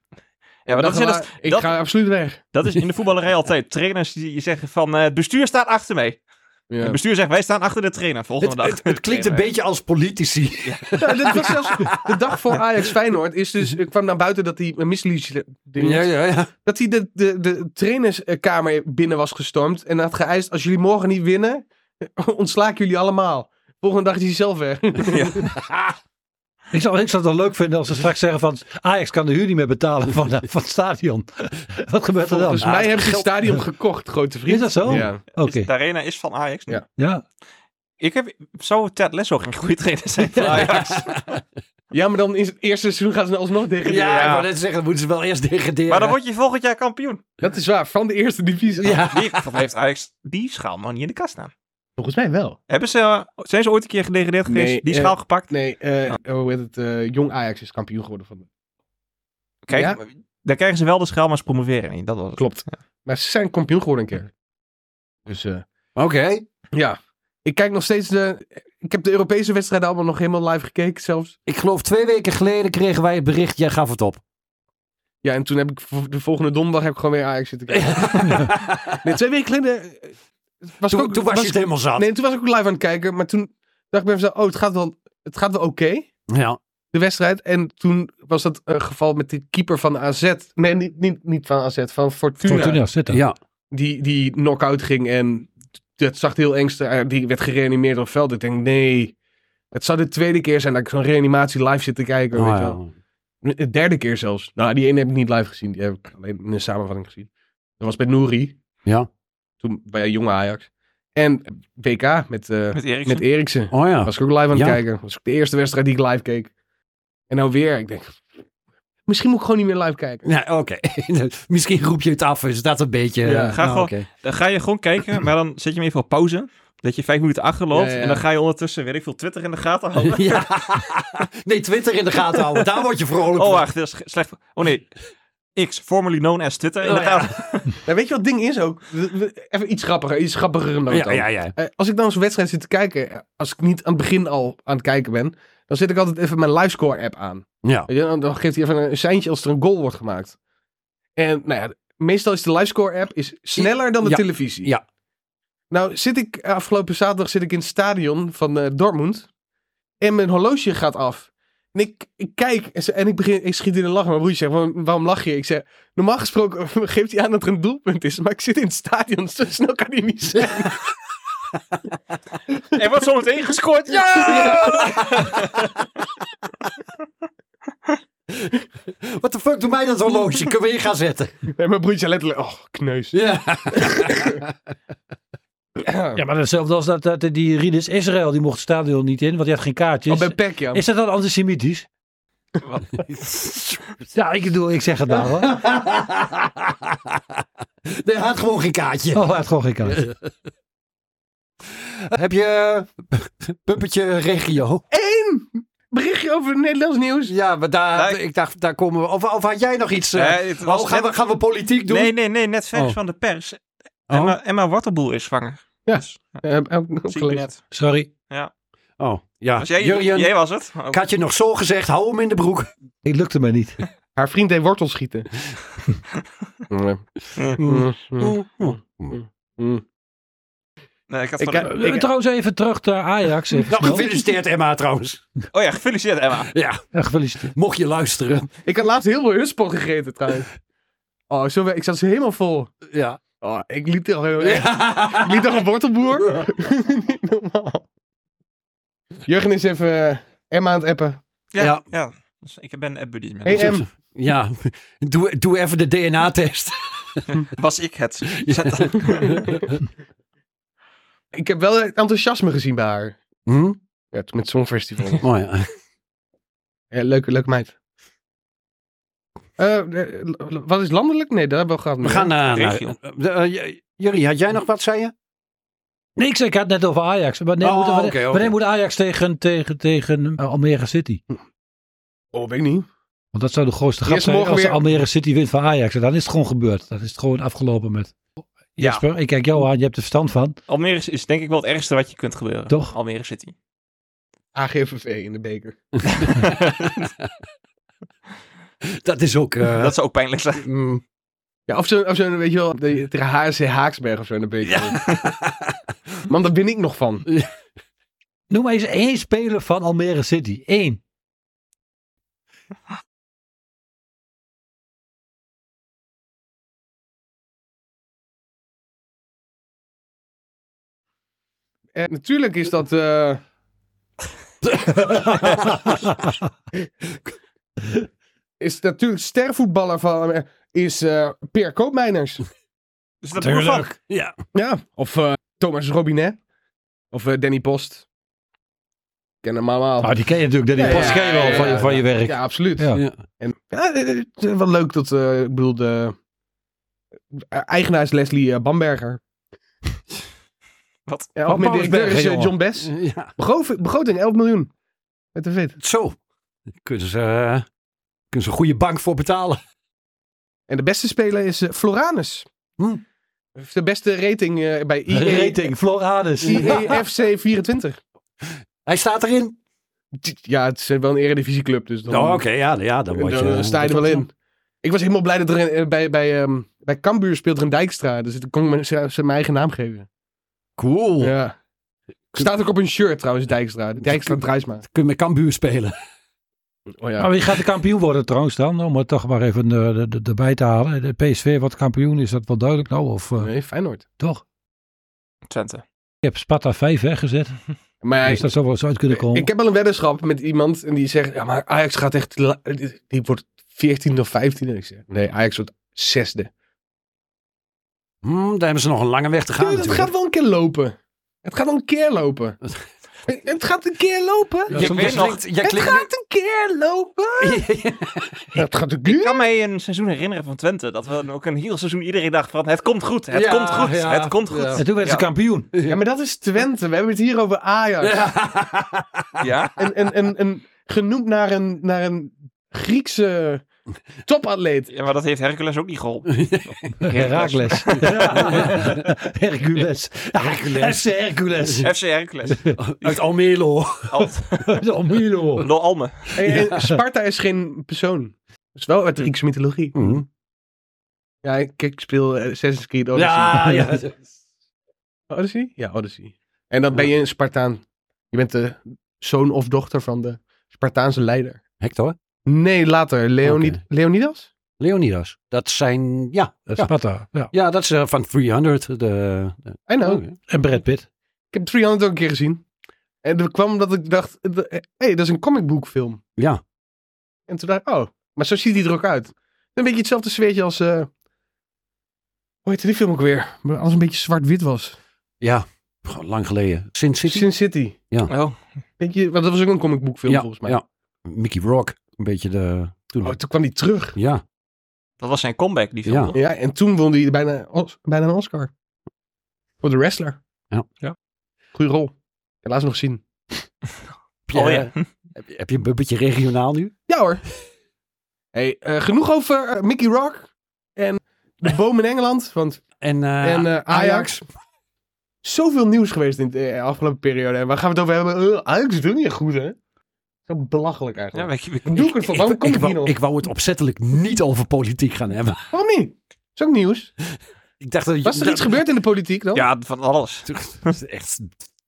[SPEAKER 3] ja, maar dat, is,
[SPEAKER 4] Dag
[SPEAKER 3] dat,
[SPEAKER 4] erna, ik
[SPEAKER 3] dat-
[SPEAKER 4] ga absoluut weg.
[SPEAKER 3] dat is in de voetballerij altijd. Trainers die die zeggen van, eh, het bestuur staat achter mij.
[SPEAKER 4] Ja.
[SPEAKER 3] Het bestuur zegt, wij staan achter de trainer. Volgende
[SPEAKER 5] Het,
[SPEAKER 3] dag.
[SPEAKER 5] het, het klinkt een beetje als politici.
[SPEAKER 4] Ja, dit was zelfs de dag voor Ajax Feyenoord is dus, ik kwam naar buiten dat hij een misleading
[SPEAKER 5] ja, ja.
[SPEAKER 4] Dat hij de, de, de trainerskamer binnen was gestormd. En had geëist: als jullie morgen niet winnen, ontsla ik jullie allemaal. Volgende dag is hij zelf weg.
[SPEAKER 6] Ik zou, ik zou het wel leuk vinden als ze straks zeggen van... Ajax kan de huur niet meer betalen van, eh, van het stadion. Wat gebeurt er dan?
[SPEAKER 4] Volgens mij
[SPEAKER 6] Ah,
[SPEAKER 4] hebben ze het
[SPEAKER 6] geld-
[SPEAKER 4] stadion gekocht, grote vriend.
[SPEAKER 6] Is dat zo?
[SPEAKER 4] Ja.
[SPEAKER 6] Oké,
[SPEAKER 3] Is- Dus De arena is van Ajax nu.
[SPEAKER 4] Ja.
[SPEAKER 6] ja.
[SPEAKER 3] Ik heb, zou Ted Lasso geen goede trainer zijn voor Ajax?
[SPEAKER 4] ja, maar dan is het eerste seizoen gaan ze alsnog tegen.
[SPEAKER 5] Ja, ik wou net zeggen, dan moeten ze wel eerst degraderen.
[SPEAKER 3] maar dan word je volgend jaar kampioen.
[SPEAKER 4] Dat is waar, van de eerste divisie.
[SPEAKER 5] Ja.
[SPEAKER 3] Die volgens mij heeft Ajax die schaal nog niet in de kast staan.
[SPEAKER 4] Volgens mij wel.
[SPEAKER 3] Hebben ze, eh, zijn ze ooit een keer gedegradeerd geweest?
[SPEAKER 4] Nee,
[SPEAKER 3] die
[SPEAKER 4] eh,
[SPEAKER 3] schaal gepakt?
[SPEAKER 4] Nee, eh,
[SPEAKER 5] Ah.
[SPEAKER 4] hoe heet het? eh, Jong Ajax is kampioen geworden van.
[SPEAKER 3] Kijk,
[SPEAKER 4] ja.
[SPEAKER 3] dan krijgen ze wel de schaal, maar ze promoveren niet. Dat was het.
[SPEAKER 4] Klopt. Maar ze zijn kampioen geworden een keer. Dus eh,
[SPEAKER 5] Oké.
[SPEAKER 4] ja, ik kijk nog steeds de. Ik heb de Europese wedstrijden allemaal nog helemaal live gekeken zelfs.
[SPEAKER 5] Ik geloof twee weken geleden kregen wij het bericht, jij gaf het op.
[SPEAKER 4] Ja, en toen heb ik voor- de volgende donderdag heb ik gewoon weer Ajax zitten kijken. nee, twee weken geleden eh, was ik
[SPEAKER 5] Toen,
[SPEAKER 4] ook-
[SPEAKER 5] toen was je het helemaal zat.
[SPEAKER 4] Nee, toen was ik ook live aan het kijken. Maar toen dacht ik bij mezelf, oh, het gaat wel, het gaat wel oké,
[SPEAKER 5] Ja.
[SPEAKER 4] de wedstrijd. En toen was dat een geval met de keeper van AZ. Nee, niet, niet, niet van AZ, van Fortuna.
[SPEAKER 6] Fortuna zitten.
[SPEAKER 5] ja.
[SPEAKER 4] Die, die knock-out ging en dat zag er heel engst uit. Die werd gereanimeerd op het veld. Ik denk, nee, het zou de tweede keer zijn dat ik zo'n reanimatie live zit te kijken.
[SPEAKER 5] Oh,
[SPEAKER 4] weet je
[SPEAKER 5] ja.
[SPEAKER 4] wel. De derde keer zelfs. Nou, die ene heb ik niet live gezien. Die heb ik alleen in een samenvatting gezien. Dat was bij Nouri.
[SPEAKER 5] Ja.
[SPEAKER 4] Toen bij jonge Ajax. En WK met, eh
[SPEAKER 3] Met Eriksen.
[SPEAKER 4] met Eriksen.
[SPEAKER 5] Oh ja.
[SPEAKER 4] Was ik ook live aan het
[SPEAKER 5] Ja.
[SPEAKER 4] kijken. Was ook de eerste wedstrijd die ik live keek. En nou weer. Ik denk, misschien moet ik gewoon niet meer live kijken.
[SPEAKER 5] Nou, oké. Misschien roep je het af, is dat een beetje...
[SPEAKER 4] Ja, Ah,
[SPEAKER 5] eh,
[SPEAKER 3] ga
[SPEAKER 5] nou,
[SPEAKER 3] gewoon-
[SPEAKER 5] oké.
[SPEAKER 3] Dan ga je gewoon kijken, maar dan zet je hem even op pauze. Dat je vijf minuten achterloopt.
[SPEAKER 4] Ja, ja.
[SPEAKER 3] En dan ga je ondertussen, weet ik veel, Twitter in de gaten houden.
[SPEAKER 5] Ja. Nee, Twitter in de gaten houden. Daar word je vrolijk
[SPEAKER 3] Oh,
[SPEAKER 5] van.
[SPEAKER 3] wacht, dat is slecht. Oh nee. X, formerly known as Twitter. in de
[SPEAKER 5] Oh, ja.
[SPEAKER 3] gaten.
[SPEAKER 4] Nou, weet je wat het ding is ook? We- we- Even iets grappiger. Iets grappiger dan
[SPEAKER 5] Ja, ja, ja.
[SPEAKER 4] Eh, als ik dan zo'n wedstrijd zit te kijken, eh, als ik niet aan het begin al aan het kijken ben, dan zet ik altijd even mijn livescore-app aan.
[SPEAKER 5] Ja.
[SPEAKER 4] Weet je, oh, dan- dan geeft hij even een seintje als er een goal wordt gemaakt. En nou ja, meestal is de livescore-app is sneller dan de
[SPEAKER 5] Ja,
[SPEAKER 4] televisie.
[SPEAKER 5] ja.
[SPEAKER 4] Nou zit ik eh, afgelopen zaterdag zit ik in het stadion van eh, Dortmund en mijn horloge gaat af. En ik, ik kijk en, ze- en ik, begin, ik schiet in een lach. Mijn broertje zegt, waarom, waarom lach je? Ik zeg, normaal gesproken geeft hij aan dat er een doelpunt is. Maar ik zit in het stadion, zo snel kan hij niet zijn.
[SPEAKER 3] Er wordt zometeen gescoord. Ja!
[SPEAKER 5] What the fuck, doe mij dat horloge. Kunnen we hier gaan zetten?
[SPEAKER 4] En mijn broertje letterlijk, oh, kneus.
[SPEAKER 5] Ja.
[SPEAKER 6] Ja, maar hetzelfde als dat, dat die Rinus Israël, die mocht het stadion niet in, want die had geen kaartjes.
[SPEAKER 4] Oh, bij Peck, ja.
[SPEAKER 6] Is dat dan antisemitisch? ja, ik, bedoel, ik zeg het nou hoor.
[SPEAKER 5] Nee, hij had gewoon geen kaartje.
[SPEAKER 6] Oh, hij had gewoon geen kaart.
[SPEAKER 5] Heb je eh, puppetje regio?
[SPEAKER 4] Berichtje over het Nederlands nieuws.
[SPEAKER 5] Ja, maar daar,
[SPEAKER 3] Nee.
[SPEAKER 5] ik dacht, daar komen we. Of, of had jij nog iets? eh,
[SPEAKER 3] Nee, het was
[SPEAKER 5] oh, gaan, we,
[SPEAKER 3] net-
[SPEAKER 5] gaan we politiek doen?
[SPEAKER 3] Nee, nee, nee, net vers
[SPEAKER 5] Oh.
[SPEAKER 3] van de pers.
[SPEAKER 5] Oh.
[SPEAKER 3] Emma, Emma Waterboel is zwanger.
[SPEAKER 4] Ja.
[SPEAKER 3] Dus,
[SPEAKER 4] Eh, heb ik ook
[SPEAKER 3] zie ik
[SPEAKER 4] opgelegd.
[SPEAKER 3] net.
[SPEAKER 6] Sorry.
[SPEAKER 5] Oh, ja.
[SPEAKER 3] Was jij,
[SPEAKER 5] Jurjen,
[SPEAKER 3] jij was het. Oh.
[SPEAKER 5] ik had je nog zo gezegd, hou hem in de broek.
[SPEAKER 6] Het lukte mij niet.
[SPEAKER 4] Haar vriend deed wortels schieten. Mm, mm, mm, mm.
[SPEAKER 3] Nee, ik had
[SPEAKER 4] Ik
[SPEAKER 3] van de-
[SPEAKER 4] heb-
[SPEAKER 3] ik-
[SPEAKER 6] Eh, Trouwens, even terug naar Ajax. Even
[SPEAKER 5] Nou,
[SPEAKER 6] snel.
[SPEAKER 5] gefeliciteerd Emma trouwens.
[SPEAKER 3] Oh ja, gefeliciteerd Emma.
[SPEAKER 5] Ja,
[SPEAKER 6] Ja, gefeliciteerd.
[SPEAKER 5] mocht je luisteren.
[SPEAKER 4] Ik had laatst heel veel hutspot gegeten trouwens. Oh, zo, we- ik zat ze helemaal vol.
[SPEAKER 5] Ja.
[SPEAKER 4] Oh, ik liep toch heel Ik liep toch een wortelboer? Niet normaal. Jurgen is even eh, Emma aan het appen.
[SPEAKER 3] Ja,
[SPEAKER 5] Ja.
[SPEAKER 3] ja. Dus ik ben Dus app buddies met
[SPEAKER 4] Hey,
[SPEAKER 3] hem.
[SPEAKER 4] Em.
[SPEAKER 5] Ja, doe, doe even de DNA-test.
[SPEAKER 3] Was ik het?
[SPEAKER 4] Ik heb wel het enthousiasme gezien bij haar.
[SPEAKER 5] Hm?
[SPEAKER 4] Ja, met Songfestival.
[SPEAKER 5] Oh ja.
[SPEAKER 4] Ja, leuke, leuke meid. Eh, eh, wat is landelijk? Nee, daar hebben we gehad.
[SPEAKER 5] We gaan naar... naar
[SPEAKER 3] Regio.
[SPEAKER 5] eh, eh, J- Jurrie, had jij nog wat, zei je?
[SPEAKER 6] Nee, ik, zei, ik had het net over Ajax. Wanneer,
[SPEAKER 5] Oh,
[SPEAKER 6] moet, wanneer,
[SPEAKER 5] oké, oké.
[SPEAKER 6] wanneer moet Ajax tegen, tegen, tegen eh, Almere City?
[SPEAKER 4] Oh, weet ik niet.
[SPEAKER 6] Want dat zou de grootste grap
[SPEAKER 4] Eerst
[SPEAKER 6] zijn
[SPEAKER 4] morgen
[SPEAKER 6] als
[SPEAKER 4] weer-
[SPEAKER 6] Almere City wint van Ajax. En dan is het gewoon gebeurd. Dan is het gewoon afgelopen met... Jasper, ik kijk jou aan. Je hebt er verstand van.
[SPEAKER 3] Almere is- is denk ik wel het ergste wat je kunt gebeuren.
[SPEAKER 6] Toch?
[SPEAKER 3] Almere City.
[SPEAKER 4] AGVV in de beker.
[SPEAKER 5] Dat is ook... eh,
[SPEAKER 3] Dat zou ook pijnlijk Dus zijn.
[SPEAKER 4] Mm. Ja, of zo'n, of zo, weet je wel, de, de HSC Haaksberg of zo in de beker. Man, daar ben ik nog van.
[SPEAKER 6] Noem maar eens één speler van Almere City. Eén.
[SPEAKER 4] Eh, natuurlijk is dat... eh, is natuurlijk stervoetballer van... eh, is eh Peer Koopmeiners.
[SPEAKER 3] Dus dat doen we
[SPEAKER 6] Tuurlijk.
[SPEAKER 3] van.
[SPEAKER 5] ja.
[SPEAKER 4] Ja, of eh, Thomas Robinet. Of eh, Danny Post. Ik ken hem allemaal.
[SPEAKER 6] Nou, die ken je natuurlijk. Dat
[SPEAKER 4] Ja,
[SPEAKER 6] die post ken je wel
[SPEAKER 4] ja,
[SPEAKER 6] van, je-
[SPEAKER 4] ja,
[SPEAKER 6] van je
[SPEAKER 4] ja.
[SPEAKER 6] werk.
[SPEAKER 4] Ja, absoluut.
[SPEAKER 6] Ja.
[SPEAKER 4] En ja, eh, het is wel leuk dat, eh, ik bedoel, de eh, eigenaar is Leslie eh, Bamberger.
[SPEAKER 3] Wat?
[SPEAKER 4] Ja,
[SPEAKER 6] Van
[SPEAKER 4] of mijn directeur
[SPEAKER 6] Pausbergen,
[SPEAKER 4] is eh,
[SPEAKER 6] jongen.
[SPEAKER 4] John Bess.
[SPEAKER 5] ja.
[SPEAKER 4] Begrov- begroting 11 miljoen. Met de vet.
[SPEAKER 5] Zo. Kunnen ze, eh, kunnen ze een goede bank voor betalen.
[SPEAKER 4] En de beste speler is eh, Floranus.
[SPEAKER 5] Hm.
[SPEAKER 4] Heeft De beste rating eh, bij IE,
[SPEAKER 6] Rating, Floranus.
[SPEAKER 4] E. IEFC 24.
[SPEAKER 5] Hij staat erin.
[SPEAKER 4] Ja, het is wel een eredivisieclub. Dus dan,
[SPEAKER 6] Nou,
[SPEAKER 5] Oh, oké. ja, ja, dan
[SPEAKER 4] dan,
[SPEAKER 5] word je...
[SPEAKER 4] dan eh, sta je er wel in. Ik was helemaal blij dat er een- eh, bij, bij, ehm, bij Cambuur speelt er een Dijkstra. Dus ik kon men- ze, ze mijn eigen naam geven.
[SPEAKER 5] Cool.
[SPEAKER 4] Ja. Staat ook op een shirt trouwens, Dijkstra. Dijkstra Drijsma.
[SPEAKER 5] Kun je met Cambuur spelen.
[SPEAKER 4] Oh
[SPEAKER 6] Maar wie gaat de kampioen worden trouwens dan? Om het toch maar even eh, er- er- erbij te halen. De PSV wordt kampioen, is dat wel duidelijk nou? Of eh,
[SPEAKER 4] Nee, Feyenoord.
[SPEAKER 6] toch?
[SPEAKER 3] Twente.
[SPEAKER 6] Ik heb Sparta 5 weggezet.
[SPEAKER 4] Maar ja,
[SPEAKER 6] dus dat zou wel eens uit kunnen komen.
[SPEAKER 4] ik heb wel een weddenschap met iemand en die zegt, ja, maar Ajax gaat echt, la- die wordt 14 of 15. En ik zeg, nee, Ajax wordt zesde.
[SPEAKER 5] Hm, daar hebben ze nog een lange weg te gaan
[SPEAKER 4] Dude, het
[SPEAKER 5] natuurlijk.
[SPEAKER 4] gaat wel een keer lopen. Het gaat wel een keer lopen. het het gaat een keer lopen.
[SPEAKER 3] Ja, soms
[SPEAKER 5] weet
[SPEAKER 3] nog-
[SPEAKER 5] jij
[SPEAKER 4] het
[SPEAKER 5] klinkt-
[SPEAKER 4] gaat een keer lopen. Het gaat een keer.
[SPEAKER 3] Ik kan mij een seizoen herinneren van Twente. Dat we dan ook een heel seizoen iedereen dacht van het komt goed, het
[SPEAKER 5] Ja,
[SPEAKER 3] komt goed,
[SPEAKER 5] ja,
[SPEAKER 3] het komt
[SPEAKER 5] ja.
[SPEAKER 6] En
[SPEAKER 3] goed.
[SPEAKER 6] toen werd ze
[SPEAKER 3] Ja.
[SPEAKER 6] kampioen.
[SPEAKER 4] Ja, maar dat is Twente. We hebben het hier over Ajax.
[SPEAKER 3] Ja,
[SPEAKER 4] En, en, en, en genoemd naar een, naar een Griekse topatleet.
[SPEAKER 3] ja, maar dat heeft Hercules ook niet geholpen.
[SPEAKER 6] Herakles. Hercules.
[SPEAKER 5] Hercules.
[SPEAKER 6] FC Hercules.
[SPEAKER 3] FC Hercules.
[SPEAKER 5] Uit Almelo.
[SPEAKER 3] Al,
[SPEAKER 6] Oh, Milo.
[SPEAKER 3] door Alme.
[SPEAKER 4] En, en Eh, Sparta is geen persoon. Dat is wel uit de Griekse mythologie.
[SPEAKER 5] Mm. Hm,
[SPEAKER 4] Ja, ik, ik speel eh, Assassin's Creed Odyssey.
[SPEAKER 5] Ja, ja.
[SPEAKER 4] Odyssey? Ja, Odyssey. En dan ben je een Spartaan. Je bent de zoon of dochter van de Spartaanse leider.
[SPEAKER 5] Hector.
[SPEAKER 4] Nee, later. Leonid
[SPEAKER 5] Oké.
[SPEAKER 4] Leonidas?
[SPEAKER 5] Leonidas. Dat zijn, ja. Ja,
[SPEAKER 6] Sparta. Ja.
[SPEAKER 5] ja dat is eh, van 300. De, de-
[SPEAKER 4] I know.
[SPEAKER 5] oh,
[SPEAKER 6] En Brad Pitt.
[SPEAKER 4] Ik heb 300 ook een keer gezien. En dat kwam omdat ik dacht, eh, hé, hey, dat is een comicboekfilm.
[SPEAKER 5] Ja.
[SPEAKER 4] En toen dacht ik, oh, maar zo ziet hij er ook uit. Een beetje hetzelfde sfeertje als, eh hoe heette die film ook weer? Maar Als een beetje zwart-wit was.
[SPEAKER 5] Ja, gewoon lang geleden. Sin City?
[SPEAKER 4] Sin City.
[SPEAKER 3] Oh,
[SPEAKER 4] Weet je, want dat was ook een comicboekfilm
[SPEAKER 5] ja,
[SPEAKER 4] volgens mij.
[SPEAKER 5] ja. Mickey Rock. Een beetje de... Toen,
[SPEAKER 4] Oh, toen kwam hij terug.
[SPEAKER 5] ja,
[SPEAKER 3] dat was zijn comeback, die film.
[SPEAKER 5] Ja.
[SPEAKER 3] toch?
[SPEAKER 4] Ja, en toen won hij bijna, Os- bijna een Oscar. Voor de wrestler.
[SPEAKER 5] Ja.
[SPEAKER 3] Ja.
[SPEAKER 4] Goeie rol. Helaas nog zien.
[SPEAKER 5] ja.
[SPEAKER 3] Oh ja.
[SPEAKER 5] heb, je- heb je een beetje regionaal nu?
[SPEAKER 4] Ja hoor. Hey, eh, genoeg over eh, Mickey Rock en de boom in Engeland. Want,
[SPEAKER 5] En, eh,
[SPEAKER 4] en eh, Ajax. Zoveel nieuws geweest in de eh, afgelopen periode. En waar gaan we het over hebben? Eh, Ajax doet niet goed, hè? Zo belachelijk
[SPEAKER 3] Ja,
[SPEAKER 4] eigenlijk.
[SPEAKER 3] maar ik- ik-
[SPEAKER 4] Doe ik het voor? Waarom
[SPEAKER 5] Ik,
[SPEAKER 4] kom ik,
[SPEAKER 5] ik,
[SPEAKER 4] hier nog?
[SPEAKER 5] wou, ik wou het opzettelijk niet over politiek gaan hebben.
[SPEAKER 4] Waarom niet? Is ook nieuws.
[SPEAKER 5] Ik dacht dat
[SPEAKER 4] Was er
[SPEAKER 5] dat-
[SPEAKER 4] iets gebeurd in de politiek dan?
[SPEAKER 3] ja, van alles.
[SPEAKER 5] Echt.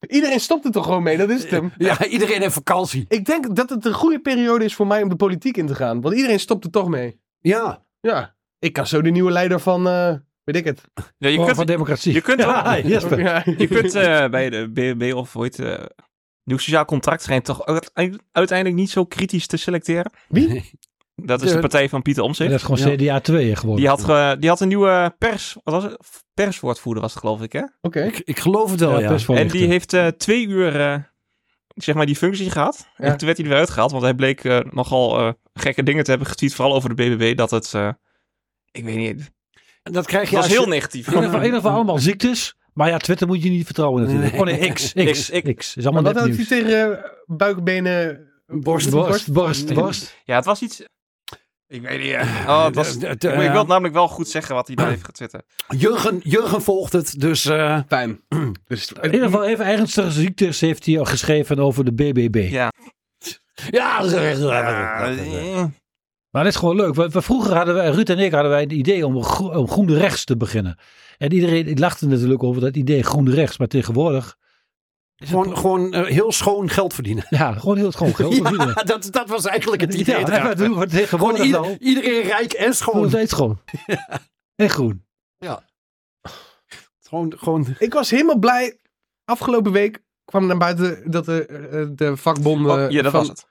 [SPEAKER 4] Iedereen stopt er toch gewoon mee, dat is het hem.
[SPEAKER 5] Ja, iedereen heeft vakantie.
[SPEAKER 4] Ik denk dat het een goede periode is voor mij om de politiek in te gaan. Want iedereen stopt er toch mee.
[SPEAKER 5] Ja.
[SPEAKER 4] Ja, ik kan zo de nieuwe leider van, eh, weet ik het.
[SPEAKER 3] Ja, je
[SPEAKER 6] Forum
[SPEAKER 3] kunt,
[SPEAKER 6] Oh, van democratie.
[SPEAKER 3] je kunt
[SPEAKER 6] ja,
[SPEAKER 3] wel-
[SPEAKER 6] Jesper.
[SPEAKER 4] Ja.
[SPEAKER 3] je kunt eh, bij de BNB of hoe heet eh, Nieuw Sociaal Contract schijnt toch uite- uiteindelijk niet zo kritisch te selecteren.
[SPEAKER 4] Wie?
[SPEAKER 3] Dat is
[SPEAKER 5] De-
[SPEAKER 3] de partij van Pieter
[SPEAKER 6] Ja,
[SPEAKER 3] Omtzigt.
[SPEAKER 6] Dat is gewoon CDA 2 geworden.
[SPEAKER 3] Die had, ge- die had een nieuwe pers, wat was het? perswoordvoerder, was het geloof ik, hè?
[SPEAKER 4] Oké.
[SPEAKER 5] Ik, ik geloof het wel, ja.
[SPEAKER 3] En die heeft eh, twee uur, eh, zeg maar, die functie gehad.
[SPEAKER 4] Ja.
[SPEAKER 3] En toen werd hij er weer uitgehaald, want hij bleek eh, nogal eh, gekke dingen te hebben getweet. Vooral over de BBB, dat het, eh, ik weet niet,
[SPEAKER 5] En Dat krijg
[SPEAKER 3] het
[SPEAKER 5] je
[SPEAKER 3] was
[SPEAKER 5] als je-
[SPEAKER 3] heel negatief.
[SPEAKER 6] In ieder geval- in ieder geval allemaal ziektes. Maar ja, Twitter moet je niet vertrouwen natuurlijk.
[SPEAKER 5] Nee.
[SPEAKER 6] Oh nee, X, X, X.
[SPEAKER 3] X, X.
[SPEAKER 6] Is
[SPEAKER 4] Maar
[SPEAKER 6] allemaal
[SPEAKER 4] wat
[SPEAKER 6] net
[SPEAKER 4] had
[SPEAKER 6] nieuws.
[SPEAKER 4] hij tegen eh, buikbenen... eh,
[SPEAKER 5] Borst,
[SPEAKER 6] Borst, borst,
[SPEAKER 3] Nee.
[SPEAKER 6] borst.
[SPEAKER 3] Ja, het was iets... Ik weet niet. eh, Oh, het was,
[SPEAKER 5] Eh, eh,
[SPEAKER 3] ik wil
[SPEAKER 5] eh,
[SPEAKER 3] het namelijk wel goed zeggen wat hij daar heeft getwitterd.
[SPEAKER 5] Jurgen, Jurgen volgt het, dus... eh,
[SPEAKER 4] Fijn. Dus,
[SPEAKER 6] In ieder geval even ernstige ziektes heeft hij al geschreven over de BBB.
[SPEAKER 3] Ja.
[SPEAKER 5] ja,
[SPEAKER 3] Ja, eh,
[SPEAKER 6] Maar dat is gewoon leuk. We, we- vroeger hadden wij, Ruud en ik hadden wij het idee om, gro- om groen rechts te beginnen. En iedereen lachte natuurlijk over dat idee groen rechts. Maar tegenwoordig,
[SPEAKER 5] gewoon gewoon eh, heel schoon geld verdienen.
[SPEAKER 6] ja, gewoon heel schoon geld.
[SPEAKER 5] Ja, dat, dat was eigenlijk het idee.
[SPEAKER 6] Ja,
[SPEAKER 5] erachter.
[SPEAKER 6] maar doen we
[SPEAKER 5] gewoon
[SPEAKER 6] tegenwoordig
[SPEAKER 5] ieder-
[SPEAKER 6] nou.
[SPEAKER 5] iedereen rijk en
[SPEAKER 6] Gewoon
[SPEAKER 5] schoon.
[SPEAKER 6] steeds schoon. En groen.
[SPEAKER 5] Gewoon, gewoon
[SPEAKER 4] ik was helemaal blij. Afgelopen week kwam naar buiten dat de, eh, de vakbonden...
[SPEAKER 3] oh, ja, dat
[SPEAKER 4] van-
[SPEAKER 3] was het.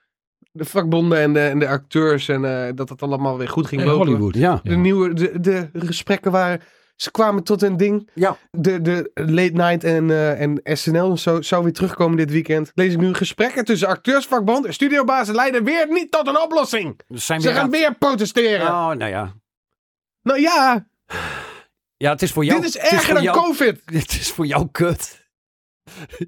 [SPEAKER 4] De vakbonden en de, en de acteurs en eh, dat het allemaal weer goed ging
[SPEAKER 6] En
[SPEAKER 4] lopen.
[SPEAKER 6] Hollywood.
[SPEAKER 5] ja.
[SPEAKER 4] De nieuwe, de, de gesprekken waren, ze kwamen tot een ding.
[SPEAKER 5] Ja.
[SPEAKER 4] De, de late night en, eh, en SNL zou, zou weer terugkomen dit weekend. Lees ik nu gesprekken tussen acteursvakbond en studiobazen leiden weer niet tot een oplossing.
[SPEAKER 5] Er Dus zijn
[SPEAKER 4] Ze
[SPEAKER 5] weer
[SPEAKER 4] gaan
[SPEAKER 5] aan-
[SPEAKER 4] weer protesteren.
[SPEAKER 5] Oh, nou ja.
[SPEAKER 4] Nou ja,
[SPEAKER 5] Ja, het is voor jou.
[SPEAKER 4] dit is
[SPEAKER 5] het voor
[SPEAKER 4] erger dan
[SPEAKER 5] jou-
[SPEAKER 4] COVID.
[SPEAKER 5] Dit is voor jou kut.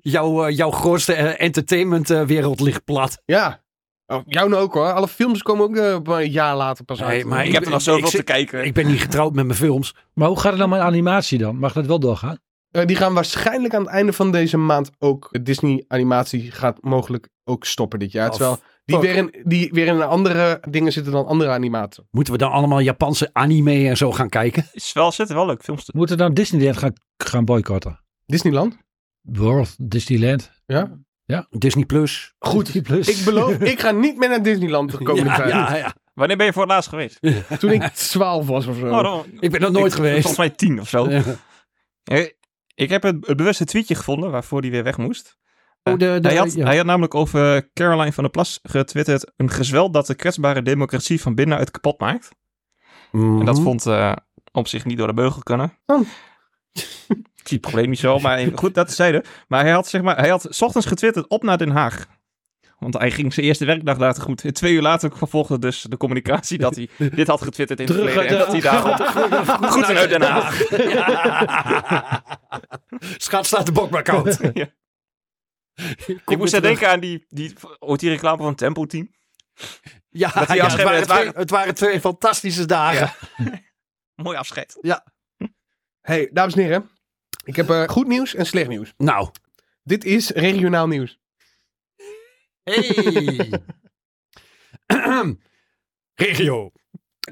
[SPEAKER 5] Jouw, eh, jouw grootste entertainmentwereld ligt plat.
[SPEAKER 4] Ja. Oh, jou nou ook hoor. Alle films komen ook eh, op een jaar later pas
[SPEAKER 5] Nee,
[SPEAKER 4] uit.
[SPEAKER 5] maar
[SPEAKER 3] Ik,
[SPEAKER 5] ik-
[SPEAKER 3] heb er nog zoveel
[SPEAKER 5] ik zit-
[SPEAKER 3] te kijken.
[SPEAKER 5] Ik ben niet getrouwd met mijn films.
[SPEAKER 6] Maar hoe gaat het dan met animatie dan? Mag dat wel doorgaan?
[SPEAKER 4] Eh, die gaan waarschijnlijk aan het einde van deze maand ook. Disney animatie gaat mogelijk ook stoppen dit jaar.
[SPEAKER 5] Of-
[SPEAKER 4] Terwijl die
[SPEAKER 5] ook.
[SPEAKER 4] weer, in, die weer in andere dingen zitten dan andere animatoren.
[SPEAKER 5] Moeten we dan allemaal Japanse anime en zo gaan kijken?
[SPEAKER 3] is wel, zitten wel leuk films te
[SPEAKER 6] Moeten dan Disneyland gaan, gaan boycotten?
[SPEAKER 4] Disneyland?
[SPEAKER 6] World Disneyland.
[SPEAKER 4] Ja.
[SPEAKER 5] Disney Plus.
[SPEAKER 4] Goed.
[SPEAKER 6] Disney Plus.
[SPEAKER 4] Ik beloof, ik ga niet meer naar Disneyland de komende
[SPEAKER 5] Ja,
[SPEAKER 4] vijf
[SPEAKER 5] ja, ja.
[SPEAKER 3] Wanneer ben je voor het laatst geweest?
[SPEAKER 4] jaar. Toen ik 12 was of zo.
[SPEAKER 3] Oh, dan-
[SPEAKER 5] Ik ben nog nooit
[SPEAKER 3] Ik-
[SPEAKER 5] geweest.
[SPEAKER 3] Volgens mij tien of zo.
[SPEAKER 5] Ja.
[SPEAKER 3] Eh, Ik heb het, het bewuste tweetje gevonden waarvoor die weer weg moest.
[SPEAKER 5] Oh, de- de-
[SPEAKER 3] hij, had,
[SPEAKER 5] ja.
[SPEAKER 3] hij had namelijk over Caroline van der Plas getwitterd. Een gezwel dat de kwetsbare democratie van binnenuit kapot maakt. En
[SPEAKER 5] Mhm.
[SPEAKER 3] dat vond eh, op zich niet door de beugel kunnen.
[SPEAKER 4] Oh.
[SPEAKER 3] Ik zie het probleem niet zo, maar goed, dat zeiden. Maar hij had, zeg maar, hij had 's ochtends getwitterd op naar Den Haag. Want hij ging zijn eerste werkdag daar te goed. En twee uur later volgde dus de communicatie dat hij dit had getwitterd in het
[SPEAKER 6] Terug
[SPEAKER 3] verleden. En
[SPEAKER 6] uit
[SPEAKER 3] dat
[SPEAKER 6] de-
[SPEAKER 3] hij daarop goed
[SPEAKER 5] Oh,
[SPEAKER 3] en uit Den Haag.
[SPEAKER 5] Schat staat de bok maar koud.
[SPEAKER 3] Ja.
[SPEAKER 5] weer
[SPEAKER 3] ik moest daar
[SPEAKER 5] terug.
[SPEAKER 3] denken aan die, die, ooit die reclame van Tempo Team.
[SPEAKER 5] Ja,
[SPEAKER 3] Dat die
[SPEAKER 5] ja, het,
[SPEAKER 3] afscheid-
[SPEAKER 5] waren
[SPEAKER 3] het
[SPEAKER 5] twee,
[SPEAKER 3] waren-
[SPEAKER 5] het waren twee fantastische dagen.
[SPEAKER 3] Mooi afscheid.
[SPEAKER 4] Hey, dames en heren. Ik heb eh, goed nieuws en slecht nieuws.
[SPEAKER 5] Nou.
[SPEAKER 4] Dit is regionaal nieuws.
[SPEAKER 5] Hey. Regio.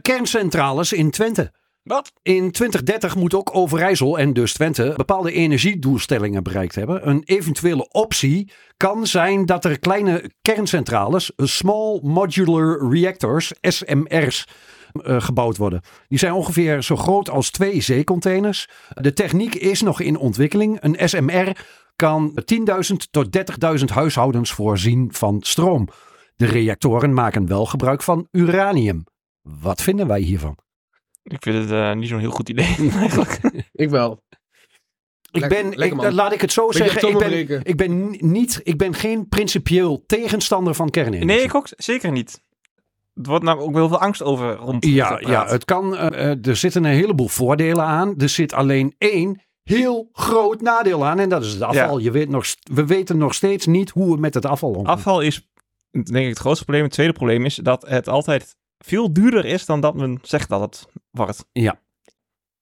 [SPEAKER 5] Kerncentrales in Twente.
[SPEAKER 3] Wat?
[SPEAKER 5] In 2030 moet ook Overijssel en dus Twente bepaalde energiedoelstellingen bereikt hebben. Een eventuele optie kan zijn dat er kleine kerncentrales, small modular reactors, SMR's, eh, gebouwd worden. Die zijn ongeveer zo groot als twee zeecontainers. De techniek is nog in ontwikkeling. Een SMR kan 10.000 tot 30.000 huishoudens voorzien van stroom. De reactoren maken wel gebruik van uranium. Wat vinden wij hiervan?
[SPEAKER 3] Ik vind het eh, niet zo'n heel goed idee eigenlijk.
[SPEAKER 4] Ik wel.
[SPEAKER 5] Ik
[SPEAKER 4] Lekker-
[SPEAKER 5] ben,
[SPEAKER 4] lekker
[SPEAKER 5] ik-
[SPEAKER 4] man.
[SPEAKER 5] eh, laat ik het zo
[SPEAKER 4] Beetje
[SPEAKER 5] zeggen, ik ben,
[SPEAKER 4] atoombreken.
[SPEAKER 5] ik, ben ni- niet, ik ben geen principieel tegenstander van kernenergie.
[SPEAKER 3] Nee, ik ook z- zeker niet. Er wordt namelijk ook heel veel angst over rond.
[SPEAKER 5] Ja, ja
[SPEAKER 3] gepraat.
[SPEAKER 5] het kan, eh, eh, er zitten een heleboel voordelen aan. Er zit alleen één heel groot nadeel aan en dat is het afval. Je weet nog, st- we weten nog steeds niet hoe we met het afval omgaan.
[SPEAKER 3] Afval is denk ik het grootste probleem. Het tweede probleem is dat het altijd veel duurder is dan dat men zegt dat het wordt.
[SPEAKER 5] Mm-hmm.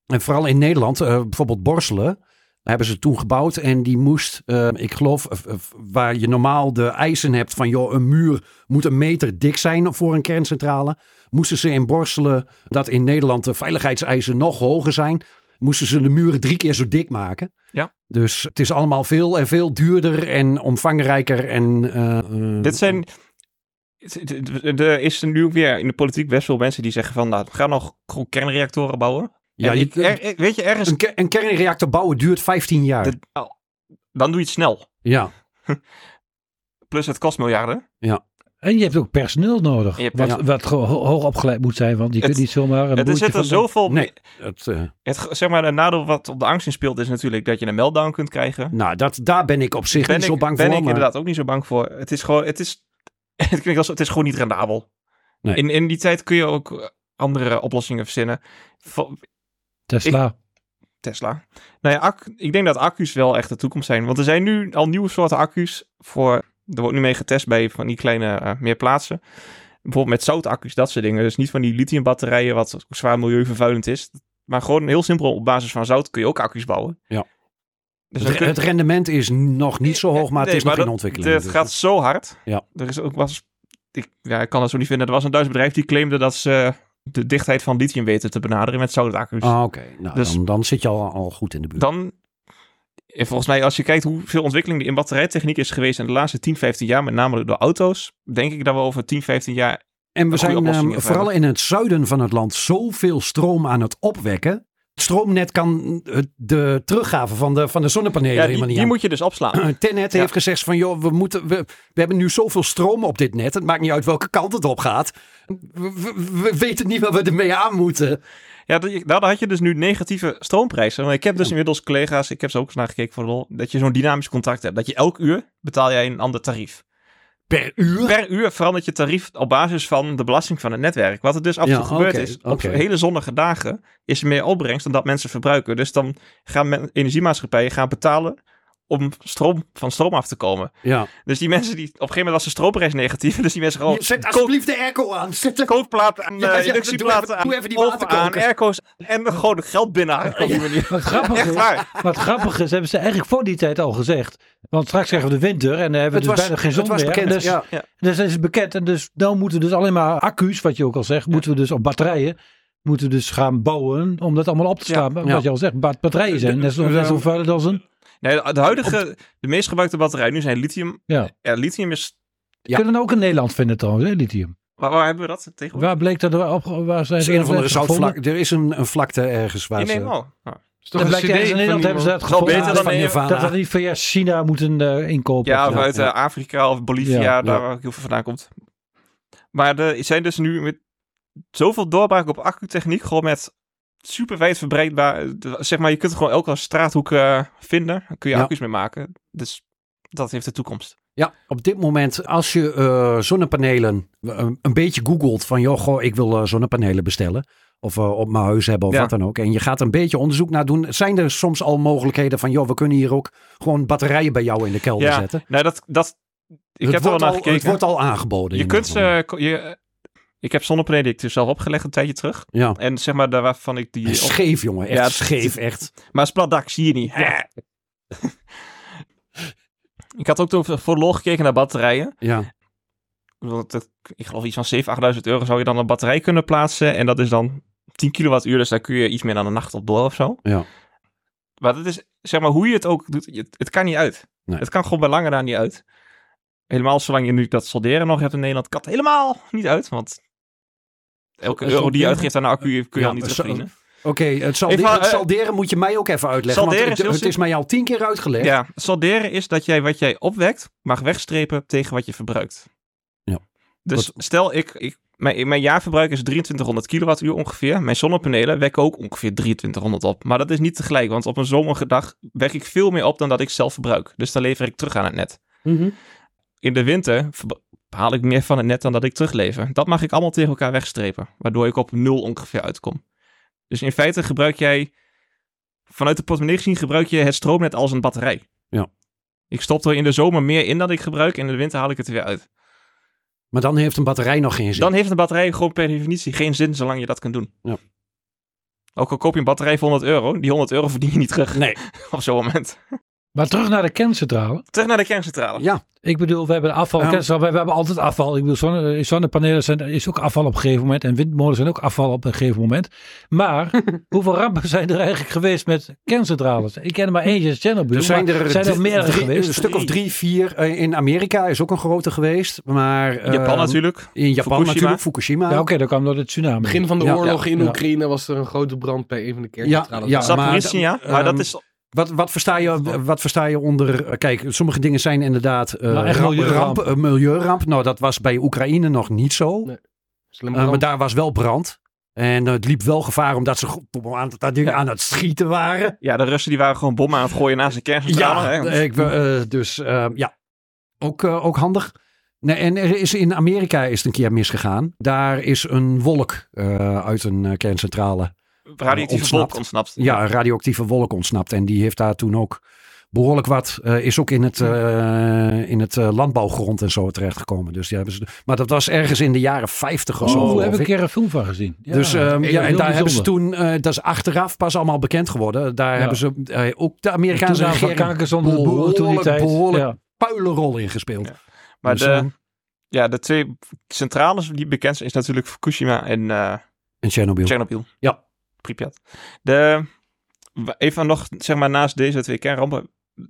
[SPEAKER 5] En vooral in Nederland, eh, bijvoorbeeld Borselen, hebben ze toen gebouwd. En die moest, eh, ik geloof, eh, eh, waar je normaal de eisen hebt van joh, een muur moet een meter dik zijn voor een kerncentrale. Moesten ze in Borselen, dat in Nederland de veiligheidseisen nog hoger zijn, moesten ze de muren drie keer zo dik maken.
[SPEAKER 3] Ja.
[SPEAKER 5] Dus het is allemaal veel en veel duurder en omvangrijker. En, eh, eh,
[SPEAKER 3] Dit zijn. het- het- het- Er is nu ook weer in de politiek best veel mensen die zeggen van, nou, we gaan nog gewoon kernreactoren bouwen.
[SPEAKER 5] ja,
[SPEAKER 3] En
[SPEAKER 5] je-
[SPEAKER 3] ik- er- er- weet je, ergens,
[SPEAKER 5] een, ke- een kernreactor bouwen duurt 15 jaar.
[SPEAKER 3] dat- nou, dan doe je het snel.
[SPEAKER 5] ja.
[SPEAKER 3] Plus het kost miljarden.
[SPEAKER 6] En je hebt ook personeel nodig.
[SPEAKER 3] Je hebt
[SPEAKER 6] wat
[SPEAKER 5] personeel.
[SPEAKER 6] wat gewoon ho- hoog opgeleid moet zijn. Want je
[SPEAKER 3] Het-
[SPEAKER 6] kunt niet zomaar een
[SPEAKER 3] Er
[SPEAKER 6] boertje
[SPEAKER 3] zitten
[SPEAKER 6] van-
[SPEAKER 3] zoveel...
[SPEAKER 5] Nee. Het, eh,
[SPEAKER 3] Het, ge- zeg maar, de nadeel wat op de angst in speelt is natuurlijk dat je een meltdown kunt krijgen.
[SPEAKER 5] nou, dat, daar ben ik op zich
[SPEAKER 3] ben
[SPEAKER 5] niet
[SPEAKER 3] ik,
[SPEAKER 5] zo bang
[SPEAKER 3] ben
[SPEAKER 5] voor.
[SPEAKER 3] ik
[SPEAKER 5] maar-
[SPEAKER 3] inderdaad ook niet zo bang voor. Het is gewoon, het is, het klinkt als, het is gewoon niet rendabel.
[SPEAKER 5] Nee.
[SPEAKER 3] In, in die tijd kun je ook eh, andere oplossingen verzinnen. Va-
[SPEAKER 6] Tesla.
[SPEAKER 3] Tesla. Nou ja, acc- ik denk dat accu's wel echt de toekomst zijn. Want er zijn nu al nieuwe soorten accu's voor. Er wordt nu mee getest bij van die kleine eh, meer plaatsen. Bijvoorbeeld met zoutaccu's, dat soort dingen. Dus niet van die lithiumbatterijen, wat zwaar milieuvervuilend is. Maar gewoon heel simpel, op basis van zout kun je ook accu's bouwen.
[SPEAKER 5] Ja.
[SPEAKER 3] Dus dan
[SPEAKER 5] Het,
[SPEAKER 3] kun-
[SPEAKER 5] het rendement is nog niet zo hoog, maar het
[SPEAKER 3] Nee,
[SPEAKER 5] is nog in
[SPEAKER 3] dat-
[SPEAKER 5] ontwikkeling.
[SPEAKER 3] Het
[SPEAKER 5] Dus-
[SPEAKER 3] gaat zo hard.
[SPEAKER 5] Ja.
[SPEAKER 3] Er is ook was, ik, ja, ik kan het zo niet vinden. Er was een Duits bedrijf die claimde dat ze eh, de dichtheid van lithium weten te benaderen met zoutaccu's.
[SPEAKER 5] Ah, Oké, nou,
[SPEAKER 3] Dus-
[SPEAKER 5] dan, dan zit je al, al goed in de buurt.
[SPEAKER 3] Dan, en volgens mij, als je kijkt hoeveel ontwikkeling er in batterijtechniek is geweest in de laatste 10, 15 jaar, met name door auto's, denk ik dat we over 10, 15 jaar.
[SPEAKER 5] en
[SPEAKER 3] goede
[SPEAKER 5] we zijn
[SPEAKER 3] oplossing
[SPEAKER 5] ehm,
[SPEAKER 3] hiervoor
[SPEAKER 5] vooral in het zuiden van het land zoveel stroom aan het opwekken. Het stroomnet kan eh, de teruggave van de, van de zonnepanelen
[SPEAKER 3] Ja, die,
[SPEAKER 5] helemaal niet
[SPEAKER 3] die
[SPEAKER 5] aan.
[SPEAKER 3] moet je dus opslaan.
[SPEAKER 5] Tenet
[SPEAKER 3] Ja.
[SPEAKER 5] heeft gezegd van joh, we, moeten, we, we hebben nu zoveel stroom op dit net. Het maakt niet uit welke kant het op gaat. We, we- we weten niet waar we ermee aan moeten.
[SPEAKER 3] Ja, dat- daar had je dus nu negatieve stroomprijzen. Want ik heb dus inmiddels collega's, ik heb ze ook eens naar gekeken voor de lol, dat je zo'n dynamisch contract hebt. Dat je elk uur betaal jij een ander tarief.
[SPEAKER 5] Per uur.
[SPEAKER 3] per uur verandert je tarief op basis van de belasting van het netwerk. Wat er dus af en
[SPEAKER 5] Ja,
[SPEAKER 3] toe gebeurd
[SPEAKER 5] oké,
[SPEAKER 3] is, op
[SPEAKER 5] oké.
[SPEAKER 3] hele zonnige dagen is er meer opbrengst dan dat mensen verbruiken. Dus dan gaan men- energiemaatschappijen gaan betalen om stroom, van stroom af te komen.
[SPEAKER 5] ja.
[SPEAKER 3] Dus die mensen die, op een gegeven moment was de stroomprijs negatief, dus die mensen gewoon
[SPEAKER 5] Zet alsjeblieft de airco aan. Zet de-
[SPEAKER 3] kookplaten aan,
[SPEAKER 5] Ja, ja,
[SPEAKER 3] eh,
[SPEAKER 5] doe
[SPEAKER 3] inductieplaten
[SPEAKER 5] even-
[SPEAKER 3] aan,
[SPEAKER 5] doe even die
[SPEAKER 3] oven
[SPEAKER 5] waterkoker.
[SPEAKER 3] aan, airco's en gewoon geld binnenhalen op die manier.
[SPEAKER 6] Wat grappig
[SPEAKER 3] Echt
[SPEAKER 6] is.
[SPEAKER 3] waar.
[SPEAKER 6] Wat grappig is, hebben ze eigenlijk voor die tijd al gezegd. Want straks krijgen we de winter en dan hebben
[SPEAKER 5] Het
[SPEAKER 6] we dus
[SPEAKER 5] was,
[SPEAKER 6] bijna geen
[SPEAKER 5] het
[SPEAKER 6] zon
[SPEAKER 5] was
[SPEAKER 6] meer.
[SPEAKER 5] bekend.
[SPEAKER 6] dus,
[SPEAKER 5] ja.
[SPEAKER 6] dus dat is bekend. En dus nou moeten we dus alleen maar accu's, wat je ook al zegt, moeten we dus op batterijen, moeten we dus gaan bouwen om dat allemaal op te
[SPEAKER 3] Ja,
[SPEAKER 6] slaan.
[SPEAKER 5] ja.
[SPEAKER 6] Wat je al zegt, ba- batterijen zijn net zo, net zo vuil als een...
[SPEAKER 3] Nee, de, de huidige, de meest gebruikte batterij nu zijn lithium.
[SPEAKER 6] Ja.
[SPEAKER 3] Ja, lithium is,
[SPEAKER 5] Ja.
[SPEAKER 6] Kunnen we ook in Nederland vinden trouwens, hè, lithium.
[SPEAKER 3] waar, waar hebben we dat tegenwoordig?
[SPEAKER 6] Waar bleek dat er op, waar zijn
[SPEAKER 5] Het
[SPEAKER 6] ze
[SPEAKER 5] is een of andere
[SPEAKER 6] dat gevonden?
[SPEAKER 5] zoutvlak. Er is een, een vlakte ergens waar
[SPEAKER 3] In E
[SPEAKER 5] ze...
[SPEAKER 3] Nederland. Ja.
[SPEAKER 4] Is toch
[SPEAKER 6] Dat
[SPEAKER 4] een
[SPEAKER 6] blijkt
[SPEAKER 4] CD
[SPEAKER 6] ergens in
[SPEAKER 4] van
[SPEAKER 6] Nederland hebben ze
[SPEAKER 4] iemand?
[SPEAKER 6] dat
[SPEAKER 3] Is wel
[SPEAKER 6] gevonden.
[SPEAKER 3] beter dan
[SPEAKER 5] van
[SPEAKER 3] in-
[SPEAKER 5] Nirvana.
[SPEAKER 6] Dat we die via China moeten eh, inkopen.
[SPEAKER 3] Ja,
[SPEAKER 6] of
[SPEAKER 3] of
[SPEAKER 6] zo.
[SPEAKER 3] uit eh, Afrika of Bolivia,
[SPEAKER 6] Ja,
[SPEAKER 3] daar
[SPEAKER 5] ja.
[SPEAKER 3] waar ook heel veel vandaan komt. Maar er zijn dus nu met zoveel doorbraak op accutechniek, gewoon met super wijd verbreidbaar. eh, Zeg maar, je kunt gewoon elke straathoek eh, vinden, daar kun je
[SPEAKER 5] Ja.
[SPEAKER 3] accu's mee maken. Dus dat heeft de toekomst.
[SPEAKER 5] Ja, op dit moment als je eh, zonnepanelen eh, een beetje googelt van joh, goh, ik wil eh, zonnepanelen bestellen. Of eh, op mijn huis hebben of
[SPEAKER 3] Ja.
[SPEAKER 5] wat dan ook. En je gaat een beetje onderzoek naar doen. Zijn er soms al mogelijkheden van joh, we kunnen hier ook gewoon batterijen bij jou in de kelder
[SPEAKER 3] Ja,
[SPEAKER 5] zetten?
[SPEAKER 3] nou dat, dat ik
[SPEAKER 5] het
[SPEAKER 3] heb er wel
[SPEAKER 5] wordt
[SPEAKER 3] naar
[SPEAKER 5] al, Het
[SPEAKER 3] gekeken.
[SPEAKER 5] wordt al aangeboden.
[SPEAKER 3] Je
[SPEAKER 5] in
[SPEAKER 3] kunt
[SPEAKER 5] ieder geval.
[SPEAKER 3] ze, ko- je, eh, ik heb zonnepanelen die ik dus zelf opgelegd een tijdje terug.
[SPEAKER 5] Ja.
[SPEAKER 3] En zeg maar, daar waarvan ik eh, die... op-
[SPEAKER 5] Scheef jongen, echt
[SPEAKER 3] Ja, het-
[SPEAKER 5] scheef, echt.
[SPEAKER 3] Maar het is plat dak, zie je niet. ik had ook toen voor de lol gekeken naar batterijen.
[SPEAKER 5] Ja.
[SPEAKER 3] Ik bedoel, dat- Ik geloof iets van 7.000, 8.000 euro zou je dan een batterij kunnen plaatsen. En dat is dan 10 kilowattuur, dus daar kun je iets meer dan een nacht op door of zo.
[SPEAKER 5] Ja.
[SPEAKER 3] Maar dat is, zeg maar, hoe je het ook doet, je- het kan niet uit.
[SPEAKER 5] Nee.
[SPEAKER 3] Het kan gewoon bij lange na niet uit. Helemaal zolang je nu dat solderen nog hebt in Nederland, kan het helemaal niet uit. Want elke euro die
[SPEAKER 6] Eh,
[SPEAKER 3] je
[SPEAKER 6] solderen?
[SPEAKER 3] uitgeeft aan een accu kun je
[SPEAKER 5] Ja,
[SPEAKER 3] al niet
[SPEAKER 5] zo-
[SPEAKER 3] terugverdienen.
[SPEAKER 5] Oké, het, salde-
[SPEAKER 3] Even,
[SPEAKER 5] het
[SPEAKER 3] eh,
[SPEAKER 5] salderen moet je mij ook even uitleggen.
[SPEAKER 3] salderen
[SPEAKER 5] want
[SPEAKER 3] is
[SPEAKER 5] het,
[SPEAKER 3] heel
[SPEAKER 5] het is mij al tien keer uitgelegd.
[SPEAKER 3] Ja, solderen is dat jij wat jij opwekt mag wegstrepen tegen wat je verbruikt.
[SPEAKER 5] Ja.
[SPEAKER 3] Dus stel ik, ik Mijn, mijn jaarverbruik is 2300 kilowattuur ongeveer. Mijn zonnepanelen wekken ook ongeveer 2300 op. Maar dat is niet tegelijk, want op een zonnige dag wek ik veel meer op dan dat ik zelf verbruik. Dus dan lever ik terug aan het net. In de winter verbr- haal ik meer van het net dan dat ik teruglever. Dat mag ik allemaal tegen elkaar wegstrepen, waardoor ik op nul ongeveer uitkom. Dus in feite gebruik jij, vanuit de portemonnee gezien, gebruik je het stroomnet als een batterij.
[SPEAKER 5] Ja.
[SPEAKER 3] Ik stop er in de zomer meer in dan ik gebruik en in de winter haal ik het er weer uit.
[SPEAKER 5] Maar dan heeft een batterij nog geen zin.
[SPEAKER 3] Dan heeft een batterij gewoon per definitie geen zin zolang je dat kan doen.
[SPEAKER 5] Ja.
[SPEAKER 3] Ook al koop je een batterij voor 100 euro, die 100 euro verdien je niet terug
[SPEAKER 5] Nee.
[SPEAKER 3] op zo'n moment.
[SPEAKER 6] Maar terug naar de kerncentrale.
[SPEAKER 3] Terug naar de kerncentrale.
[SPEAKER 5] Ja,
[SPEAKER 6] Ik bedoel, we hebben afval.
[SPEAKER 5] Ja.
[SPEAKER 6] kerncentrale, we, we hebben altijd afval. Ik bedoel, zonne, eh, zonnepanelen zijn, is ook afval op een gegeven moment. En windmolens zijn ook afval op een gegeven moment. Maar hoeveel rampen zijn er eigenlijk geweest met kerncentrales? Ik ken er maar eentje, Chernobyl.
[SPEAKER 5] Er zijn
[SPEAKER 6] Dus maar
[SPEAKER 5] er,
[SPEAKER 6] zijn er
[SPEAKER 5] drie-
[SPEAKER 6] meerdere
[SPEAKER 5] drie-
[SPEAKER 6] geweest.
[SPEAKER 5] Een stuk of drie, vier. Eh, In Amerika is ook een grote geweest. Maar, eh,
[SPEAKER 3] Japan natuurlijk.
[SPEAKER 5] In Japan
[SPEAKER 3] Fukushima.
[SPEAKER 5] natuurlijk, Fukushima.
[SPEAKER 6] Ja, oké, dat kwam door de tsunami.
[SPEAKER 4] Begin van de
[SPEAKER 5] Ja,
[SPEAKER 4] oorlog in
[SPEAKER 6] ja.
[SPEAKER 4] Oekraïne was er een grote brand bij een van de kerncentrales.
[SPEAKER 5] Ja, maar-
[SPEAKER 3] Zaporizhia, maar, dat
[SPEAKER 5] ehm,
[SPEAKER 3] is...
[SPEAKER 5] Wat, wat, versta je, wat versta je onder... eh, Kijk, sommige dingen zijn inderdaad eh,
[SPEAKER 6] Nou, echt
[SPEAKER 5] ramp-
[SPEAKER 6] milieuramp.
[SPEAKER 5] ramp, eh, milieuramp. Nou, dat was bij Oekraïne nog niet zo.
[SPEAKER 4] Nee, Slim
[SPEAKER 5] Eh,
[SPEAKER 4] brand.
[SPEAKER 5] maar daar was wel brand. En eh, het liep wel gevaar omdat ze go- aan, dat ding aan het schieten waren.
[SPEAKER 3] Ja, de Russen die waren gewoon bommen aan het gooien naast een kerncentrale.
[SPEAKER 5] Ja,
[SPEAKER 3] hè.
[SPEAKER 5] ik, eh, dus eh, ja, ook, eh, ook handig. Nee, en er is in Amerika is het een keer misgegaan. Daar is een wolk eh, uit een eh, kerncentrale
[SPEAKER 3] Radioactieve
[SPEAKER 5] ontsnapt.
[SPEAKER 3] volk ontsnapt.
[SPEAKER 5] ja, een radioactieve wolk ontsnapt. En die heeft daar toen ook behoorlijk wat, eh, is ook in het, eh, in het eh, landbouwgrond en zo terechtgekomen. Dus die hebben ze, maar dat was ergens in de jaren 50 of zo.
[SPEAKER 6] Oh,
[SPEAKER 5] geloof
[SPEAKER 6] daar heb ik
[SPEAKER 5] ik.
[SPEAKER 6] een keer een film van gezien. Ja,
[SPEAKER 5] dus ehm,
[SPEAKER 6] heel
[SPEAKER 5] ja, en daar hebben ze
[SPEAKER 6] bijzonder.
[SPEAKER 5] toen, eh, dat is achteraf pas allemaal bekend geworden. Daar
[SPEAKER 6] Ja.
[SPEAKER 5] hebben ze eh, ook de Amerikaanse
[SPEAKER 6] Toen van
[SPEAKER 5] regering
[SPEAKER 6] kankers onder de boeren toen die
[SPEAKER 5] behoorlijk,
[SPEAKER 6] tijd.
[SPEAKER 5] behoorlijk
[SPEAKER 6] Ja.
[SPEAKER 5] puilenrol in gespeeld.
[SPEAKER 3] Ja. Maar
[SPEAKER 5] Dus,
[SPEAKER 3] de,
[SPEAKER 5] ehm,
[SPEAKER 3] ja, de twee centrales die bekend zijn is natuurlijk Fukushima en eh
[SPEAKER 5] en Chernobyl.
[SPEAKER 3] Tsjernobyl.
[SPEAKER 5] Ja.
[SPEAKER 3] Pripyat. De, w- even nog, zeg maar, naast deze twee kernrampen.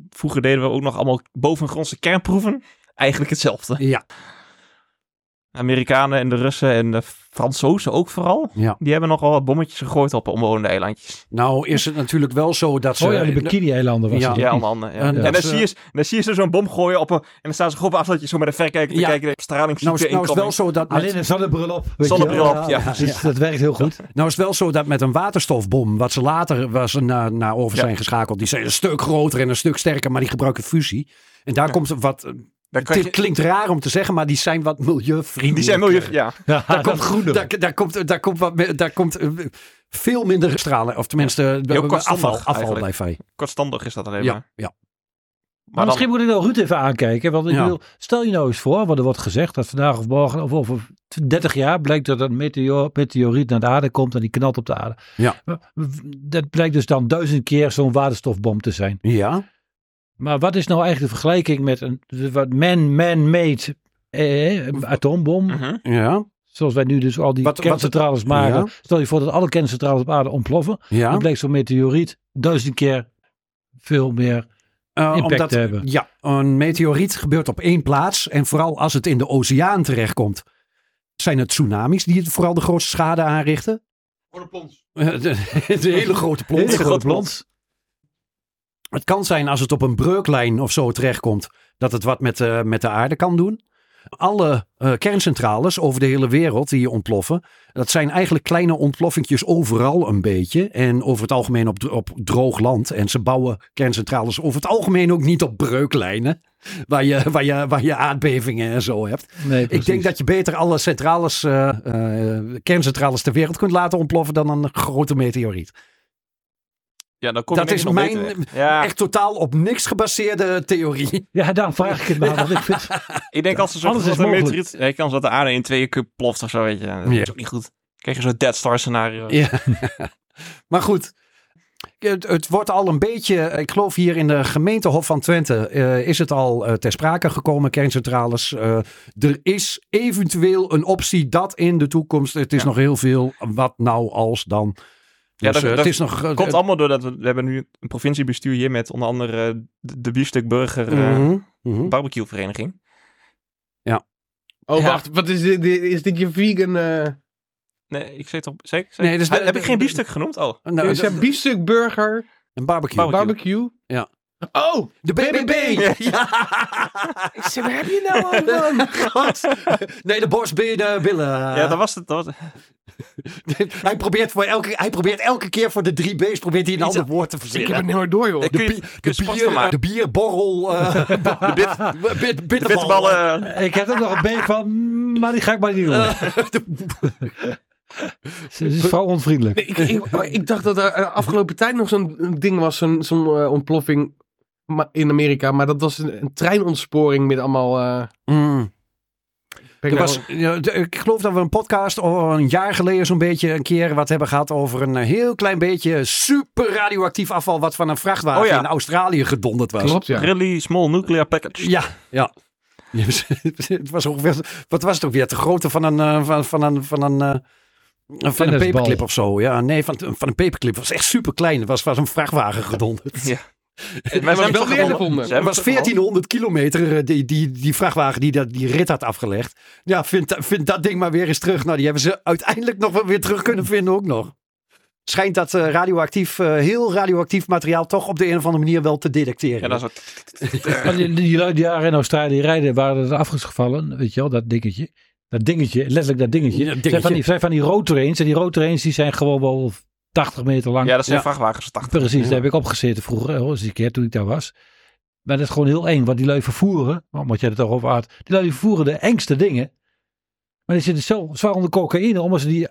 [SPEAKER 3] Vroeger deden we ook nog allemaal bovengrondse kernproeven. Eigenlijk hetzelfde.
[SPEAKER 5] Ja,
[SPEAKER 3] Amerikanen en de Russen en de Fransozen ook vooral.
[SPEAKER 5] Ja.
[SPEAKER 3] Die hebben nogal wat bommetjes gegooid op omwonende eilandjes.
[SPEAKER 5] nou is het natuurlijk wel zo dat ze...
[SPEAKER 6] Oh ja, die Bikini-eilanden was
[SPEAKER 5] Ja.
[SPEAKER 6] het.
[SPEAKER 3] Ja, onder andere. Ja.
[SPEAKER 5] En
[SPEAKER 3] En,
[SPEAKER 5] dat
[SPEAKER 3] dan,
[SPEAKER 5] ze-
[SPEAKER 3] zie je, dan zie je ze zo'n bom gooien op een... En dan staan ze gewoon op een afstandje zo met een verkijker te
[SPEAKER 5] Ja.
[SPEAKER 3] kijken. De straling
[SPEAKER 5] nou, is, nou is het wel zo dat... met-
[SPEAKER 6] Alleen een zonnebril op. weet je wel.
[SPEAKER 3] Zonnebril op, ja.
[SPEAKER 5] Ja,
[SPEAKER 6] Dus dat werkt heel goed.
[SPEAKER 5] Nou is het wel zo dat met een waterstofbom, wat ze later was naar, naar over
[SPEAKER 3] Ja.
[SPEAKER 5] zijn geschakeld, die zijn een stuk groter en een stuk sterker, maar die gebruiken fusie. En daar
[SPEAKER 3] Ja.
[SPEAKER 5] komt wat, eh,
[SPEAKER 3] Daar kan
[SPEAKER 5] dit
[SPEAKER 3] je-
[SPEAKER 5] klinkt raar om te zeggen, maar die zijn wat milieuvriendelijk.
[SPEAKER 3] die zijn milieu... Ja,
[SPEAKER 6] Ja,
[SPEAKER 5] Daar komt,
[SPEAKER 6] groene.
[SPEAKER 5] daar, daar komt, daar komt, wat, me- daar komt eh, veel minder stralen, of tenminste eh,
[SPEAKER 3] Heel kortstandig
[SPEAKER 5] afval, afval
[SPEAKER 3] eigenlijk.
[SPEAKER 5] blijft bij.
[SPEAKER 3] kortstandig is dat alleen
[SPEAKER 5] Ja,
[SPEAKER 3] maar.
[SPEAKER 5] ja.
[SPEAKER 6] Maar
[SPEAKER 3] Maar dan,
[SPEAKER 6] misschien moet ik nou Ruud even aankijken. Want ik
[SPEAKER 5] Ja.
[SPEAKER 6] bedoel, stel je nou eens voor, want er wordt gezegd dat vandaag of morgen of over 30 jaar blijkt dat een meteor, meteoriet naar de aarde komt en die knalt op de aarde.
[SPEAKER 5] Ja.
[SPEAKER 6] Maar Dat blijkt dus dan duizend keer zo'n waterstofbom te zijn.
[SPEAKER 5] Ja,
[SPEAKER 6] Maar wat is nou eigenlijk de vergelijking met een wat man, man-made eh, atoombom?
[SPEAKER 3] Mhm.
[SPEAKER 5] ja,
[SPEAKER 6] Zoals wij nu dus al die
[SPEAKER 5] Wat- wat-
[SPEAKER 6] kerncentrales maken.
[SPEAKER 5] Ja.
[SPEAKER 6] Stel je voor dat alle kerncentrales op aarde ontploffen.
[SPEAKER 5] ja.
[SPEAKER 6] Dan blijkt zo'n meteoriet duizend keer veel meer
[SPEAKER 5] Eh,
[SPEAKER 6] impact te hebben.
[SPEAKER 5] Ja, een meteoriet gebeurt op één plaats. En vooral als het in de oceaan terechtkomt, zijn het tsunamis die het vooral de grootste schade aanrichten. Grote plons. De, de hele grote plons.
[SPEAKER 6] Hele grote plons.
[SPEAKER 5] Het kan zijn als het op een breuklijn of zo terechtkomt, dat het wat met, de- met de aarde kan doen. Alle eh, kerncentrales over de hele wereld die ontploffen, dat zijn eigenlijk kleine ontploffingjes overal een beetje. En over het algemeen op, dro- op droog land. En ze bouwen kerncentrales over het algemeen ook niet op breuklijnen, waar je, waar je, waar je aardbevingen en zo hebt.
[SPEAKER 6] Nee,
[SPEAKER 5] Ik denk dat je beter alle centrales, eh, eh, kerncentrales ter wereld kunt laten ontploffen dan een grote meteoriet.
[SPEAKER 3] ja, dan kom
[SPEAKER 5] Dat
[SPEAKER 3] je
[SPEAKER 5] is
[SPEAKER 3] nog
[SPEAKER 5] mijn-
[SPEAKER 3] beter weg. Ja,
[SPEAKER 5] Echt totaal op niks gebaseerde theorie.
[SPEAKER 6] Ja, daarom vraag ik het maar. Want ik vind,
[SPEAKER 3] ik denk als er zo'n
[SPEAKER 6] alles is
[SPEAKER 3] grote
[SPEAKER 6] mogelijk.
[SPEAKER 3] meteoriet... Ja, kans dat de aarde in tweeën keer ploft of zo, weet je. Dat
[SPEAKER 5] Ja.
[SPEAKER 3] is ook niet goed. Dan krijg je zo'n Dead Star scenario.
[SPEAKER 5] Ja. maar goed. Het, het wordt al een beetje, ik geloof hier in de gemeentehof van Twente, eh, is het al eh, ter sprake gekomen, kerncentrales. Eh, er is eventueel een optie dat in de toekomst, het is nog heel veel, wat nou als dan.
[SPEAKER 3] Ja,
[SPEAKER 5] Dus,
[SPEAKER 3] dat-
[SPEAKER 5] eh,
[SPEAKER 3] dat
[SPEAKER 5] het is nog, eh,
[SPEAKER 3] Komt allemaal doordat we, we hebben nu een provinciebestuur hier met onder andere eh, de, de biefstuk burger eh,
[SPEAKER 5] Mhm, mhm.
[SPEAKER 3] barbecuevereniging.
[SPEAKER 4] Oh,
[SPEAKER 3] Ja.
[SPEAKER 4] wacht. Wat is dit? Dit- Is dit je vegan...
[SPEAKER 5] Nou,
[SPEAKER 4] eh
[SPEAKER 3] Nee, ik zei toch zeker? Ah,
[SPEAKER 5] Nee, dus de-
[SPEAKER 3] heb ik
[SPEAKER 5] de-
[SPEAKER 3] geen
[SPEAKER 5] de-
[SPEAKER 3] biefstuk genoemd? Oh,
[SPEAKER 5] Nou,
[SPEAKER 4] is
[SPEAKER 5] dat-
[SPEAKER 4] een biefstuk burger,
[SPEAKER 5] een barbecue.
[SPEAKER 3] Barbecue.
[SPEAKER 4] barbecue? Oh,
[SPEAKER 5] De BBB!
[SPEAKER 4] ik zeg, waar heb je het nou over dan?
[SPEAKER 5] God. Nee, de borst, binnen, billen.
[SPEAKER 3] Ja, dat was het. Dat was...
[SPEAKER 5] hij, probeert voor elke, hij probeert elke keer voor de drie B's probeert hij een ander woord te
[SPEAKER 4] Ik heb
[SPEAKER 5] verzinnen.
[SPEAKER 4] het niet meer door, joh.
[SPEAKER 3] Eh, kun je-
[SPEAKER 5] Bi-
[SPEAKER 3] kun
[SPEAKER 5] De,
[SPEAKER 3] je sport van
[SPEAKER 5] bier,
[SPEAKER 3] maken?
[SPEAKER 5] de bierborrel. eh,
[SPEAKER 3] De bit- de
[SPEAKER 5] bit- bitterballen.
[SPEAKER 3] bitterballen.
[SPEAKER 6] Ik heb er nog een beetje van, mm, maar die ga ik maar niet doen. Ze is vrouw onvriendelijk.
[SPEAKER 4] Nee, ik, ik, maar ik dacht dat er eh, afgelopen tijd nog zo'n ding was, zo'n zo'n, eh, ontploffing ma- in Amerika. Maar dat was een, een treinontsporing met allemaal... eh,
[SPEAKER 5] Mm.
[SPEAKER 4] ben ik
[SPEAKER 5] Er
[SPEAKER 4] nou-
[SPEAKER 5] was, ja, d- ik geloof dat we een podcast al een jaar geleden zo'n beetje een keer wat hebben gehad over een eh, heel klein beetje super radioactief afval wat van een vrachtwagen
[SPEAKER 3] Oh ja.
[SPEAKER 5] in Australië gedonderd was.
[SPEAKER 4] Klopt, ja.
[SPEAKER 3] Really small nuclear package.
[SPEAKER 5] Ja, ja. Ja, het was ongeveer, wat was het ook weer? De grootte van een, eh, van, van een, van een, eh, van een
[SPEAKER 6] Tennisbal.
[SPEAKER 5] paperclip of zo. Ja, nee, van, van een paperclip. Het was echt super klein. Het was, was een vrachtwagen gedonderd.
[SPEAKER 3] We hebben het
[SPEAKER 4] wel
[SPEAKER 3] gewonnen.
[SPEAKER 4] eerder
[SPEAKER 3] Ze
[SPEAKER 4] gevonden.
[SPEAKER 3] hebben
[SPEAKER 5] Het
[SPEAKER 3] het
[SPEAKER 5] was
[SPEAKER 3] gewonnen.
[SPEAKER 5] 1400 kilometer eh, die, die, die vrachtwagen die, dat- die rit had afgelegd. Ja, vind, da- vind dat ding maar weer eens terug. Nou, die hebben ze uiteindelijk nog wel weer terug kunnen vinden ook nog. Schijnt dat eh, radioactief, eh, heel radioactief materiaal toch op de een of andere manier wel te detecteren.
[SPEAKER 3] Ja, dat is ook...
[SPEAKER 6] Maar Die, die, lui die daar in Australië rijden, waren er afgevallen, weet je wel, dat dingetje. Dat dingetje, letterlijk dat dingetje.
[SPEAKER 5] Ja,
[SPEAKER 6] Zijn
[SPEAKER 5] dingetje.
[SPEAKER 6] van die, zijn van die rotorens en die rotorens die zijn gewoon wel 80 meter lang.
[SPEAKER 3] ja, dat zijn
[SPEAKER 5] Ja.
[SPEAKER 3] vrachtwagens. 80.
[SPEAKER 6] Precies, daar heb ik opgezeten vroeger, hoor, eens een keer toen ik daar was. Maar dat is gewoon heel eng, want die lui vervoeren, omdat jij het over had, die lui vervoeren de engste dingen. Maar die zitten zo zwaar onder cocaïne, omdat ze die...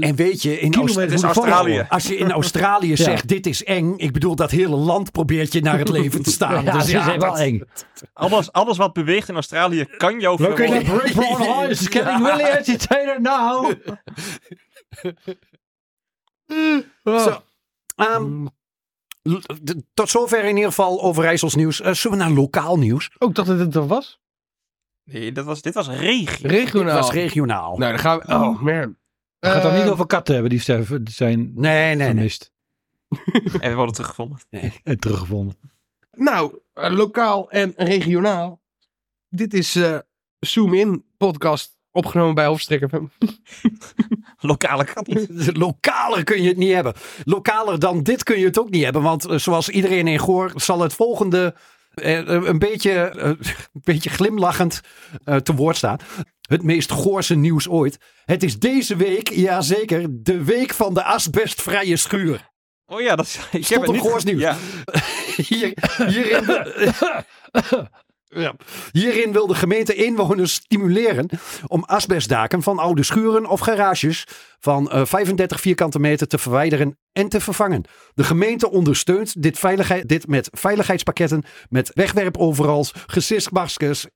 [SPEAKER 5] En weet je, in
[SPEAKER 6] Kilometer
[SPEAKER 5] Aust-
[SPEAKER 6] moeten
[SPEAKER 3] Australië.
[SPEAKER 6] volhouden.
[SPEAKER 5] als je in Australië zegt dit is eng. Ik bedoel, dat hele land probeert je naar het leven te staan.
[SPEAKER 6] Ja,
[SPEAKER 5] Dus
[SPEAKER 6] ze zijn wel
[SPEAKER 5] dat-
[SPEAKER 6] eng.
[SPEAKER 3] Alles, alles wat beweegt in Australië kan jou
[SPEAKER 6] Located
[SPEAKER 3] vermoorden.
[SPEAKER 6] Brave Brown Eyes is getting really entertainer now.
[SPEAKER 5] Zo. Ehm, l- d- tot zover in ieder geval Overijssels nieuws. Eh, zullen we naar lokaal nieuws?
[SPEAKER 4] Oh, ik dacht dat het er was.
[SPEAKER 3] Nee, dat was, dit was regio.
[SPEAKER 4] Regionaal.
[SPEAKER 5] Het was regionaal.
[SPEAKER 4] Nou, dan gaan we... Oh, man.
[SPEAKER 6] Het gaat dan
[SPEAKER 4] Eh,
[SPEAKER 6] niet over katten hebben die sterven- die zijn
[SPEAKER 5] Nee, nee, nee.
[SPEAKER 6] vermist
[SPEAKER 3] En we worden teruggevonden.
[SPEAKER 6] en teruggevonden.
[SPEAKER 4] Nou, eh, lokaal en regionaal. Dit is eh, Zoom In podcast opgenomen bij Hofstrekker. FM.
[SPEAKER 3] Lokale kat.
[SPEAKER 5] Lokaler kun je het niet hebben. Lokaler dan dit kun je het ook niet hebben. Want eh, zoals iedereen in Goor zal het volgende eh, eh, een, beetje, eh, een beetje glimlachend eh, te woord staan. Het meest Goorse nieuws ooit. Het is deze week, jazeker, de week van de asbestvrije schuur.
[SPEAKER 3] Oh ja, dat is... Ik
[SPEAKER 5] Stond
[SPEAKER 3] het
[SPEAKER 5] op
[SPEAKER 3] niet-
[SPEAKER 5] Goors Nieuws.
[SPEAKER 3] Ja.
[SPEAKER 5] Hier, hierin, Ja. hierin wil de gemeente inwoners stimuleren om asbestdaken van oude schuren of garages van eh, 35 vierkante meter te verwijderen en te vervangen. De gemeente ondersteunt dit, veiligheid, dit met veiligheidspakketten, met wegwerpoverals, gezichtmaskers,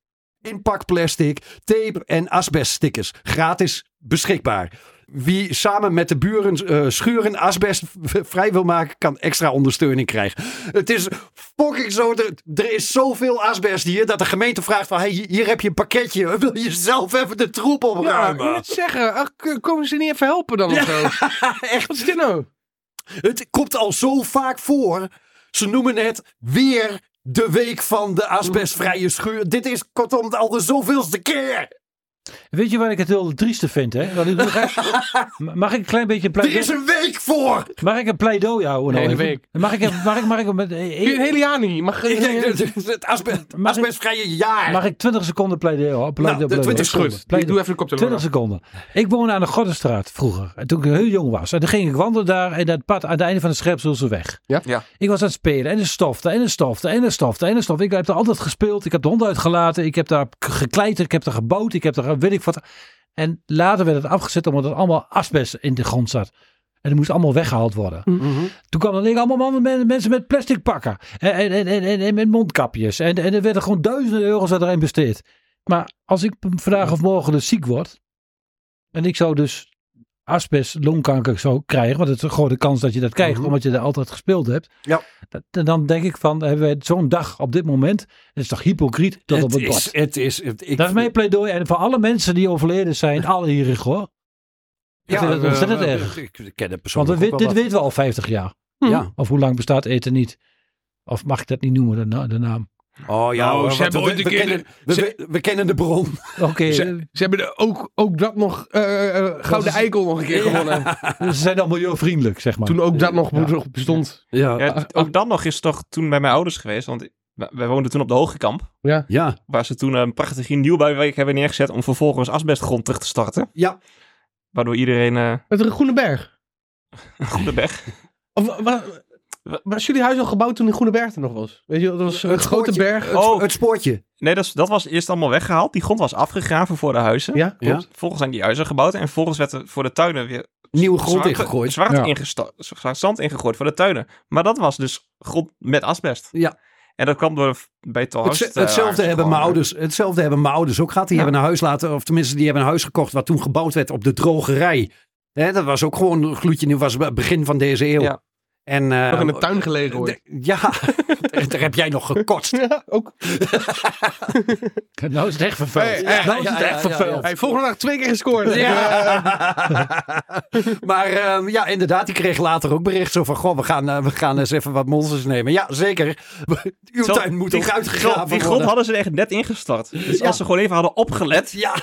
[SPEAKER 5] inpakplastic, tape en asbeststickers. Gratis beschikbaar. Wie samen met de buren eh, schuren asbest v- vrij wil maken, kan extra ondersteuning krijgen. Het is fucking zo. Er, er is zoveel asbest hier dat de gemeente vraagt van hey, hier heb je een pakketje. Wil je zelf even de troep
[SPEAKER 4] Ja, ik
[SPEAKER 5] opruimen?
[SPEAKER 4] wil het zeggen. Ach, k- komen ze niet even helpen dan of zo?
[SPEAKER 5] echt.
[SPEAKER 4] Wat is dit nou?
[SPEAKER 5] Het komt al zo vaak voor. Ze noemen het weer de week van de asbestvrije schuur. Dit is kortom al de zoveelste keer.
[SPEAKER 6] Weet je wat ik het heel trieste vind? Hè? Want ik wil graag- Mag ik een klein beetje een
[SPEAKER 5] Er
[SPEAKER 6] pleidooi,
[SPEAKER 5] is een week voor.
[SPEAKER 6] mag ik een pleidooi houden? nou
[SPEAKER 4] Hele
[SPEAKER 6] even?
[SPEAKER 4] week.
[SPEAKER 6] Mag ik, mag ik, mag ik, met-
[SPEAKER 4] Kun je een hele jaar niet. Mag,
[SPEAKER 5] Ik denk dat het- het asbest,
[SPEAKER 6] Mag ik-
[SPEAKER 5] asbestvrije jaar.
[SPEAKER 6] Mag ik 20 seconden pleidooi? houden? Pleidooi,
[SPEAKER 5] Nou,
[SPEAKER 6] pleidooi.
[SPEAKER 5] 20
[SPEAKER 4] is goed. Ik doe
[SPEAKER 6] Pleidooi.
[SPEAKER 4] even de koptelefoon.
[SPEAKER 6] 20 seconden. Ik woonde aan de Goddenstraat vroeger. En toen ik heel jong was. En toen ging ik wandelen daar. En dat pad aan het einde van de Scherpselse weg.
[SPEAKER 4] Ja.
[SPEAKER 3] Ja.
[SPEAKER 6] Ik was aan het spelen. En de stofte. En de stofte. En de stofte. En de stofte. Ik heb daar altijd gespeeld. Ik heb de hond uitgelaten. Ik heb daar k- gekleiterd. Ik heb daar gebouwd. Ik heb daar weet ik wat. En later werd het afgezet omdat het allemaal asbest in de grond zat. En het moest allemaal weggehaald worden. Toen kwamen dan allemaal mannen, men- mensen met plastic pakken. En, en, en, en, en, en met mondkapjes. En, en er werden gewoon duizenden euro's aan erin besteed. Maar als ik vandaag of morgen dus ziek word. En ik zou dus asbest, longkanker zou krijgen. Want het is gewoon de kans dat je dat krijgt. Omdat je daar altijd gespeeld hebt.
[SPEAKER 5] Mhm. Ja.
[SPEAKER 6] Dat- dan denk ik van, hebben wij zo'n dag op dit moment. Het is toch hypocriet dat op
[SPEAKER 5] het,
[SPEAKER 6] het
[SPEAKER 5] is,
[SPEAKER 6] bord.
[SPEAKER 5] het is. het- ik-
[SPEAKER 6] Dat is mijn pleidooi. En voor alle mensen die overleden zijn. Alle hier hoor. Ik vind het
[SPEAKER 5] eh,
[SPEAKER 6] ontzettend
[SPEAKER 5] eh,
[SPEAKER 6] erg.
[SPEAKER 5] Ik, ik ken het
[SPEAKER 6] Want we
[SPEAKER 5] persoonlijk
[SPEAKER 6] weten-
[SPEAKER 5] ook
[SPEAKER 6] dit
[SPEAKER 5] wel
[SPEAKER 6] weten we al 50 jaar.
[SPEAKER 5] wat. Ja.
[SPEAKER 6] Of hoe lang bestaat eten niet? Of mag ik dat niet noemen, de, na- de naam?
[SPEAKER 5] Oh ja,
[SPEAKER 4] Nou,
[SPEAKER 5] hoor,
[SPEAKER 4] ze
[SPEAKER 5] want
[SPEAKER 4] hebben
[SPEAKER 5] we,
[SPEAKER 4] ooit
[SPEAKER 5] we
[SPEAKER 4] een keer
[SPEAKER 5] kennen,
[SPEAKER 4] de-
[SPEAKER 5] we,
[SPEAKER 4] ze-
[SPEAKER 5] we- we kennen de bron.
[SPEAKER 6] Oké, eh,
[SPEAKER 4] Ze, ze hebben er ook, ook dat nog, eh, eh, Gouden
[SPEAKER 6] is-
[SPEAKER 4] Eikel nog een keer gewonnen.
[SPEAKER 6] ze zijn dan milieuvriendelijk, zeg maar.
[SPEAKER 4] Toen ook dat nog nog bestond.
[SPEAKER 5] Ja.
[SPEAKER 3] Ja, t- ook dan nog is toch toen bij mijn ouders geweest, want we- wij woonden toen op de Hogekamp,
[SPEAKER 4] Ja.
[SPEAKER 5] Ja,
[SPEAKER 3] waar ze toen een prachtige nieuwbouwwijk hebben neergezet om vervolgens asbestgrond terug te starten.
[SPEAKER 5] ja.
[SPEAKER 3] Waardoor iedereen eh
[SPEAKER 4] Met de Groeneberg.
[SPEAKER 3] op de weg.
[SPEAKER 4] Of, wa- wa- was jullie huis al gebouwd toen die Groeneberg er nog was? Weet je, wel, dat was een
[SPEAKER 5] Het
[SPEAKER 4] grote
[SPEAKER 5] spoortje.
[SPEAKER 4] berg.
[SPEAKER 5] Het,
[SPEAKER 3] Oh.
[SPEAKER 5] het spoortje.
[SPEAKER 3] Nee, dat, is- dat was eerst allemaal weggehaald. Die grond was afgegraven voor de huizen.
[SPEAKER 4] Ja, klopt.
[SPEAKER 3] Vervolgens zijn die huizen gebouwd en vervolgens werd er voor de tuinen weer
[SPEAKER 5] Nieuwe grond
[SPEAKER 3] zwarte-
[SPEAKER 5] ingegooid.
[SPEAKER 3] Zwart,
[SPEAKER 6] Ja.
[SPEAKER 3] ingesta- zwart zand ingegooid voor de tuinen. Maar dat was dus grond met asbest.
[SPEAKER 5] Ja.
[SPEAKER 3] En dat kwam door bij eh, Torst.
[SPEAKER 5] Hetze- hetzelfde, hebben mijn ouders, hetzelfde hebben mijn ouders ook gehad. Die
[SPEAKER 3] Ja.
[SPEAKER 5] hebben een huis laten, of tenminste, die hebben een huis gekocht wat toen gebouwd werd op de drogerij. Hè, dat was ook gewoon een gloedje. nieuw, was het begin van deze eeuw.
[SPEAKER 3] Ja.
[SPEAKER 5] En, eh,
[SPEAKER 4] Nog in de tuin gelegen hoor.
[SPEAKER 5] de- ja, daar heb jij nog gekotst.
[SPEAKER 4] Ja, ook.
[SPEAKER 6] Nou is het echt vervuild.
[SPEAKER 4] Hey, hey,
[SPEAKER 6] nou is het
[SPEAKER 5] ja,
[SPEAKER 6] echt
[SPEAKER 5] ja, ja,
[SPEAKER 6] vervuild.
[SPEAKER 4] Hey, volgende dag twee keer gescoord.
[SPEAKER 5] maar ehm, ja, inderdaad, die kreeg later ook bericht zo van... Goh, we gaan, eh, we gaan eens even wat monsters nemen. Ja, zeker. Uw
[SPEAKER 3] Zo,
[SPEAKER 5] tuin moet
[SPEAKER 3] die
[SPEAKER 5] ook
[SPEAKER 3] gro-
[SPEAKER 5] uitgegraven
[SPEAKER 3] Die grond
[SPEAKER 5] worden.
[SPEAKER 3] hadden ze er echt net ingestort. Dus
[SPEAKER 5] Ja.
[SPEAKER 3] als ze gewoon even hadden opgelet.
[SPEAKER 5] Ja,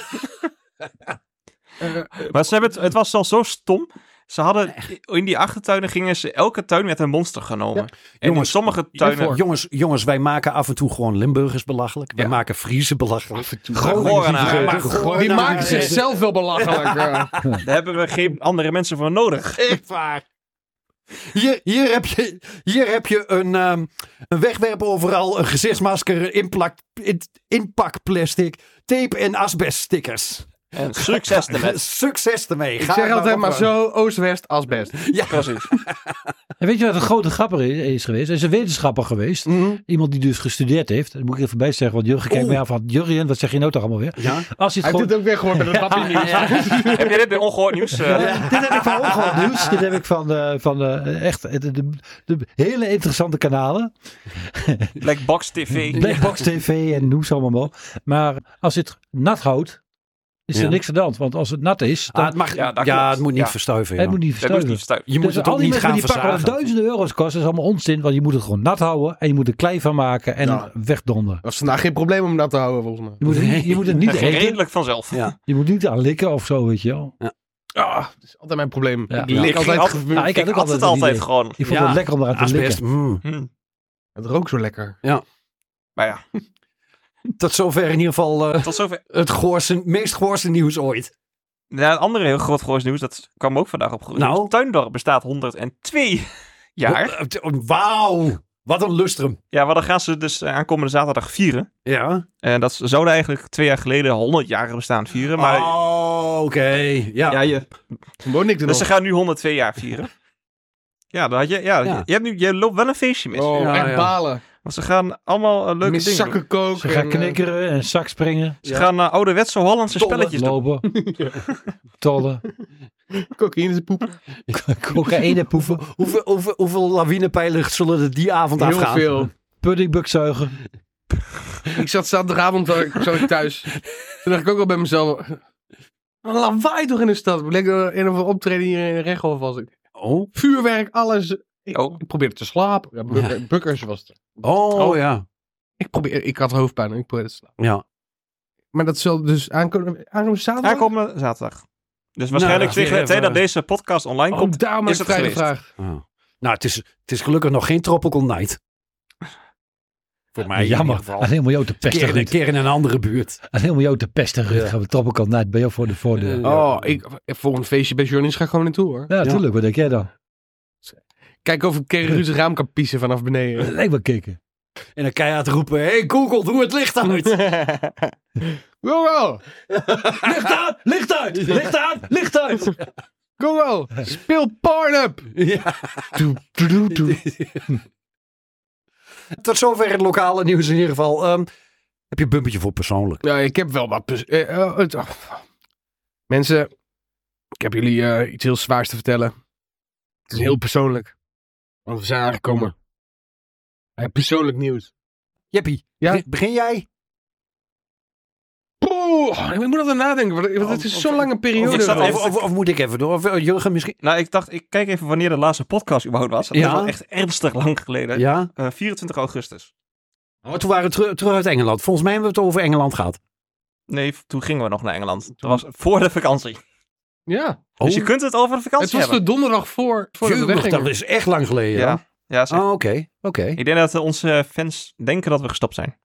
[SPEAKER 3] Maar ze hebben het, het was zelfs zo stom. Ze hadden in die achtertuinen gingen ze elke tuin met een monster genomen. En in
[SPEAKER 5] Jongens,
[SPEAKER 3] sommige tuinen.
[SPEAKER 5] jongens, jongens, wij maken af en toe gewoon Limburgers belachelijk. Wij
[SPEAKER 3] Ja.
[SPEAKER 5] maken Friese belachelijk.
[SPEAKER 3] Gorenaren.
[SPEAKER 5] Maar
[SPEAKER 4] Die
[SPEAKER 5] Gorenaren-
[SPEAKER 4] maken zichzelf wel belachelijk. ja.
[SPEAKER 3] Daar hebben we geen andere mensen voor nodig.
[SPEAKER 5] Echt waar. Hier, hier, heb je, hier heb je een, ehm een wegwerp overal, een gezichtsmasker, inplak, in- inpakplastic, tape en asbeststickers.
[SPEAKER 3] En succes ermee.
[SPEAKER 5] Succes ermee.
[SPEAKER 4] Ik zeg altijd maar zo, Oost-West als best.
[SPEAKER 3] Precies.
[SPEAKER 6] En weet je wat een grote grapper is, is geweest? Er is een wetenschapper geweest.
[SPEAKER 5] Mhm.
[SPEAKER 6] Iemand die dus gestudeerd heeft. Dat moet ik even bijzeggen, want Jurgen kijkt
[SPEAKER 5] Oeh.
[SPEAKER 6] mij af van... Jurgen, wat zeg je nou toch allemaal weer?
[SPEAKER 5] Ja.
[SPEAKER 6] Als
[SPEAKER 4] Hij
[SPEAKER 6] je het gewoon...
[SPEAKER 4] doet ook weer gewoon met een papje nieuws.
[SPEAKER 3] Heb je dit bij ongehoord nieuws? eh?
[SPEAKER 6] Eh, dit heb ik van ongehoord nieuws. Dit heb ik van, eh, van eh, echt eh, de, de, de hele interessante kanalen.
[SPEAKER 3] Black Box TV.
[SPEAKER 6] Blackbox TV en noem ze allemaal op. Maar als je het nat houdt, is er
[SPEAKER 5] Ja.
[SPEAKER 6] niks aan de hand. Want als het nat is, dan
[SPEAKER 5] Ah, het,
[SPEAKER 3] Ja,
[SPEAKER 5] mag, ja,
[SPEAKER 3] dat klopt.
[SPEAKER 5] het moet niet
[SPEAKER 3] Ja.
[SPEAKER 5] verstuiven.
[SPEAKER 6] het
[SPEAKER 5] ja.
[SPEAKER 6] moet niet
[SPEAKER 3] Dat moet
[SPEAKER 6] verstuiven.
[SPEAKER 3] niet verstuiven.
[SPEAKER 5] Je moet
[SPEAKER 6] dus
[SPEAKER 5] het
[SPEAKER 6] al
[SPEAKER 5] ook
[SPEAKER 6] die
[SPEAKER 5] niet
[SPEAKER 6] mensen
[SPEAKER 5] gaan
[SPEAKER 6] die pakken wel
[SPEAKER 5] verzagen.
[SPEAKER 6] duizenden euro's kosten, is allemaal onzin. Want je moet het gewoon nat houden en je moet er klei van maken en
[SPEAKER 4] Ja.
[SPEAKER 6] wegdonderen.
[SPEAKER 4] Dat is vandaag geen probleem om dat te houden, volgens mij.
[SPEAKER 6] Je moet, het niet- je moet het niet eten.
[SPEAKER 3] Redelijk vanzelf.
[SPEAKER 5] Ja.
[SPEAKER 6] Je moet niet aan likken of zo, weet je wel.
[SPEAKER 4] Ah, dat is altijd mijn probleem.
[SPEAKER 6] Ja.
[SPEAKER 4] Die
[SPEAKER 6] Ja.
[SPEAKER 4] lik
[SPEAKER 3] Ik ging
[SPEAKER 4] altijd
[SPEAKER 3] altijd-
[SPEAKER 4] gevuurd.
[SPEAKER 6] Ja, ik
[SPEAKER 3] Ik
[SPEAKER 6] had ook
[SPEAKER 3] had
[SPEAKER 6] altijd
[SPEAKER 3] het
[SPEAKER 6] een
[SPEAKER 3] altijd
[SPEAKER 6] idee.
[SPEAKER 3] gewoon.
[SPEAKER 6] Ik vond
[SPEAKER 5] Ja,
[SPEAKER 6] het lekker om eraan te
[SPEAKER 5] Asbest.
[SPEAKER 6] likken.
[SPEAKER 5] mm.
[SPEAKER 3] Hm.
[SPEAKER 4] Het rookt zo lekker.
[SPEAKER 3] Maar ja,
[SPEAKER 5] Tot zover in ieder geval eh,
[SPEAKER 3] tot zover.
[SPEAKER 5] het goorste, meest goorste nieuws ooit.
[SPEAKER 3] Ja, een andere heel groot groot nieuws, dat kwam ook vandaag op.
[SPEAKER 5] Nou?
[SPEAKER 3] Tuindorp bestaat 102 jaar.
[SPEAKER 5] eh, Wauw. Wat een lustrum.
[SPEAKER 3] Ja, maar dan gaan ze dus eh, aankomende zaterdag vieren.
[SPEAKER 5] Ja.
[SPEAKER 3] En dat ze zouden eigenlijk twee jaar geleden 100 jaar bestaan vieren. Maar
[SPEAKER 5] Oh, oké. Ja.
[SPEAKER 3] ja, je,
[SPEAKER 4] Toen woon ik er
[SPEAKER 3] dus ze
[SPEAKER 4] nog.
[SPEAKER 3] gaan nu 102 jaar vieren. Ja, dan had je, ja,
[SPEAKER 5] Ja.
[SPEAKER 3] Je, je hebt nu, je loopt wel een feestje mis.
[SPEAKER 4] Oh,
[SPEAKER 5] Ja,
[SPEAKER 4] echt
[SPEAKER 5] ja.
[SPEAKER 4] balen.
[SPEAKER 3] Want ze gaan allemaal eh, leuke dingen
[SPEAKER 4] Met
[SPEAKER 3] doen.
[SPEAKER 4] zakken koken.
[SPEAKER 6] Ze gaan
[SPEAKER 5] eh,
[SPEAKER 4] en, eh,
[SPEAKER 6] knikkeren en zak springen,
[SPEAKER 3] Ze gaan eh, ouderwetse Hollandse
[SPEAKER 5] Tollen,
[SPEAKER 3] spelletjes doen.
[SPEAKER 6] lopen, tollen,
[SPEAKER 4] eh, Cocaïne in zijn poep.
[SPEAKER 6] cocaïne poeven,
[SPEAKER 5] Hoeveel, hoeveel, hoeveel lawinepijlen zullen er die avond
[SPEAKER 4] Heel
[SPEAKER 5] afgaan?
[SPEAKER 4] veel.
[SPEAKER 6] puddingbuk zuigen.
[SPEAKER 4] Ik zat zaterdagavond zat ik- zat ik thuis. Toen dacht ik ook al bij mezelf. Een lawaai toch in de stad. Leek er een of andere optreden hier in Rechthof was ik.
[SPEAKER 5] Oh.
[SPEAKER 4] Vuurwerk, alles. Ik,
[SPEAKER 3] Oh.
[SPEAKER 4] ik probeerde te slapen. Ja, Bukker- Bukkers was het.
[SPEAKER 5] Oh, ja.
[SPEAKER 4] Ik, probeer, ik had hoofdpijn en ik probeerde te slapen.
[SPEAKER 5] Ja.
[SPEAKER 4] Maar dat zal dus aankomen, aankomen zaterdag?
[SPEAKER 3] Aankomende zaterdag. Dus waarschijnlijk
[SPEAKER 5] Nou, ja, Oh,
[SPEAKER 3] tegen de
[SPEAKER 5] even-
[SPEAKER 3] tijd dat deze podcast online
[SPEAKER 4] Kom,
[SPEAKER 3] komt.
[SPEAKER 4] Oh, daar maar
[SPEAKER 3] is
[SPEAKER 4] een
[SPEAKER 3] het
[SPEAKER 4] kleine
[SPEAKER 3] geweest.
[SPEAKER 4] vraag.
[SPEAKER 5] Ah. Nou, het is, het is gelukkig nog geen Tropical Night. Voor mij in
[SPEAKER 6] Jammer,
[SPEAKER 5] ieder geval.
[SPEAKER 6] alleen maar jou te pesten,
[SPEAKER 5] Keer, in-
[SPEAKER 6] Ruud.
[SPEAKER 5] keer in een andere buurt. Eh,
[SPEAKER 6] Alleen maar jou te pesten, Ruud.
[SPEAKER 5] Ja.
[SPEAKER 6] Gaan we tropical night bij jou voor de voordeur.
[SPEAKER 5] Ja.
[SPEAKER 4] Oh, ik, volgend feestje bij Journeys ga ik gewoon naartoe hoor.
[SPEAKER 6] Ja, tuurlijk, wat denk jij dan?
[SPEAKER 4] Kijk of ik tegen Ruud zijn raam kan piezen vanaf beneden.
[SPEAKER 6] Lijkt wel kicken.
[SPEAKER 5] En dan keihard roepen: Hey Google, doe het licht uit.
[SPEAKER 4] Google,
[SPEAKER 6] Licht aan, licht uit, licht aan, licht uit.
[SPEAKER 4] Google, speel Pornhub.
[SPEAKER 5] ja.
[SPEAKER 4] Doe, doe, doe, doe.
[SPEAKER 5] Tot zover het lokale nieuws in ieder geval. Ehm, heb je een bumpetje voor persoonlijk?
[SPEAKER 4] Ja, ik heb wel wat. pers- eh, eh, het- ah. Mensen, ik heb jullie eh, iets heel zwaars te vertellen. Het is heel persoonlijk. Want we zijn aangekomen. bij persoonlijk nieuws.
[SPEAKER 5] Jeppie,
[SPEAKER 4] Ja?
[SPEAKER 5] be- begin jij?
[SPEAKER 4] Poeh, ik moet altijd nadenken, want want het
[SPEAKER 3] Oh,
[SPEAKER 4] is
[SPEAKER 3] oh,
[SPEAKER 4] zo'n
[SPEAKER 3] oh.
[SPEAKER 4] lange
[SPEAKER 5] Of,
[SPEAKER 3] Ik
[SPEAKER 4] periode.
[SPEAKER 3] zat
[SPEAKER 4] wel.
[SPEAKER 5] of,
[SPEAKER 3] even-
[SPEAKER 5] of, of moet ik even door? Of eh, Jurgen misschien?
[SPEAKER 3] Nou, ik dacht, ik kijk even wanneer de laatste podcast überhaupt was. Dat
[SPEAKER 5] Ja.
[SPEAKER 3] was wel echt ernstig lang geleden.
[SPEAKER 5] Ja?
[SPEAKER 3] Eh, 24 augustus.
[SPEAKER 5] Oh, toen waren we teru- terug uit Engeland. Volgens mij hebben we het over Engeland gehad.
[SPEAKER 3] Nee, v- toen gingen we nog naar Engeland. Dat was voor de vakantie.
[SPEAKER 4] Ja.
[SPEAKER 3] Dus
[SPEAKER 5] Oh.
[SPEAKER 3] je kunt het over de
[SPEAKER 4] Het
[SPEAKER 3] vakantie
[SPEAKER 4] was de
[SPEAKER 3] hebben.
[SPEAKER 4] donderdag voor, voor de
[SPEAKER 5] Jeugd,
[SPEAKER 4] wegging.
[SPEAKER 5] dat is echt lang geleden.
[SPEAKER 3] Ja, ja
[SPEAKER 5] dan.
[SPEAKER 3] zeker.
[SPEAKER 5] Oh, oké. oké.
[SPEAKER 3] Ik denk dat eh, onze fans denken dat we gestopt zijn.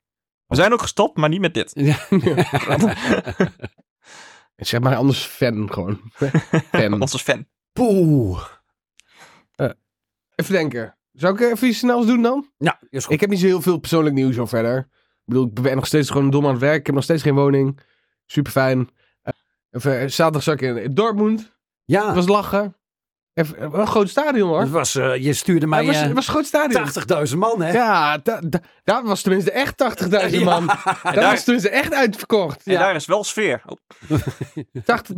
[SPEAKER 3] We zijn ook gestopt, maar niet met dit.
[SPEAKER 4] Zeg maar anders fan gewoon. fan.
[SPEAKER 3] Onze fan.
[SPEAKER 5] Poeh.
[SPEAKER 4] Even denken. Zou ik even iets snels doen dan?
[SPEAKER 5] Ja, is goed.
[SPEAKER 4] Ik heb niet zo heel veel persoonlijk nieuws al verder. Ik bedoel, ik ben nog steeds gewoon dom aan het werk. Ik heb nog steeds geen woning. Super fijn. Eh, even, zaterdag zat ik in, in Dortmund.
[SPEAKER 5] ja,
[SPEAKER 4] Het was lachen. Even, eh, wel een groot stadion hoor.
[SPEAKER 5] het was, eh, je stuurde mij
[SPEAKER 4] het, was,
[SPEAKER 5] eh,
[SPEAKER 4] het was een groot stadion.
[SPEAKER 5] 80.000 man, hè?
[SPEAKER 4] Ja, da- da- daar was tenminste echt 80.000 man. Daar,
[SPEAKER 3] daar-
[SPEAKER 4] was tenminste echt uitverkocht.
[SPEAKER 3] En
[SPEAKER 4] Ja.
[SPEAKER 3] daar is wel sfeer. Oh,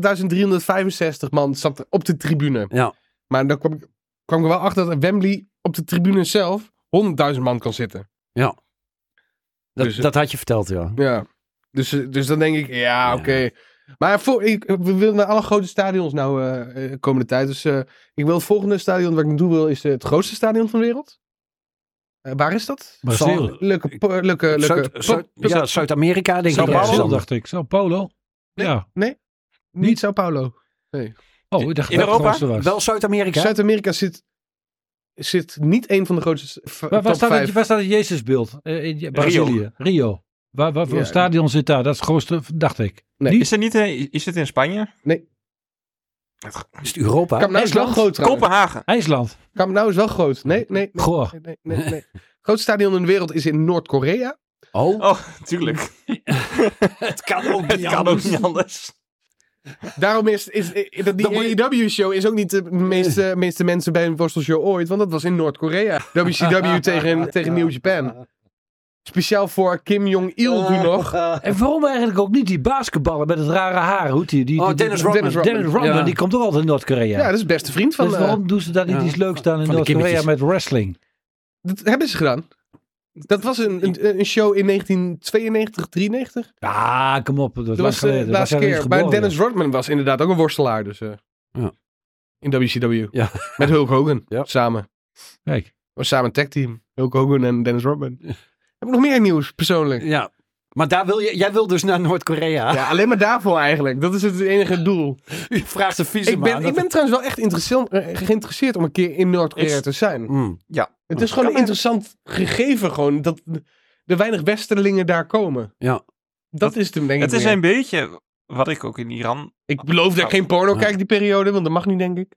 [SPEAKER 4] 80.365 man zat op de tribune.
[SPEAKER 5] Ja.
[SPEAKER 4] Maar dan kwam, ik- kwam ik er wel achter dat Wembley op de tribune zelf 100.000 man kan zitten.
[SPEAKER 5] Dat,
[SPEAKER 4] Dus-
[SPEAKER 5] dat had je verteld, ja.
[SPEAKER 4] Ja. Dus, eh, dus dan denk ik, ja,
[SPEAKER 5] Ja.
[SPEAKER 4] oké. Maar voor, ik, we willen naar alle grote stadions nou eh, eh, de komende tijd. Dus eh, ik wil het volgende stadion waar ik naartoe wil is eh, het grootste stadion van de wereld. Eh, waar is dat?
[SPEAKER 6] Brazil.
[SPEAKER 4] Leuke, po- leuke, leuke.
[SPEAKER 5] Zuid,
[SPEAKER 4] pop-
[SPEAKER 5] Zuid-
[SPEAKER 4] pop-
[SPEAKER 5] ja, Zuid-Amerika, denk
[SPEAKER 6] Sao
[SPEAKER 5] ik.
[SPEAKER 4] Sao
[SPEAKER 5] ergens
[SPEAKER 6] Paulo,
[SPEAKER 5] dan.
[SPEAKER 6] dacht ik. Sao Paulo.
[SPEAKER 4] Nee.
[SPEAKER 6] Ja.
[SPEAKER 4] niet Sao Paulo.
[SPEAKER 6] Oh, ik dacht
[SPEAKER 3] In
[SPEAKER 6] dat het
[SPEAKER 3] Europa?
[SPEAKER 6] grootste was.
[SPEAKER 5] Wel Zuid-Amerika?
[SPEAKER 4] Zuid-Amerika zit, zit niet een van de grootste v-
[SPEAKER 6] Waar, waar
[SPEAKER 4] top
[SPEAKER 6] staat het,
[SPEAKER 4] vijf.
[SPEAKER 6] waar staat het Jezusbeeld? Eh, in Brazilië. Rio. Waar, waar voor
[SPEAKER 4] Ja.
[SPEAKER 6] stadion zit daar? Dat is het grootste, dacht ik.
[SPEAKER 4] Nee.
[SPEAKER 6] Niet?
[SPEAKER 3] Is het, niet, eh, is het in Spanje?
[SPEAKER 5] Is het Europa?
[SPEAKER 4] Camp Nou is wel
[SPEAKER 6] IJsland?
[SPEAKER 4] groot trouwens.
[SPEAKER 3] Kopenhagen.
[SPEAKER 6] IJsland.
[SPEAKER 4] Camp Nou is wel groot. Nee, nee, nee,
[SPEAKER 6] Goh.
[SPEAKER 4] nee, nee, nee, nee. Grootste stadion in de wereld is in Noord-Korea.
[SPEAKER 5] Oh,
[SPEAKER 3] Oh, tuurlijk.
[SPEAKER 5] het kan ook niet
[SPEAKER 3] Het kan ook
[SPEAKER 5] anders.
[SPEAKER 3] niet anders.
[SPEAKER 4] Daarom is, is, is dat
[SPEAKER 5] Dan moet
[SPEAKER 4] die
[SPEAKER 5] je-
[SPEAKER 4] AEW-show is ook niet de meeste, meeste mensen bij een worstelshow ooit, want dat was in Noord-Korea. WCW tegen, tegen New Japan. Speciaal voor Kim Jong-il toen nog.
[SPEAKER 5] Oh,
[SPEAKER 6] En waarom eigenlijk ook niet die basketballer met het rare haar? Hoe die, die,
[SPEAKER 5] Oh,
[SPEAKER 6] die-
[SPEAKER 5] Dennis
[SPEAKER 6] die-
[SPEAKER 5] Rodman.
[SPEAKER 4] Dennis Rodman.
[SPEAKER 6] Dennis Rodman,
[SPEAKER 5] Ja.
[SPEAKER 6] die komt ook altijd in Noord-Korea.
[SPEAKER 4] Ja, dat is beste vriend van.
[SPEAKER 6] dus
[SPEAKER 4] eh,
[SPEAKER 6] waarom doen ze daar niet
[SPEAKER 5] ja,
[SPEAKER 6] iets leuks dan in
[SPEAKER 5] van de
[SPEAKER 6] Noord-Korea met
[SPEAKER 5] kindertjes.
[SPEAKER 6] wrestling?
[SPEAKER 4] dat hebben ze gedaan. Dat was een, een, een show in 1992, 93.
[SPEAKER 6] Ja, kom op. Dat,
[SPEAKER 4] Dat was de laatste keer. Maar Dennis Rodman was inderdaad ook een worstelaar. Dus, eh,
[SPEAKER 5] Ja.
[SPEAKER 4] In WCW.
[SPEAKER 5] Ja.
[SPEAKER 4] Met Hulk Hogan.
[SPEAKER 5] Ja.
[SPEAKER 4] Samen.
[SPEAKER 6] Kijk,
[SPEAKER 4] We samen een tagteam. Hulk Hogan en Dennis Rodman. Heb ik nog meer nieuws, persoonlijk?
[SPEAKER 5] Ja. Maar daar wil je, jij wil dus naar Noord-Korea.
[SPEAKER 4] Ja, alleen maar daarvoor eigenlijk. Dat is het enige doel.
[SPEAKER 5] U vraagt de visum
[SPEAKER 4] Ik ben,
[SPEAKER 5] aan.
[SPEAKER 4] ik ben trouwens wel echt interessant, eh, geïnteresseerd om een keer in Noord-Korea
[SPEAKER 3] Ik-
[SPEAKER 4] te zijn.
[SPEAKER 5] Mm.
[SPEAKER 4] Het is gewoon een
[SPEAKER 3] Kan er-
[SPEAKER 4] interessant gegeven gewoon dat er weinig westerlingen daar komen.
[SPEAKER 5] Ja.
[SPEAKER 4] Dat is het hem denk
[SPEAKER 3] Het
[SPEAKER 4] ik
[SPEAKER 3] is
[SPEAKER 4] meer.
[SPEAKER 3] een beetje wat ik ook in Iran...
[SPEAKER 4] Ik beloof dat ik geen porno kijk die periode, want dat mag niet denk ik.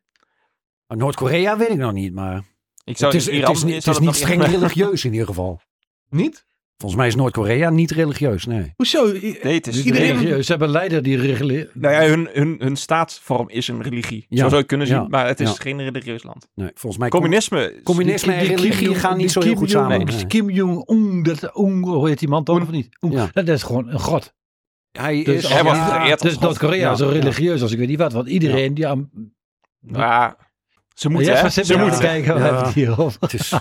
[SPEAKER 5] Maar Noord-Korea weet ik nog niet, maar...
[SPEAKER 3] Ik zou
[SPEAKER 5] Het is,
[SPEAKER 3] in
[SPEAKER 5] het
[SPEAKER 3] Iran,
[SPEAKER 5] is, niet- het
[SPEAKER 3] zou
[SPEAKER 5] is
[SPEAKER 3] dat
[SPEAKER 5] niet
[SPEAKER 3] nog
[SPEAKER 5] streng religieus in ieder geval.
[SPEAKER 4] Niet?
[SPEAKER 5] Volgens mij is Noord-Korea niet religieus, nee.
[SPEAKER 4] Hoezo? I-
[SPEAKER 3] Nee, het is...
[SPEAKER 4] Iedereen-
[SPEAKER 3] nee.
[SPEAKER 6] Ze hebben een leider die regeleert.
[SPEAKER 3] Nou ja, hun, hun, hun staatsvorm is een religie.
[SPEAKER 5] Ja.
[SPEAKER 3] Zo zou je het kunnen zien,
[SPEAKER 5] Ja.
[SPEAKER 3] maar het is
[SPEAKER 5] Ja.
[SPEAKER 3] geen religieus land.
[SPEAKER 5] nee volgens mij...
[SPEAKER 3] Communisme. is-
[SPEAKER 5] communisme en
[SPEAKER 6] Die- die Kim
[SPEAKER 5] religie
[SPEAKER 6] Jong-
[SPEAKER 5] gaan
[SPEAKER 6] die
[SPEAKER 5] niet zo
[SPEAKER 6] Kim
[SPEAKER 5] heel goed
[SPEAKER 6] Jong-
[SPEAKER 5] samen.
[SPEAKER 6] Nee,
[SPEAKER 5] nee.
[SPEAKER 6] die Kim Jong-un, dat Oeng, hoe heet die man toch of niet? Oeng,
[SPEAKER 5] Ja.
[SPEAKER 6] Dat is gewoon een god.
[SPEAKER 5] Hij
[SPEAKER 6] Dus
[SPEAKER 5] is...
[SPEAKER 6] hij
[SPEAKER 3] wordt
[SPEAKER 5] ja,
[SPEAKER 3] geëerd als
[SPEAKER 6] Dus
[SPEAKER 3] god.
[SPEAKER 6] Noord-Korea is zo
[SPEAKER 5] Ja, ja.
[SPEAKER 6] religieus als ik weet niet wat. Want iedereen die aan...
[SPEAKER 3] Ja, ze moeten,
[SPEAKER 6] Ja,
[SPEAKER 3] hè?
[SPEAKER 6] zit
[SPEAKER 3] Ze
[SPEAKER 6] maar
[SPEAKER 3] moeten.
[SPEAKER 6] te kijken, we
[SPEAKER 5] Ja.
[SPEAKER 6] hebben het hier over.
[SPEAKER 5] het is-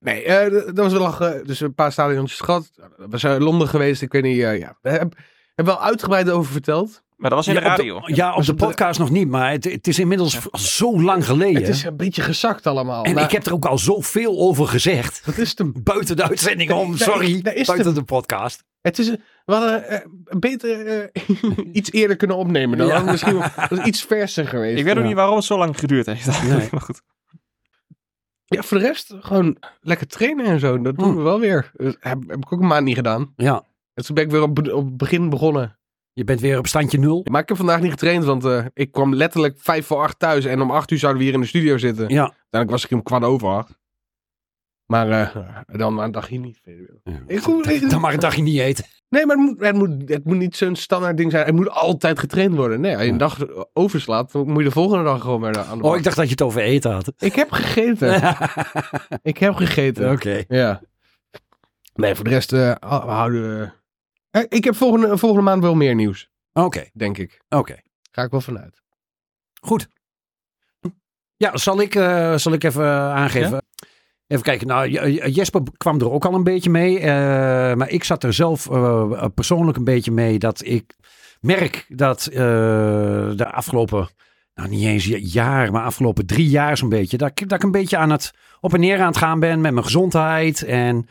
[SPEAKER 4] Nee, eh, d- dat was wel lachen. Dus een paar stadiontjes gehad. We zijn in Londen geweest, ik weet niet. eh, ja. We hebben heb wel uitgebreid over verteld.
[SPEAKER 3] Maar dat was in
[SPEAKER 5] ja,
[SPEAKER 3] de radio.
[SPEAKER 5] Op de, Oh, ja, op de podcast nog niet, maar het, het is inmiddels v- zo lang geleden.
[SPEAKER 4] Het is een beetje gezakt allemaal.
[SPEAKER 5] en
[SPEAKER 4] maar
[SPEAKER 5] ik heb er ook al zoveel over gezegd.
[SPEAKER 4] Dat is het hem.
[SPEAKER 5] Buiten de uitzending om,
[SPEAKER 4] Nee,
[SPEAKER 5] sorry.
[SPEAKER 4] daar is
[SPEAKER 5] buiten
[SPEAKER 4] hem.
[SPEAKER 5] de podcast.
[SPEAKER 4] Het is, we hadden eh, beter eh, iets eerder kunnen opnemen. Dan
[SPEAKER 5] Ja.
[SPEAKER 4] hadden we misschien wel- was iets verser geweest.
[SPEAKER 3] Ik weet ook
[SPEAKER 5] Ja.
[SPEAKER 3] niet waarom het zo lang geduurd heeft.
[SPEAKER 5] Nee.
[SPEAKER 3] maar goed.
[SPEAKER 4] Ja, voor de rest gewoon lekker trainen en zo. Dat doen
[SPEAKER 5] Hm.
[SPEAKER 4] we wel weer. Dat heb, heb ik ook een maand niet gedaan.
[SPEAKER 5] Ja,
[SPEAKER 4] En toen ben ik weer op, be- op het begin begonnen.
[SPEAKER 5] je bent weer op standje nul.
[SPEAKER 4] Maar ik heb vandaag niet getraind, want eh, ik kwam letterlijk vijf voor acht thuis. En om acht uur zouden we hier in de studio zitten.
[SPEAKER 5] Ja.
[SPEAKER 4] Uiteindelijk was ik hem kwart over acht. Maar eh, dan maar een dagje niet. Ik hoef- ik-
[SPEAKER 5] Dan maar een dagje niet eten.
[SPEAKER 4] Nee, maar het moet, het moet, het moet niet zo'n standaard ding zijn. Het moet altijd getraind worden. Nee, als je een dag overslaat, dan moet je de volgende dag gewoon weer aan de bak.
[SPEAKER 5] Oh, ik dacht dat je het over eten had.
[SPEAKER 4] Ik heb gegeten. ik heb gegeten.
[SPEAKER 5] Oké.
[SPEAKER 4] Ja. Nee, voor de rest eh, hou- houden we... Eh, Ik heb volgende, volgende maand wel meer nieuws,
[SPEAKER 5] Oké,
[SPEAKER 4] denk ik.
[SPEAKER 5] oké.
[SPEAKER 4] Ga ik wel vanuit.
[SPEAKER 5] Goed. Ja, zal ik, eh, zal ik even aangeven? Even kijken. Nou, J- J- Jesper kwam er ook al een beetje mee. eh, maar ik zat er zelf eh, persoonlijk een beetje mee dat ik merk dat eh, de afgelopen nou niet eens ja- jaar, maar afgelopen drie jaar zo'n beetje. Dat, ik- dat ik een beetje aan het op en neer aan het gaan ben met mijn gezondheid. En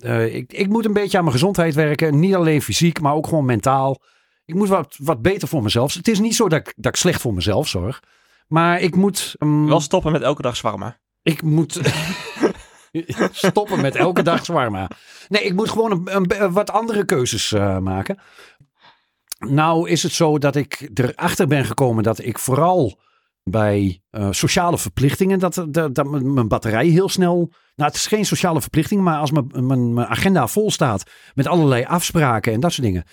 [SPEAKER 5] eh, ik, ik moet een beetje aan mijn gezondheid werken. Niet alleen fysiek, maar ook gewoon mentaal. Ik moet wat, wat beter voor mezelf. Het is niet zo dat ik, dat ik slecht voor mezelf zorg. Maar ik moet... ehm,
[SPEAKER 3] Wel stoppen met elke dag zwarmen.
[SPEAKER 5] ik moet stoppen met elke dag zwarma. Nee, ik moet gewoon een, een- een wat andere keuzes eh, maken. Nou is het zo dat ik erachter ben gekomen dat ik vooral bij eh, sociale verplichtingen, dat, dat, dat mijn mijn batterij heel snel... Nou, het is geen sociale verplichting, maar als mijn, mijn, mijn agenda vol staat met allerlei afspraken en dat soort dingen.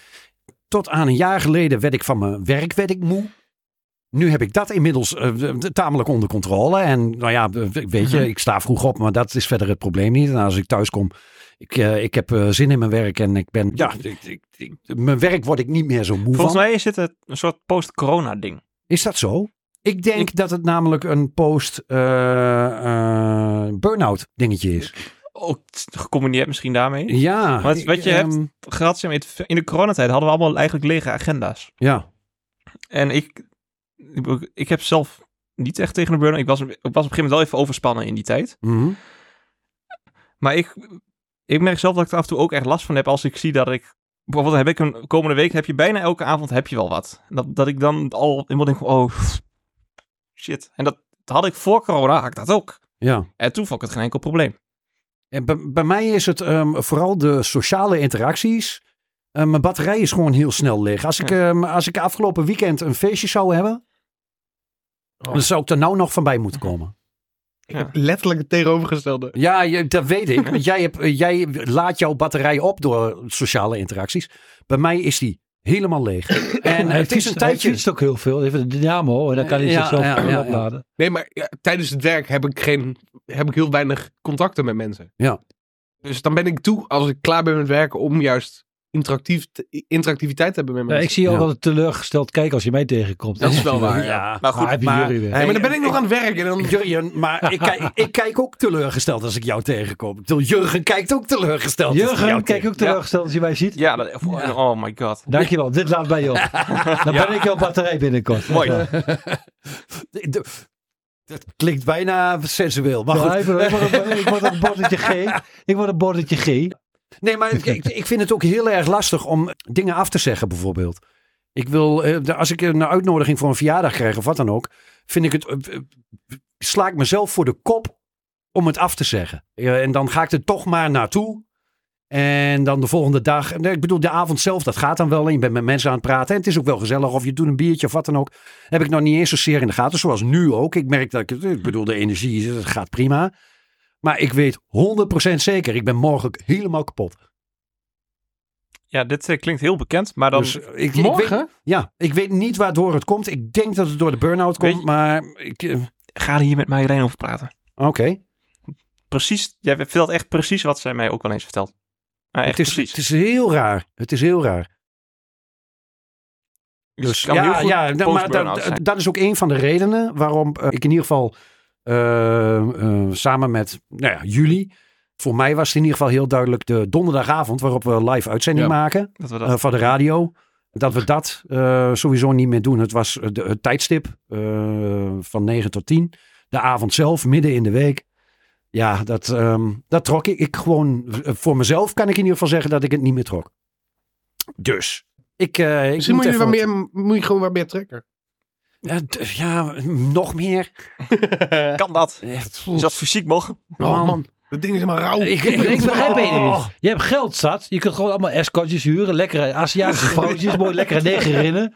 [SPEAKER 5] Tot aan een jaar geleden werd ik van mijn werk werd ik moe. Nu heb ik dat inmiddels eh, w- w- tamelijk onder controle. En nou ja, w- w- weet je, ik sta vroeg op, maar dat is verder het probleem niet. En als ik thuis kom, ik, eh, ik heb eh, zin in mijn werk en ik ben, ja, ik, ik, ik- mijn werk word ik niet meer zo moe van.
[SPEAKER 3] Volgens mij is dit een een soort post-corona ding.
[SPEAKER 5] Is dat zo? Ik denk dat het namelijk een post-burnout dingetje is.
[SPEAKER 3] Ook gecombineerd misschien daarmee.
[SPEAKER 5] Ja.
[SPEAKER 3] Maar het- wat je
[SPEAKER 5] ik,
[SPEAKER 3] hebt-
[SPEAKER 5] ehm,
[SPEAKER 3] Gehad zijn we in het- in de coronatijd hadden we allemaal eigenlijk lege agenda's.
[SPEAKER 5] Ja.
[SPEAKER 3] En ik, ik- ik heb zelf niet echt tegen een burn-out. Ik was, ik was op een gegeven moment wel even overspannen in die tijd.
[SPEAKER 5] Mhm.
[SPEAKER 3] Maar ik, ik merk zelf dat ik er af en toe ook echt last van heb als ik zie dat ik... Bijvoorbeeld heb ik een komende week, heb je bijna elke avond heb je wel wat. Dat, dat ik dan al helemaal denk van, oh, shit. En dat, dat had ik voor corona, had ik dat ook.
[SPEAKER 5] Ja.
[SPEAKER 3] En toen vond ik het geen enkel probleem.
[SPEAKER 5] En bij, bij mij is het ehm, vooral de sociale interacties. Eh, mijn batterij is gewoon heel snel leeg. Als ik, ehm, als ik afgelopen weekend een feestje zou hebben, dan zou ik er nou nog van bij moeten komen.
[SPEAKER 4] Letterlijk het tegenovergestelde.
[SPEAKER 5] Ja, je- dat weet ik. Want jij, hebt, eh, jij laat jouw batterij op door sociale interacties. Bij mij is die helemaal leeg. En
[SPEAKER 6] hij
[SPEAKER 5] het is
[SPEAKER 6] fietst-
[SPEAKER 5] een
[SPEAKER 6] Hij
[SPEAKER 5] tijdje.
[SPEAKER 6] fietst ook heel veel. Even de dynamo en dan kan hij
[SPEAKER 5] Ja,
[SPEAKER 6] zichzelf
[SPEAKER 5] ja,
[SPEAKER 6] gewoon
[SPEAKER 5] ja, ja.
[SPEAKER 6] opladen.
[SPEAKER 4] Nee, maar ja, tijdens het werk heb ik, geen, heb ik heel weinig contacten met mensen.
[SPEAKER 5] Ja.
[SPEAKER 4] Dus dan ben ik toe, als ik klaar ben met werken, om juist interactief te- interactiviteit te hebben met
[SPEAKER 6] Ja,
[SPEAKER 4] mensen.
[SPEAKER 6] ik zie je ook
[SPEAKER 5] Ja.
[SPEAKER 6] altijd teleurgesteld kijken als je mij tegenkomt.
[SPEAKER 4] Dat is wel waar. Ja.
[SPEAKER 3] Maar goed,
[SPEAKER 6] Ah, heb je
[SPEAKER 5] maar-
[SPEAKER 6] jullie weer.
[SPEAKER 4] Ja, maar dan ben ik nog aan het werk. En dan,
[SPEAKER 5] Jurjen, maar ik kijk, ik kijk ook teleurgesteld als ik jou tegenkom. Ik bedoel, Jurgen kijkt ook teleurgesteld. als hij jou
[SPEAKER 6] Jurgen, kijk
[SPEAKER 5] tegenkomt.
[SPEAKER 6] ook teleurgesteld als je mij ziet.
[SPEAKER 3] ja, dat- oh my god.
[SPEAKER 6] Dankjewel, dit laat bij je op. Dan ben ik jouw batterij binnenkort.
[SPEAKER 3] Mooi.
[SPEAKER 6] Ja.
[SPEAKER 5] De- de- Dat klinkt bijna sensueel. Maar
[SPEAKER 6] Ja,
[SPEAKER 5] goed.
[SPEAKER 6] ik, word- ik word- ik word een bordertje G. Ik word een bordertje G.
[SPEAKER 5] Nee, maar ik, ik- ik vind het ook heel erg lastig om dingen af te zeggen, bijvoorbeeld. Ik wil, eh, de- als ik een uitnodiging voor een verjaardag krijg of wat dan ook, vind ik het, eh, eh, sla ik mezelf voor de kop om het af te zeggen. Eh, En dan ga ik er toch maar naartoe. En dan de volgende dag, nee, ik bedoel de avond zelf, dat gaat dan wel. En je bent met mensen aan het praten en het is ook wel gezellig. Of je doet een biertje of wat dan ook. Heb ik nog niet eens zozeer in de gaten, zoals nu ook. Ik merk dat ik, ik bedoel de energie, het gaat prima. Maar ik weet 100% zeker, ik ben morgen helemaal kapot.
[SPEAKER 3] Ja, dit eh, klinkt heel bekend, maar dan...
[SPEAKER 5] Dus ik- ik,
[SPEAKER 4] morgen?
[SPEAKER 5] weet, ja, ik weet niet waardoor het komt. Ik denk dat het door de burn-out komt,
[SPEAKER 3] Weet je-
[SPEAKER 5] maar ik, eh,
[SPEAKER 3] Ga er hier met Marjolein over praten.
[SPEAKER 5] oké.
[SPEAKER 3] Precies, jij vertelt echt precies wat zij mij ook wel eens vertelt. Maar echt
[SPEAKER 5] Het, is,
[SPEAKER 3] precies.
[SPEAKER 5] het is heel raar. Het is heel raar.
[SPEAKER 3] Dus
[SPEAKER 5] Dus
[SPEAKER 3] het kan heel goed
[SPEAKER 5] nou, maar
[SPEAKER 3] post-burn-out
[SPEAKER 5] dat,
[SPEAKER 3] zijn.
[SPEAKER 5] dat is ook een van de redenen waarom eh, ik in ieder geval eh, eh, samen met nou ja, jullie, voor mij was het in ieder geval heel duidelijk de donderdagavond waarop we live uitzending
[SPEAKER 4] Ja.
[SPEAKER 5] maken.
[SPEAKER 3] Dat we dat...
[SPEAKER 5] eh, van de radio. Dat we dat eh, sowieso niet meer doen. Het was eh, de, het tijdstip eh, van 9 tot 10. De avond zelf, midden in de week. Ja, dat, ehm, dat trok ik. ik gewoon. eh, Voor mezelf kan ik in ieder geval zeggen dat ik het niet meer trok. Dus. Ik, eh, ik
[SPEAKER 4] misschien moet je,
[SPEAKER 5] even
[SPEAKER 4] wat meer, moet je gewoon wat meer trekken.
[SPEAKER 5] Ja, d- ja, nog meer.
[SPEAKER 3] Kan dat?
[SPEAKER 5] Eh,
[SPEAKER 3] Is dat fysiek mogelijk?
[SPEAKER 6] Oh,
[SPEAKER 5] man.
[SPEAKER 4] Dat ding is maar rauw.
[SPEAKER 5] Ik, ik, ik
[SPEAKER 6] begrijp het
[SPEAKER 5] oh.
[SPEAKER 6] niet. Je hebt geld zat. Je kunt gewoon allemaal escortjes huren. Lekkere Aziatische vrouwtjes. Mooi lekkere negerinnen.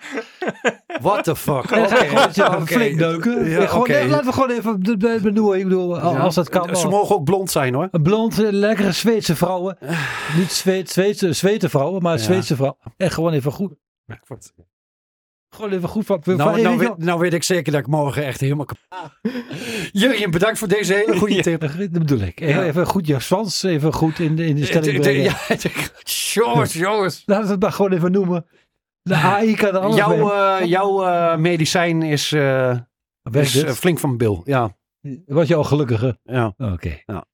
[SPEAKER 5] What the fuck.
[SPEAKER 6] En dan ga je gewoon met z'n allen
[SPEAKER 5] oké.
[SPEAKER 6] flink neuken.
[SPEAKER 5] Ja,
[SPEAKER 6] En gewoon,
[SPEAKER 5] oké.
[SPEAKER 6] eh, laten we gewoon even de- de- benoemen. Ik bedoel, al- als dat kan.
[SPEAKER 5] Ze
[SPEAKER 6] al-
[SPEAKER 5] mogen ook blond zijn hoor.
[SPEAKER 6] Een blond, eh, lekkere Zweedse vrouwen. Niet Zweed, Zweedse, Zweedse vrouwen, maar
[SPEAKER 5] Ja.
[SPEAKER 6] Zweedse vrouwen. En gewoon even goed. Gewoon even goed van. van-
[SPEAKER 5] Nou,
[SPEAKER 6] hey,
[SPEAKER 5] nou,
[SPEAKER 6] weet je
[SPEAKER 5] weet, nou weet ik zeker dat ik morgen echt helemaal kapot... Jurgen, bedankt voor deze hele goede tip.
[SPEAKER 6] wel- Dat bedoel ik. Even, even goed je zwans even goed in de, in de stelling
[SPEAKER 5] Het- het-
[SPEAKER 6] brengen.
[SPEAKER 5] ja, het- Jongens, jongens.
[SPEAKER 6] Laten we het maar gewoon even noemen. De AI kan er alles
[SPEAKER 5] Jouw,
[SPEAKER 6] mee.
[SPEAKER 5] eh, jouw eh, medicijn is, eh,
[SPEAKER 6] Werkt
[SPEAKER 5] is eh,
[SPEAKER 6] het?
[SPEAKER 5] flink van bil. Ja,
[SPEAKER 6] Word je al gelukkiger?
[SPEAKER 5] ja.
[SPEAKER 6] Oké.
[SPEAKER 5] Ja.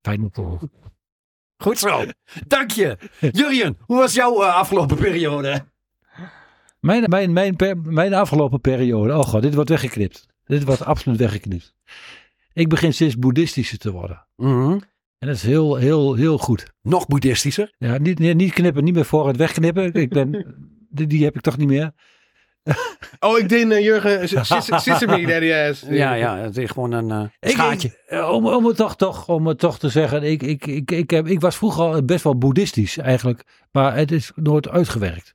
[SPEAKER 6] Fijn om te horen.
[SPEAKER 5] Goed zo. Dank je. Jurjen, hoe was jouw eh, afgelopen periode?
[SPEAKER 6] Mijn, mijn, mijn, per- mijn afgelopen periode. Oh god, dit wordt weggeknipt. Dit wordt absoluut weggeknipt. Ik begin steeds boeddhistischer te worden.
[SPEAKER 5] Mhm.
[SPEAKER 6] En dat is heel, heel, heel goed.
[SPEAKER 5] Nog boeddhistischer.
[SPEAKER 6] Ja, niet, nee, niet knippen, niet meer vooruit wegknippen. Ik ben, die, die heb ik toch niet meer.
[SPEAKER 4] Oh, ik deed eh, Jurgen s- eh, s- Sesame Daddy Ass.
[SPEAKER 5] Ja, ja, het is gewoon een eh,
[SPEAKER 6] Ik-
[SPEAKER 5] schaatje.
[SPEAKER 6] Eh, Om, om, het toch, toch, om het toch te zeggen, ik, ik, ik, ik, heb, ik was vroeger al best wel boeddhistisch eigenlijk, maar het is nooit uitgewerkt.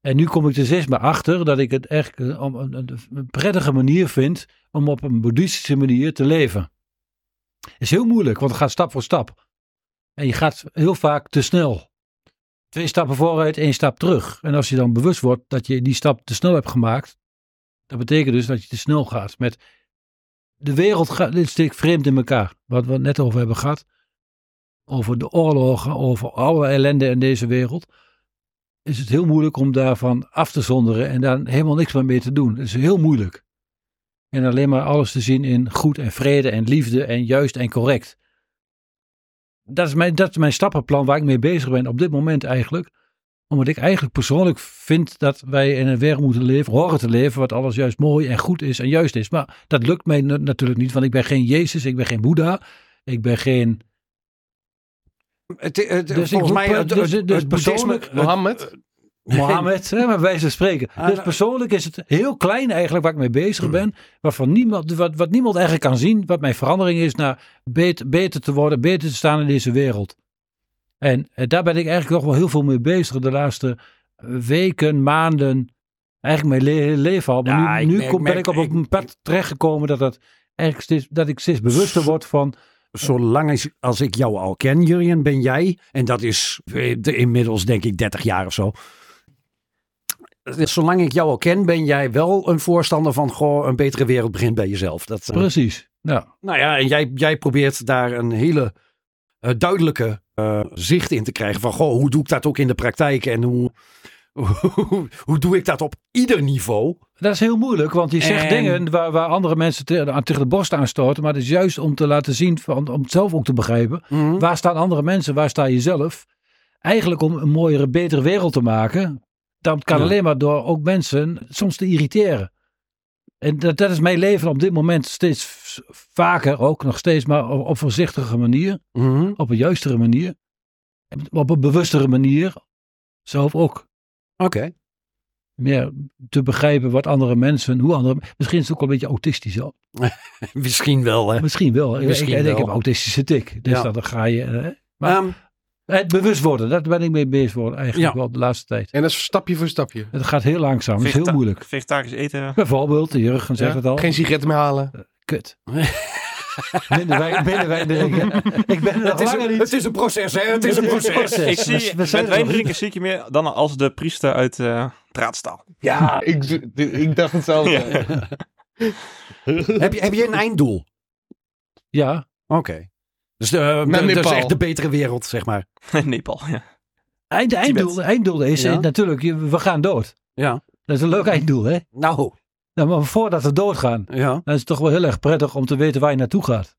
[SPEAKER 6] En nu kom ik er steeds maar achter dat ik het echt eh, om- een, een- een prettige manier vind om op een boeddhistische manier te leven. is heel moeilijk, want het gaat stap voor stap. En je gaat heel vaak te snel. Twee stappen vooruit, één stap terug. En als je dan bewust wordt dat je die stap te snel hebt gemaakt, dat betekent dus dat je te snel gaat met de wereld gaat dit steek vreemd in elkaar. Wat we het net over hebben gehad. Over de oorlogen, over alle ellende in deze wereld. Is het heel moeilijk om daarvan af te zonderen en daar helemaal niks meer mee te doen. Het is heel moeilijk. En alleen maar alles te zien in goed en vrede en liefde en juist en correct. Dat is mijn, dat is mijn stappenplan waar ik mee bezig ben op dit moment eigenlijk. Omdat ik eigenlijk persoonlijk vind dat wij in een wereld moeten leven, horen te leven, wat alles juist mooi en goed is en juist is. Maar dat lukt mij na- natuurlijk niet, want ik ben geen Jezus, ik ben geen Boeddha, ik ben geen...
[SPEAKER 5] Het, het,
[SPEAKER 6] Dus ik
[SPEAKER 5] volgens
[SPEAKER 6] moet
[SPEAKER 5] mij,
[SPEAKER 6] per-
[SPEAKER 5] het,
[SPEAKER 6] dus-
[SPEAKER 5] het-
[SPEAKER 6] dus
[SPEAKER 5] het boeddhisme-
[SPEAKER 6] persoonlijk-
[SPEAKER 4] Mohammed.
[SPEAKER 6] Mohammed, hè, maar wij ze spreken.
[SPEAKER 5] Ah,
[SPEAKER 6] dus
[SPEAKER 5] nou-
[SPEAKER 6] persoonlijk is het heel klein eigenlijk waar ik mee bezig ben. Waarvan niemand, wat, wat niemand eigenlijk kan zien. Wat mijn verandering is naar beter, beter te worden, beter te staan in deze wereld. En eh, daar ben ik eigenlijk nog wel heel veel mee bezig de laatste eh, weken, maanden. Eigenlijk mijn le- hele leven al. Maar nu
[SPEAKER 5] Ja, ik
[SPEAKER 6] nu
[SPEAKER 5] merk-
[SPEAKER 6] kom, ben
[SPEAKER 5] merk-
[SPEAKER 6] ik op een
[SPEAKER 5] ik-
[SPEAKER 6] pad terechtgekomen dat, dat, eigenlijk steeds, dat ik steeds bewuster word van...
[SPEAKER 5] Zolang als, als ik jou al ken, Jurien, ben jij, en dat is eh, de- inmiddels denk ik 30 jaar of zo. Zolang ik jou al ken, ben jij wel een voorstander van goh, een betere wereld begint bij jezelf. Dat, eh,
[SPEAKER 6] Precies. Nou,
[SPEAKER 5] nou ja, en jij, jij probeert daar een hele eh, duidelijke eh, zicht in te krijgen van goh, hoe doe ik dat ook in de praktijk en hoe, hoe, hoe doe ik dat op ieder niveau?
[SPEAKER 6] Dat is heel moeilijk, want je zegt
[SPEAKER 5] En-
[SPEAKER 6] dingen waar, waar andere mensen te- aan- tegen de borst aan stoten. Maar dat is juist om te laten zien, van, om het zelf ook te begrijpen.
[SPEAKER 5] Hm.
[SPEAKER 6] Waar staan andere mensen, waar sta je zelf? Eigenlijk om een mooiere, betere wereld te maken. Dat kan
[SPEAKER 5] Ja.
[SPEAKER 6] alleen maar door ook mensen soms te irriteren. En dat, dat is mijn leven op dit moment steeds v- vaker, ook nog steeds, maar op, op voorzichtige manier.
[SPEAKER 5] Mhm.
[SPEAKER 6] Op een juistere manier. en Op een bewustere manier. Zelf ook
[SPEAKER 5] Oké.
[SPEAKER 6] meer te begrijpen wat andere mensen, hoe andere. Misschien is het ook wel een beetje autistisch al.
[SPEAKER 5] Misschien wel, hè.
[SPEAKER 6] Misschien wel. Ik-
[SPEAKER 5] Misschien
[SPEAKER 6] ik, ik
[SPEAKER 5] wel.
[SPEAKER 6] heb een autistische tik, dus
[SPEAKER 5] Ja.
[SPEAKER 6] dat dan ga je. Hè? Maar-
[SPEAKER 5] Ehm,
[SPEAKER 6] Het bewust worden, daar ben ik mee bezig geworden eigenlijk
[SPEAKER 5] Ja.
[SPEAKER 6] wel de laatste tijd.
[SPEAKER 4] En dat is stapje voor stapje.
[SPEAKER 6] Het gaat heel langzaam, het is heel
[SPEAKER 3] Vegeta-
[SPEAKER 6] moeilijk.
[SPEAKER 3] Vegetarisch eten.
[SPEAKER 6] Bijvoorbeeld, Jurgen zegt
[SPEAKER 4] Ja?
[SPEAKER 6] het al,
[SPEAKER 4] Geen sigaretten meer halen.
[SPEAKER 6] kut. minder wijn, minder wijn drinken. Ik ben er nog
[SPEAKER 5] het, is
[SPEAKER 6] langer
[SPEAKER 5] een,
[SPEAKER 6] niet.
[SPEAKER 5] het is een proces, hè. Het is een proces.
[SPEAKER 3] Ik
[SPEAKER 6] We-
[SPEAKER 3] zie,
[SPEAKER 6] we
[SPEAKER 3] met
[SPEAKER 6] zijn er
[SPEAKER 3] wijn
[SPEAKER 6] nog niet.
[SPEAKER 3] drinken zie ik je meer dan als de priester uit eh Draadstaal.
[SPEAKER 4] Ja, Ah, ik, d- d- ik dacht hetzelfde.
[SPEAKER 5] heb, je, heb je een einddoel?
[SPEAKER 6] Ja,
[SPEAKER 5] Oké. Dus de,
[SPEAKER 4] Naar
[SPEAKER 5] de- dat is
[SPEAKER 4] Nepal.
[SPEAKER 5] echt de betere wereld, zeg maar.
[SPEAKER 3] Nepal, ja.
[SPEAKER 6] eind, einddoel, einddoel is
[SPEAKER 5] Ja.
[SPEAKER 6] eh, natuurlijk, je- we gaan dood.
[SPEAKER 5] Ja.
[SPEAKER 6] Dat is een leuk einddoel, hè?
[SPEAKER 5] Nou,
[SPEAKER 6] Nou, maar voordat we doodgaan,
[SPEAKER 5] ja.
[SPEAKER 6] Dan is het toch wel heel erg prettig om te weten waar je naartoe gaat.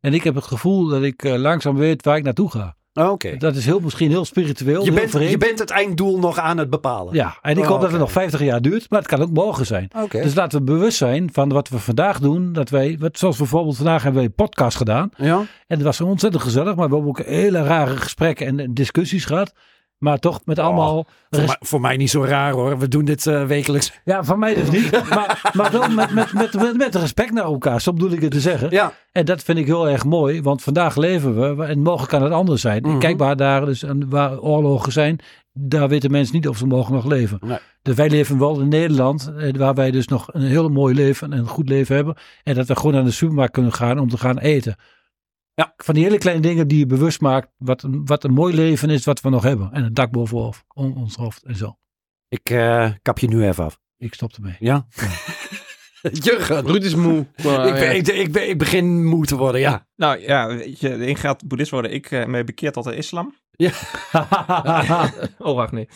[SPEAKER 6] En ik heb het gevoel dat ik eh, langzaam weet waar ik naartoe ga.
[SPEAKER 5] Oh, Oké.
[SPEAKER 6] Dat is heel, misschien heel spiritueel,
[SPEAKER 5] Je
[SPEAKER 6] heel
[SPEAKER 5] bent,
[SPEAKER 6] vreemd.
[SPEAKER 5] je bent het einddoel nog aan het bepalen.
[SPEAKER 6] Ja, en ik
[SPEAKER 5] Oh,
[SPEAKER 6] hoop dat het
[SPEAKER 5] oké.
[SPEAKER 6] nog 50 jaar duurt, maar het kan ook morgen zijn.
[SPEAKER 5] Oké.
[SPEAKER 6] Dus laten we bewust zijn van wat we vandaag doen. Dat wij, wat, zoals bijvoorbeeld vandaag hebben we een podcast gedaan.
[SPEAKER 5] ja.
[SPEAKER 6] En het was ontzettend gezellig, maar we hebben ook hele rare gesprekken en eh, discussies gehad. Maar toch met allemaal...
[SPEAKER 5] Oh, Voor,
[SPEAKER 6] res-
[SPEAKER 5] mij- voor mij niet zo raar hoor. We doen dit eh, wekelijks.
[SPEAKER 6] ja, van mij dus niet. maar, maar wel met, met, met, met, met respect naar elkaar, zo bedoel ik het te zeggen.
[SPEAKER 5] Ja.
[SPEAKER 6] En dat vind ik heel erg mooi, want vandaag leven we en morgen kan het anders zijn.
[SPEAKER 5] Mhm.
[SPEAKER 6] Kijk waar daar dus aan- waar oorlogen zijn, daar weten mensen niet of ze morgen nog leven.
[SPEAKER 5] Nee.
[SPEAKER 6] Dus wij leven wel in Nederland, eh, waar wij dus nog een heel mooi leven en een goed leven hebben. En dat we gewoon naar de supermarkt kunnen gaan om te gaan eten.
[SPEAKER 5] Ja.
[SPEAKER 6] Van die hele kleine dingen die je bewust maakt, wat een, wat een mooi leven is wat we nog hebben. En een dak boven hoofd- on- ons hoofd en zo.
[SPEAKER 5] Ik eh, kap je nu even af.
[SPEAKER 6] Ik stop ermee.
[SPEAKER 5] Ja. Jurgen.
[SPEAKER 4] Ruud is moe. Maar,
[SPEAKER 5] ik, ben,
[SPEAKER 4] ja.
[SPEAKER 5] ik, ik, ben, ik begin moe te worden, ja.
[SPEAKER 3] Nou ja, weet je, de een gaat boeddhist worden, ik eh mij bekeerd tot de islam. Oh, wacht, nee.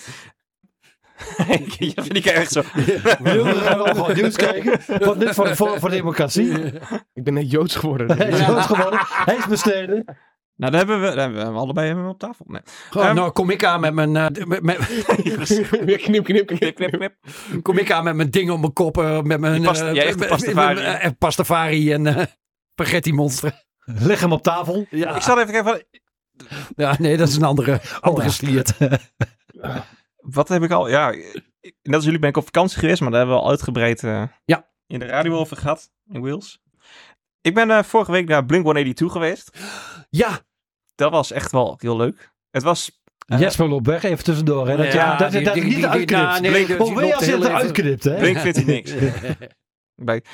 [SPEAKER 3] ja, vind ik echt zo.
[SPEAKER 6] Wil je nog wat nieuws kijken? Wat dit voor, voor, voor democratie?
[SPEAKER 4] ik ben net Joods geworden.
[SPEAKER 6] Hij is dood geworden. Hij is besteden.
[SPEAKER 3] Nou, daar hebben we, daar hebben we allebei hebben we op tafel. Nee.
[SPEAKER 5] Gewoon,
[SPEAKER 3] Ehm,
[SPEAKER 5] nou, kom ik aan met mijn, eh, met, met-
[SPEAKER 4] Weer knip, knip, knip.
[SPEAKER 3] Knip, knip, knip.
[SPEAKER 5] kom ik aan met mijn ding op mijn kop, eh, met mijn
[SPEAKER 3] Die past-
[SPEAKER 5] eh,
[SPEAKER 3] jij echte
[SPEAKER 5] met-
[SPEAKER 3] pastafari.
[SPEAKER 5] met mijn, eh, pastafari en eh, spaghetti monster.
[SPEAKER 6] Leg hem op tafel.
[SPEAKER 5] Ja.
[SPEAKER 3] Ik zal even kijken, van,
[SPEAKER 5] ja, nee, dat is een andere, andere
[SPEAKER 6] Oh, ja.
[SPEAKER 5] sliert.
[SPEAKER 3] wat heb ik al? Ja, ik- net als jullie ben ik op vakantie geweest, maar daar hebben we al uitgebreid eh,
[SPEAKER 5] Ja.
[SPEAKER 3] in de radio over gehad, in Wales. Ik ben eh, vorige week naar Blink-182 geweest.
[SPEAKER 5] Ja,
[SPEAKER 3] Dat was echt wel heel leuk. Het was, Eh.
[SPEAKER 6] Jesper loopt weg, even tussendoor. Hè? Dat,
[SPEAKER 5] Ja,
[SPEAKER 6] ja, dat,
[SPEAKER 5] die-
[SPEAKER 6] dat
[SPEAKER 5] die- die-
[SPEAKER 6] niet
[SPEAKER 5] die- nou,
[SPEAKER 6] uitknipt.
[SPEAKER 5] nee,
[SPEAKER 6] Blink-
[SPEAKER 5] die- die
[SPEAKER 6] Oh, weet je
[SPEAKER 5] loopt
[SPEAKER 6] als je
[SPEAKER 5] heel
[SPEAKER 6] het
[SPEAKER 5] even-
[SPEAKER 6] eruit knipt, hè?
[SPEAKER 3] Blink vindt hij niks. bij. Het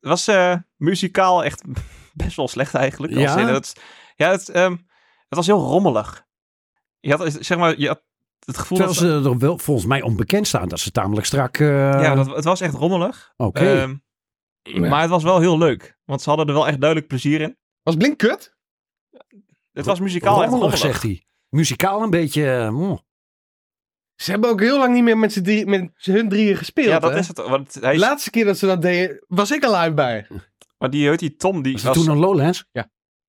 [SPEAKER 3] was eh, muzikaal echt best wel slecht eigenlijk. Als
[SPEAKER 5] Ja?
[SPEAKER 3] in het, ja, het, ehm, het was heel rommelig. Je had, eh, zeg maar, je had het gevoel
[SPEAKER 5] Terwijl
[SPEAKER 3] dat...
[SPEAKER 5] ze er wel volgens mij onbekend staan, dat ze tamelijk strak... eh,
[SPEAKER 3] ja, dat, het was echt rommelig.
[SPEAKER 5] Oké.
[SPEAKER 3] Ehm, Maar het was wel heel leuk. Want ze hadden er wel echt duidelijk plezier in.
[SPEAKER 4] Was Blink kut?
[SPEAKER 3] Het was muzikaal echt
[SPEAKER 5] Rommelig,
[SPEAKER 3] rommelig.
[SPEAKER 5] zegt hij. Muzikaal een beetje... eh, mm.
[SPEAKER 4] Ze hebben ook heel lang niet meer met, z'n drie, met z'n- hun drieën gespeeld.
[SPEAKER 3] Ja, dat
[SPEAKER 4] hè?
[SPEAKER 3] is het. Want hij
[SPEAKER 4] De
[SPEAKER 3] is-
[SPEAKER 4] laatste keer dat ze dat deden, was ik al uit bij.
[SPEAKER 3] maar die heet die Tom, die
[SPEAKER 5] was
[SPEAKER 3] was,
[SPEAKER 5] het toen nog Lowlands?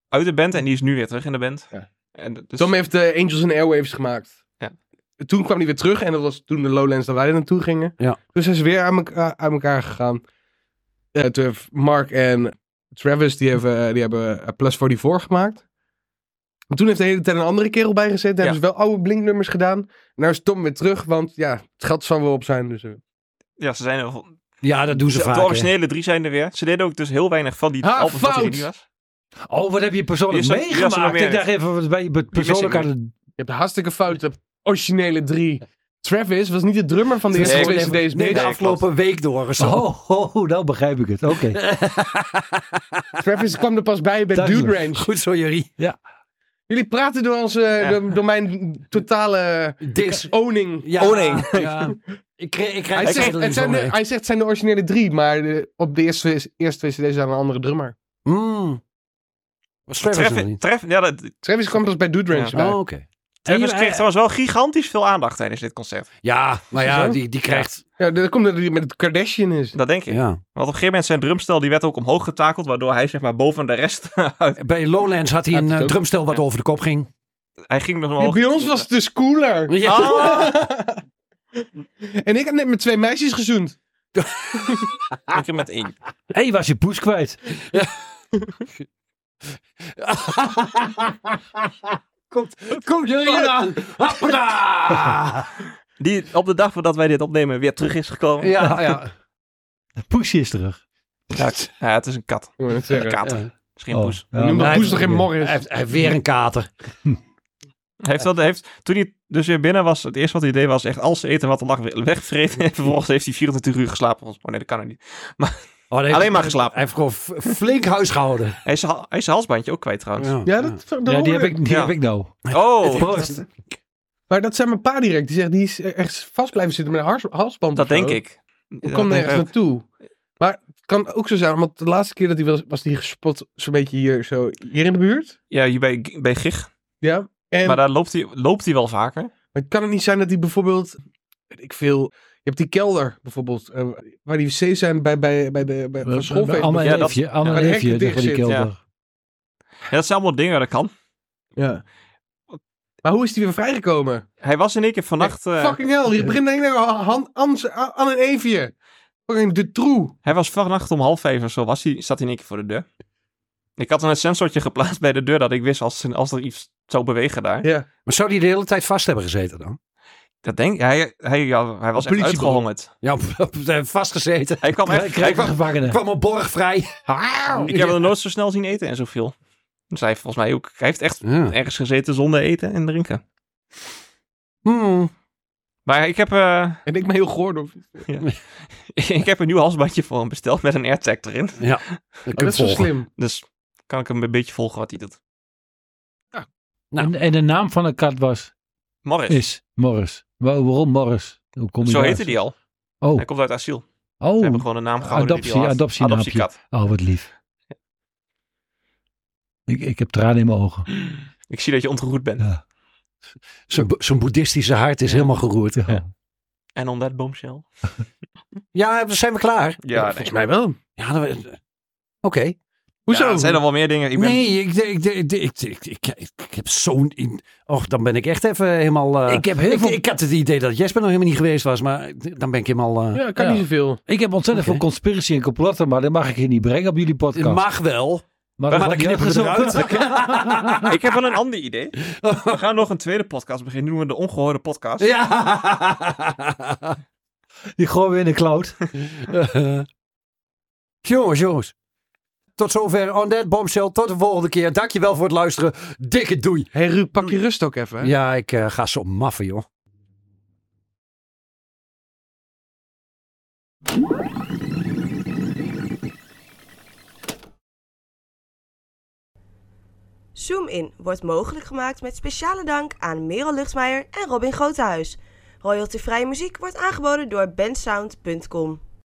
[SPEAKER 3] uit de band en die is nu weer terug in de band.
[SPEAKER 4] Ja.
[SPEAKER 3] En dus,
[SPEAKER 4] Tom heeft de Angels and Airwaves gemaakt.
[SPEAKER 3] Ja.
[SPEAKER 4] Toen kwam hij weer terug en dat was toen de Lowlands dat wij er naartoe gingen.
[SPEAKER 5] Ja.
[SPEAKER 4] Toen zijn ze weer aan, elka- aan elkaar gegaan. Eh, toen heeft Mark en Travis, die hebben, eh, die hebben eh, Plus 44 gemaakt. En toen heeft de hele tijd een andere kerel bij gezet. Daar
[SPEAKER 3] Ja.
[SPEAKER 4] hebben ze wel oude blinknummers gedaan. Nou is Tom weer terug, want ja, het geld zal wel op zijn. Dus, eh.
[SPEAKER 3] ja, ze zijn er, wel-
[SPEAKER 5] Ja, dat doen ze vaak.
[SPEAKER 3] de
[SPEAKER 5] hè.
[SPEAKER 3] originele drie zijn er weer. Ze deden ook dus heel weinig van die
[SPEAKER 4] Ah,
[SPEAKER 3] albums dat er
[SPEAKER 4] fout!
[SPEAKER 3] niet was.
[SPEAKER 6] Oh, wat heb je persoonlijk
[SPEAKER 3] Hier is er- hier is er nog
[SPEAKER 6] meegemaakt?
[SPEAKER 3] meer.
[SPEAKER 6] Ik dacht even, wat ben je persoonlijk
[SPEAKER 3] mis ik
[SPEAKER 6] aan het...
[SPEAKER 4] je hebt een hartstikke foute originele drie. Travis was niet de drummer van de
[SPEAKER 5] Nee,
[SPEAKER 4] eerste
[SPEAKER 3] ik-
[SPEAKER 4] twee cd's.
[SPEAKER 5] Nee, de
[SPEAKER 3] Nee,
[SPEAKER 5] afgelopen week door. of zo.
[SPEAKER 6] Oh, oh, oh, nou begrijp ik het. Oké.
[SPEAKER 4] Travis kwam er pas bij bij
[SPEAKER 6] Duidelijk.
[SPEAKER 4] Dude Ranch.
[SPEAKER 5] Goed zo, Jerry.
[SPEAKER 4] Jullie praten door, onze,
[SPEAKER 3] Ja.
[SPEAKER 4] door, door mijn totale
[SPEAKER 5] Dis.
[SPEAKER 4] owning.
[SPEAKER 5] Ja,
[SPEAKER 3] Oh, nee.
[SPEAKER 5] ja. Ik krijg, ik krijg
[SPEAKER 4] Hij zegt,
[SPEAKER 5] er
[SPEAKER 4] het
[SPEAKER 5] niet
[SPEAKER 4] zijn de,
[SPEAKER 5] van, hè.
[SPEAKER 4] hij zegt het zijn de originele drie, maar de- op de eerste, eerste twee cd's aan een andere drummer.
[SPEAKER 5] Mm. Was Travis nog
[SPEAKER 3] Treff,
[SPEAKER 5] niet?
[SPEAKER 3] tref, ja, dat,
[SPEAKER 4] Travis kwam pas bij Dude Ranch
[SPEAKER 3] Ja.
[SPEAKER 4] bij.
[SPEAKER 5] Oh, oké.
[SPEAKER 3] Travis
[SPEAKER 6] je-
[SPEAKER 3] kreeg trouwens wel gigantisch veel aandacht tijdens dit concert.
[SPEAKER 5] Ja, maar ja,
[SPEAKER 4] Zo?
[SPEAKER 5] die, die krijgt...
[SPEAKER 4] Ja, dat komt omdat hij met het Kardashian is.
[SPEAKER 3] Dat denk ik.
[SPEAKER 5] Ja.
[SPEAKER 3] Want op een gegeven moment zijn drumstel die werd ook omhoog getakeld, waardoor hij zeg maar boven de rest uit.
[SPEAKER 5] Bij Lowlands had hij
[SPEAKER 4] Had
[SPEAKER 5] een
[SPEAKER 4] het
[SPEAKER 5] eh,
[SPEAKER 4] ook.
[SPEAKER 5] drumstel wat over de kop ging.
[SPEAKER 3] Hij ging nog
[SPEAKER 4] Ja,
[SPEAKER 3] omhoog.
[SPEAKER 4] bij ons was het dus cooler.
[SPEAKER 5] Ja.
[SPEAKER 4] en ik had net met twee meisjes gezoend.
[SPEAKER 3] Ik er met één.
[SPEAKER 6] Hé, was je poes kwijt?
[SPEAKER 5] Komt, komt jullie aan. Hoppada!
[SPEAKER 3] Die op de dag voordat wij dit opnemen weer terug is gekomen. Ja,
[SPEAKER 5] Ja, ja.
[SPEAKER 6] Poesje is terug.
[SPEAKER 3] het, ja, het is een kat.
[SPEAKER 4] Ik wou net
[SPEAKER 3] Een
[SPEAKER 4] zeggen.
[SPEAKER 3] kater.
[SPEAKER 5] Ja.
[SPEAKER 3] Misschien
[SPEAKER 6] Oh,
[SPEAKER 3] poes.
[SPEAKER 6] ja,
[SPEAKER 4] Noem
[SPEAKER 6] maar
[SPEAKER 4] dat
[SPEAKER 6] hij-
[SPEAKER 4] poes toch geen
[SPEAKER 5] Hij
[SPEAKER 4] Morris?
[SPEAKER 5] heeft, hij heeft weer een kater. Oh,
[SPEAKER 3] Hij heeft dat, hij heeft, toen hij dus weer binnen was, het eerste wat hij deed was echt al zijn eten wat er lag weer wegvreten. En vervolgens heeft hij 24 uur geslapen. Oh nee, dat kan hij niet.
[SPEAKER 5] Oh, hij heeft-
[SPEAKER 3] Alleen maar geslapen.
[SPEAKER 5] Hij heeft gewoon f- flink huis gehouden.
[SPEAKER 3] Hij is, zijn ha- hij is zijn halsbandje ook kwijt trouwens.
[SPEAKER 4] Ja, dat, dat
[SPEAKER 6] Ja, die heb
[SPEAKER 4] hoorde
[SPEAKER 6] ik, die
[SPEAKER 3] Ja.
[SPEAKER 6] heb ik nou.
[SPEAKER 3] Oh,
[SPEAKER 6] Proost.
[SPEAKER 4] Maar dat zijn mijn pa direct. Die zegt, die is e-, echt vast blijven zitten met een hars- halsband.
[SPEAKER 3] dat
[SPEAKER 4] of zo.
[SPEAKER 3] denk ik.
[SPEAKER 4] Ik
[SPEAKER 3] Dat
[SPEAKER 4] kwam
[SPEAKER 3] denk
[SPEAKER 4] nergens
[SPEAKER 3] ik ook.
[SPEAKER 4] naartoe. Maar het kan ook zo zijn, want de laatste keer dat hij was, was hij gespot zo'n beetje hier, zo, hier in de buurt.
[SPEAKER 3] Ja, hier bij, bij Gig.
[SPEAKER 4] Ja. En,
[SPEAKER 3] Maar
[SPEAKER 4] maar,
[SPEAKER 3] daar loopt hij, loopt hij wel vaker.
[SPEAKER 4] het kan het niet zijn dat hij bijvoorbeeld, weet ik veel, je hebt die kelder bijvoorbeeld, eh, waar die wc's zijn bij, bij, bij de bij, van schoolfeest.
[SPEAKER 6] Anne
[SPEAKER 3] Ja,
[SPEAKER 6] en
[SPEAKER 3] dat-
[SPEAKER 6] Eefje. Anne
[SPEAKER 4] ja,
[SPEAKER 6] en
[SPEAKER 4] maar de
[SPEAKER 6] Eefje,
[SPEAKER 4] hek die
[SPEAKER 6] zeggen die
[SPEAKER 4] dicht
[SPEAKER 3] zit,
[SPEAKER 6] kelder.
[SPEAKER 3] Ja, dat zijn allemaal dingen, dat kan.
[SPEAKER 4] Ja. Maar hoe is hij weer vrijgekomen?
[SPEAKER 3] Hij was in één keer vannacht... eh,
[SPEAKER 4] Fucking hell, je begint denk ik aan Anne en Evie. Fucking de troe.
[SPEAKER 3] Hij was vannacht om half vijf of zo, was hij, zat hij in één keer voor de deur. Ik had een sensortje geplaatst bij de deur dat ik wist als, als er iets zou bewegen daar.
[SPEAKER 4] Ja.
[SPEAKER 5] Maar zou die de hele tijd vast hebben gezeten dan?
[SPEAKER 3] Dat denk hij, hij, ja, hij was echt
[SPEAKER 4] Politiebureau.
[SPEAKER 3] uitgehongerd.
[SPEAKER 5] Ja, ze hebben vastgezeten.
[SPEAKER 3] Hij kwam
[SPEAKER 6] Krijg-
[SPEAKER 3] echt, hij
[SPEAKER 6] Krijg een
[SPEAKER 3] kwam,
[SPEAKER 6] gevangene.
[SPEAKER 5] Kwam op borg vrij.
[SPEAKER 3] ik heb hem nooit zo snel zien eten en zoveel. Dus hij heeft volgens mij ook, hij heeft echt
[SPEAKER 5] Ja.
[SPEAKER 3] ergens gezeten zonder eten en drinken.
[SPEAKER 5] Hmm.
[SPEAKER 3] Maar ik heb, eh,
[SPEAKER 4] En ik ben heel goor. Oh, Of...
[SPEAKER 3] ik heb een nieuw halsbandje voor hem besteld met een airtag erin.
[SPEAKER 5] Ja, Oh, dat
[SPEAKER 4] dat
[SPEAKER 5] kun je
[SPEAKER 4] is zo
[SPEAKER 5] volgen.
[SPEAKER 4] slim.
[SPEAKER 3] Dus kan ik hem een beetje volgen wat hij doet.
[SPEAKER 5] Nou.
[SPEAKER 6] En, en de naam van de kat was,
[SPEAKER 3] Morris,
[SPEAKER 6] is Morris. Wa- Waarom Morris? Hoe kom je
[SPEAKER 3] zo
[SPEAKER 6] daar?
[SPEAKER 3] heette die al.
[SPEAKER 6] Oh,
[SPEAKER 3] Hij komt uit asiel. Ze hebben
[SPEAKER 6] oh,
[SPEAKER 3] gewoon een naam gehouden die hij al had.
[SPEAKER 6] adoptie- adoptienaapje.
[SPEAKER 3] Adoptiekat.
[SPEAKER 6] oh, wat lief. Ik, ik heb tranen in mijn ogen.
[SPEAKER 3] Ik zie dat je ontroerd bent.
[SPEAKER 6] Ja.
[SPEAKER 5] Zijn bo- zijn boeddhistische hart is helemaal geroerd.
[SPEAKER 6] Ja.
[SPEAKER 3] En om dat boomshell.
[SPEAKER 5] Ja, dan zijn we klaar.
[SPEAKER 3] Ja, nee.
[SPEAKER 5] volgens mij wel. Ja, dan- Oké.
[SPEAKER 4] Hoezo?
[SPEAKER 3] Ja, er zijn er wel meer dingen. Ik ben...
[SPEAKER 5] Nee, ik, ik, ik, ik, ik, ik, ik, ik heb zo'n... in- Och, dan ben ik echt even helemaal... eh,
[SPEAKER 6] Ik heb heel
[SPEAKER 5] ik,
[SPEAKER 6] veel-
[SPEAKER 5] ik had het idee dat Jesper nog helemaal niet geweest was, maar dan ben ik helemaal... eh,
[SPEAKER 4] Ja, kan
[SPEAKER 6] Ja.
[SPEAKER 4] niet zoveel.
[SPEAKER 6] Ik heb ontzettend
[SPEAKER 5] Oké.
[SPEAKER 6] veel conspiratie en complotten, maar dat mag ik hier niet brengen op jullie
[SPEAKER 5] het
[SPEAKER 6] podcast.
[SPEAKER 5] mag wel,
[SPEAKER 6] maar dat
[SPEAKER 5] maar dan
[SPEAKER 6] wordt niet
[SPEAKER 5] knippen we
[SPEAKER 6] uitgezonden.
[SPEAKER 5] eruit.
[SPEAKER 3] Ik heb wel een ander idee. We gaan nog een tweede podcast beginnen. Noemen we de Ongehoorde Podcast.
[SPEAKER 5] Ja.
[SPEAKER 6] Die gooien we in de cloud.
[SPEAKER 5] jongens, jongens. Tot zover On That Bombshell. Tot de volgende keer. Dankjewel voor het luisteren. Dikke doei.
[SPEAKER 4] Hé hey, Ruud, pak je rust ook even. hè?
[SPEAKER 5] Ja, ik eh, ga zo maffen, joh.
[SPEAKER 2] Zoom in wordt mogelijk gemaakt met speciale dank aan Merel Luchtmeijer en Robin Grotehuis. Royaltyvrije muziek wordt aangeboden door bensound.com.